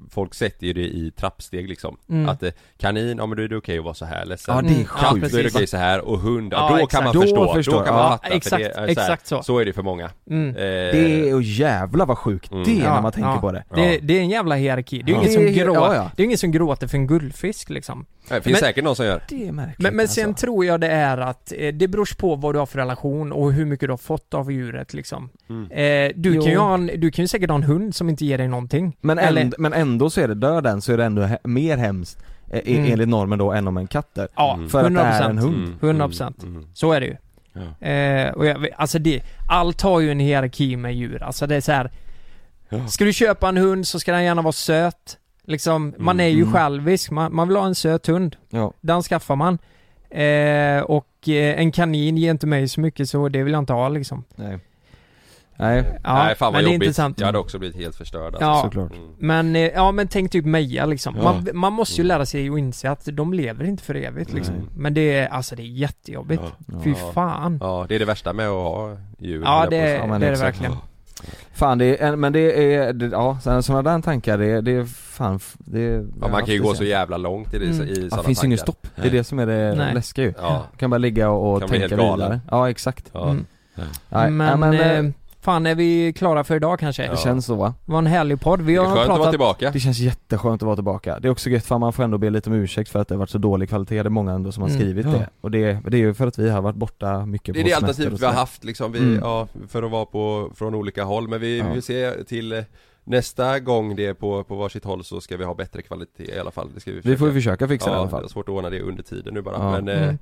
[SPEAKER 1] Folk sätter ju det i trappsteg liksom
[SPEAKER 3] Mm.
[SPEAKER 1] Att eh, kanin, ja men då är det okej att vara så här ledsen
[SPEAKER 2] Ja det är
[SPEAKER 3] Mm, ja,
[SPEAKER 1] Katt, då
[SPEAKER 2] sjukt.
[SPEAKER 1] är det
[SPEAKER 3] precis.
[SPEAKER 1] okej så här och hund,
[SPEAKER 3] Ja,
[SPEAKER 1] ja, då
[SPEAKER 3] exakt.
[SPEAKER 1] kan man
[SPEAKER 2] Då
[SPEAKER 1] förstå,
[SPEAKER 2] förstår,
[SPEAKER 1] då kan man
[SPEAKER 2] ja,
[SPEAKER 1] fatta för
[SPEAKER 3] exakt,
[SPEAKER 1] det, är så här,
[SPEAKER 3] exakt så.
[SPEAKER 1] Så är det för många
[SPEAKER 3] Mm.
[SPEAKER 1] Eh,
[SPEAKER 2] Det är, och jävla vad sjukt
[SPEAKER 1] Mm.
[SPEAKER 2] det är när
[SPEAKER 3] Ja,
[SPEAKER 2] man tänker
[SPEAKER 3] ja.
[SPEAKER 2] på det.
[SPEAKER 3] Det,
[SPEAKER 1] Ja.
[SPEAKER 3] det är en jävla hierarki. Det är ju
[SPEAKER 2] Ja.
[SPEAKER 3] ingen,
[SPEAKER 2] Det är-
[SPEAKER 3] som grå...
[SPEAKER 2] ja, ja.
[SPEAKER 3] Det är ingen som gråter för en guldfisk liksom.
[SPEAKER 1] det finns
[SPEAKER 3] men-
[SPEAKER 1] säkert någon som gör
[SPEAKER 2] Det är märkligt
[SPEAKER 3] Men, men sen tror jag det är att eh, det beror på vad du har för relation och hur mycket du har fått av djuret liksom.
[SPEAKER 1] Mm.
[SPEAKER 3] Eh, du,
[SPEAKER 2] Jo.
[SPEAKER 3] kan ju ha en, du kan ju säkert ha en hund som inte ger dig någonting.
[SPEAKER 2] Men,
[SPEAKER 3] Eller-
[SPEAKER 2] änd, men ändå så är det döden så är det ändå he- mer hemskt eh, e-
[SPEAKER 3] Mm.
[SPEAKER 2] enligt normen då än om en katt är.
[SPEAKER 3] Ja,
[SPEAKER 1] Mm.
[SPEAKER 2] För att det är
[SPEAKER 3] 100%.
[SPEAKER 2] en hund.
[SPEAKER 1] Mm,
[SPEAKER 3] 100%.
[SPEAKER 1] mm, mm.
[SPEAKER 3] Så är det ju.
[SPEAKER 1] Ja.
[SPEAKER 3] Eh, och jag, alltså det, allt har ju en hierarki med djur. Alltså det är så här.
[SPEAKER 1] Ja.
[SPEAKER 3] Ska du köpa en hund så ska den gärna vara söt. Liksom, man är ju
[SPEAKER 2] Mm.
[SPEAKER 3] självisk. Man, man vill ha en söt hund.
[SPEAKER 2] Ja.
[SPEAKER 3] Den skaffar man. Eh, och eh, en kanin ger inte mig så mycket så det vill jag inte ha liksom.
[SPEAKER 2] Nej. Nej,
[SPEAKER 3] Ja,
[SPEAKER 1] Nej fan vad
[SPEAKER 3] men det är
[SPEAKER 1] jobbigt,
[SPEAKER 3] intressant.
[SPEAKER 1] jag hade också blivit helt förstörd
[SPEAKER 3] Ja.
[SPEAKER 2] såklart.
[SPEAKER 1] Mm.
[SPEAKER 3] Men, eh, ja men tänk typ Meja liksom.
[SPEAKER 1] Ja. Mm.
[SPEAKER 3] Man, man måste ju lära sig och inse att de lever inte för evigt liksom.
[SPEAKER 2] Nej.
[SPEAKER 3] Men det är, alltså det är jättejobbigt. Fy
[SPEAKER 1] Ja.
[SPEAKER 3] fan.
[SPEAKER 1] Ja, det är det värsta med att ha djur
[SPEAKER 3] Ja, det,
[SPEAKER 1] höll jag på att
[SPEAKER 2] Ja,
[SPEAKER 3] det är
[SPEAKER 2] men
[SPEAKER 3] det
[SPEAKER 2] exakt.
[SPEAKER 3] verkligen.
[SPEAKER 2] Fan det är, en- men det är, det, ja sådana där tankar det, det är fan, f- det är,
[SPEAKER 1] säga. ja, Man kan ju gå så jävla långt i, det,
[SPEAKER 3] Mm.
[SPEAKER 1] i sådana
[SPEAKER 2] Ja, finns ju inget
[SPEAKER 1] tankar.
[SPEAKER 2] stopp, det är det som är det
[SPEAKER 3] Nej.
[SPEAKER 2] läskiga ju.
[SPEAKER 1] Ja,
[SPEAKER 2] Kan bara ligga och,
[SPEAKER 1] Kan
[SPEAKER 2] och
[SPEAKER 1] bli
[SPEAKER 2] tänka
[SPEAKER 1] helt galen.
[SPEAKER 2] vidare. Ja exakt.
[SPEAKER 1] ja.
[SPEAKER 3] Mm.
[SPEAKER 2] Nej,
[SPEAKER 3] Men,
[SPEAKER 2] nej, eh,
[SPEAKER 3] eh, fan är vi klara för idag kanske?
[SPEAKER 2] det känns så va?
[SPEAKER 3] Det var en härlig podd. Vi
[SPEAKER 1] Det är
[SPEAKER 3] har
[SPEAKER 1] skönt att vara
[SPEAKER 3] pratat...
[SPEAKER 1] tillbaka
[SPEAKER 2] Det känns jätteskönt att vara tillbaka. Det är också gött för man får ändå be lite om ursäkt för att det har varit så dålig kvalitet, det är många ändå som har
[SPEAKER 3] Mm.
[SPEAKER 2] skrivit
[SPEAKER 1] Ja.
[SPEAKER 2] det. Och det, det är ju för att vi har varit borta mycket
[SPEAKER 1] Det är
[SPEAKER 2] på
[SPEAKER 1] det
[SPEAKER 2] semester
[SPEAKER 1] alternativet
[SPEAKER 2] och
[SPEAKER 1] vi har
[SPEAKER 2] sådär.
[SPEAKER 1] haft liksom, vi,
[SPEAKER 2] Mm.
[SPEAKER 1] ja, för att vara på, från olika håll Men vi,
[SPEAKER 2] Ja.
[SPEAKER 1] vi ser till eh, nästa gång det är på, på varsitt håll så ska vi ha bättre kvalitet i alla fall Det ska vi,
[SPEAKER 2] Vi får ju
[SPEAKER 1] försöka.
[SPEAKER 2] försöka fixa det i alla
[SPEAKER 1] Ja, det
[SPEAKER 2] fall.
[SPEAKER 1] är svårt att ordna det under tiden nu bara
[SPEAKER 2] Ja.
[SPEAKER 1] men eh,
[SPEAKER 3] Mm.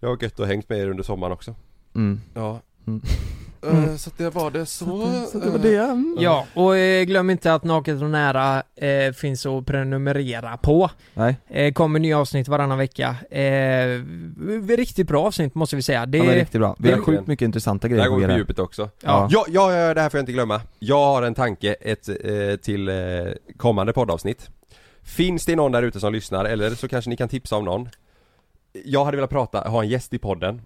[SPEAKER 1] Jag har gött och hängt med er under sommaren också
[SPEAKER 2] Mm.
[SPEAKER 1] Ja
[SPEAKER 2] Mm.
[SPEAKER 3] Mm.
[SPEAKER 8] Eh, Så att det var det så.
[SPEAKER 2] Så det var
[SPEAKER 8] eh,
[SPEAKER 2] det. Mm.
[SPEAKER 3] Ja, och eh, glöm inte att Naket och Nära eh, finns att prenumerera på.
[SPEAKER 2] Nej.
[SPEAKER 3] Eh, kommer nya avsnitt varannan vecka. Eh, riktigt bra avsnitt måste vi säga. Det,
[SPEAKER 2] Ja, men riktigt bra. Vi har
[SPEAKER 1] Verkligen.
[SPEAKER 2] sjukt mycket intressanta
[SPEAKER 1] Där
[SPEAKER 2] grejer
[SPEAKER 1] går vi
[SPEAKER 2] på
[SPEAKER 1] på
[SPEAKER 2] g
[SPEAKER 1] djupet också
[SPEAKER 3] Ja.
[SPEAKER 2] Ja.
[SPEAKER 1] Ja, ja, ja, det här får jag inte glömma. Jag har en tanke ett, eh, till eh, kommande poddavsnitt. Finns det någon där ute som lyssnar, eller så kanske ni kan tipsa om någon. Jag hade velat prata, ha en gäst i podden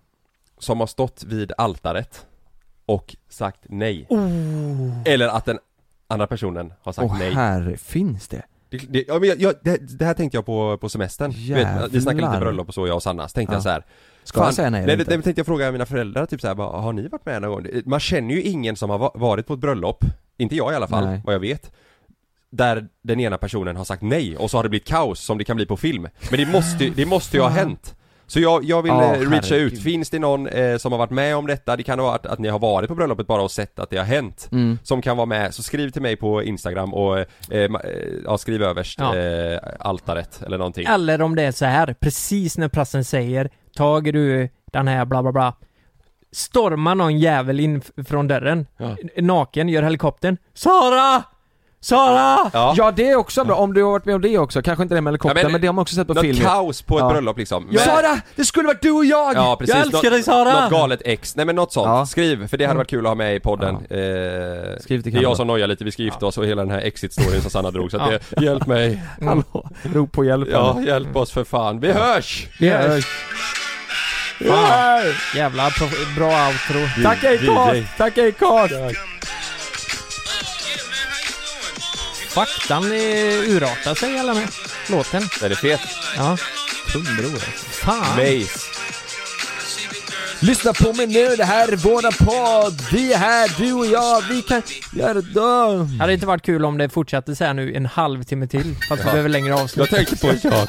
[SPEAKER 1] som har stått vid altaret och sagt nej.
[SPEAKER 3] Oh.
[SPEAKER 1] Eller att den andra personen har sagt
[SPEAKER 2] Och
[SPEAKER 1] nej.
[SPEAKER 2] här finns det.
[SPEAKER 1] Det, det, ja, men jag, jag, det, det här tänkte jag på, på semestern. Du Vet, vi snackade lite
[SPEAKER 2] Jävlar.
[SPEAKER 1] bröllop och så, jag och Sanna. Så tänkte
[SPEAKER 2] Ja.
[SPEAKER 1] jag så här.
[SPEAKER 2] Ska jag säga nej eller
[SPEAKER 1] nej,
[SPEAKER 2] inte?
[SPEAKER 1] nej, men tänkte jag fråga mina föräldrar typ så här, bara, har ni varit med någon gång? Det- Man känner ju ingen som har va- varit på ett bröllop, inte jag i alla fall,
[SPEAKER 2] Nej.
[SPEAKER 1] vad jag vet. Där den ena personen har sagt nej och så har det blivit kaos som det kan bli på film. Men det måste, ju- det måste ju ha hänt. Så jag, jag vill
[SPEAKER 2] Ja,
[SPEAKER 1] eh, reacha ut,
[SPEAKER 2] herregud.
[SPEAKER 1] finns det någon eh, som har varit med om detta? Det kan ha varit att ni har varit på bröllopet bara och sett att det har hänt
[SPEAKER 2] Mm.
[SPEAKER 1] som kan vara med, så skriv till mig på Instagram och eh, ma- eh, ja, skriv överst
[SPEAKER 3] Ja.
[SPEAKER 1] eh, altaret eller någonting.
[SPEAKER 3] Eller om det är så här, precis när prästen säger Tager du den här bla bla bla Stormar någon jävel in f- från dörren N- Naken, gör helikoptern Sara! Sara!
[SPEAKER 1] Ja.
[SPEAKER 2] Ja det är också bra, om du har varit med om det också, kanske inte det med helikoptern
[SPEAKER 1] Ja, men-
[SPEAKER 2] men, det har man också sett på
[SPEAKER 1] Något
[SPEAKER 2] film
[SPEAKER 1] kaos på ett
[SPEAKER 2] Ja.
[SPEAKER 1] bröllop liksom. Men-
[SPEAKER 2] Sara! Det skulle varit du och jag!
[SPEAKER 1] Ja precis,
[SPEAKER 3] Jag älskar
[SPEAKER 1] Nå-
[SPEAKER 3] dig, Sara!
[SPEAKER 1] Något galet ex, nej men något sånt,
[SPEAKER 2] Ja. Mm.
[SPEAKER 1] skriv för det hade varit kul att ha med i podden eh,
[SPEAKER 2] Skriv till
[SPEAKER 1] Det är
[SPEAKER 2] Kalle.
[SPEAKER 1] jag som nojar lite, vi ska gifta oss och hela den här exit-storyn som Sanna drog så att
[SPEAKER 3] Ja.
[SPEAKER 1] det, hjälp mig,
[SPEAKER 2] Hallå, rop på hjälp
[SPEAKER 1] ja hjälp oss för fan, vi hörs!
[SPEAKER 2] Det är-
[SPEAKER 3] Fan. Jävla pro- bra
[SPEAKER 1] Mm.
[SPEAKER 3] outro
[SPEAKER 2] Tack Acast! Tack Acast!
[SPEAKER 3] Faktan eh, urartar sig eller med låten
[SPEAKER 1] Den är fet,
[SPEAKER 3] Ja,
[SPEAKER 2] Tunnbror
[SPEAKER 3] fan
[SPEAKER 1] Mace,
[SPEAKER 2] Lyssna på mig nu, det här är våran podd! Vi är här, du och jag, vi kan göra dem!
[SPEAKER 3] Hade det inte varit kul om det fortsatte så här nu en halvtimme till? Fast vi behöver längre avslut
[SPEAKER 1] jag tänkte på en sak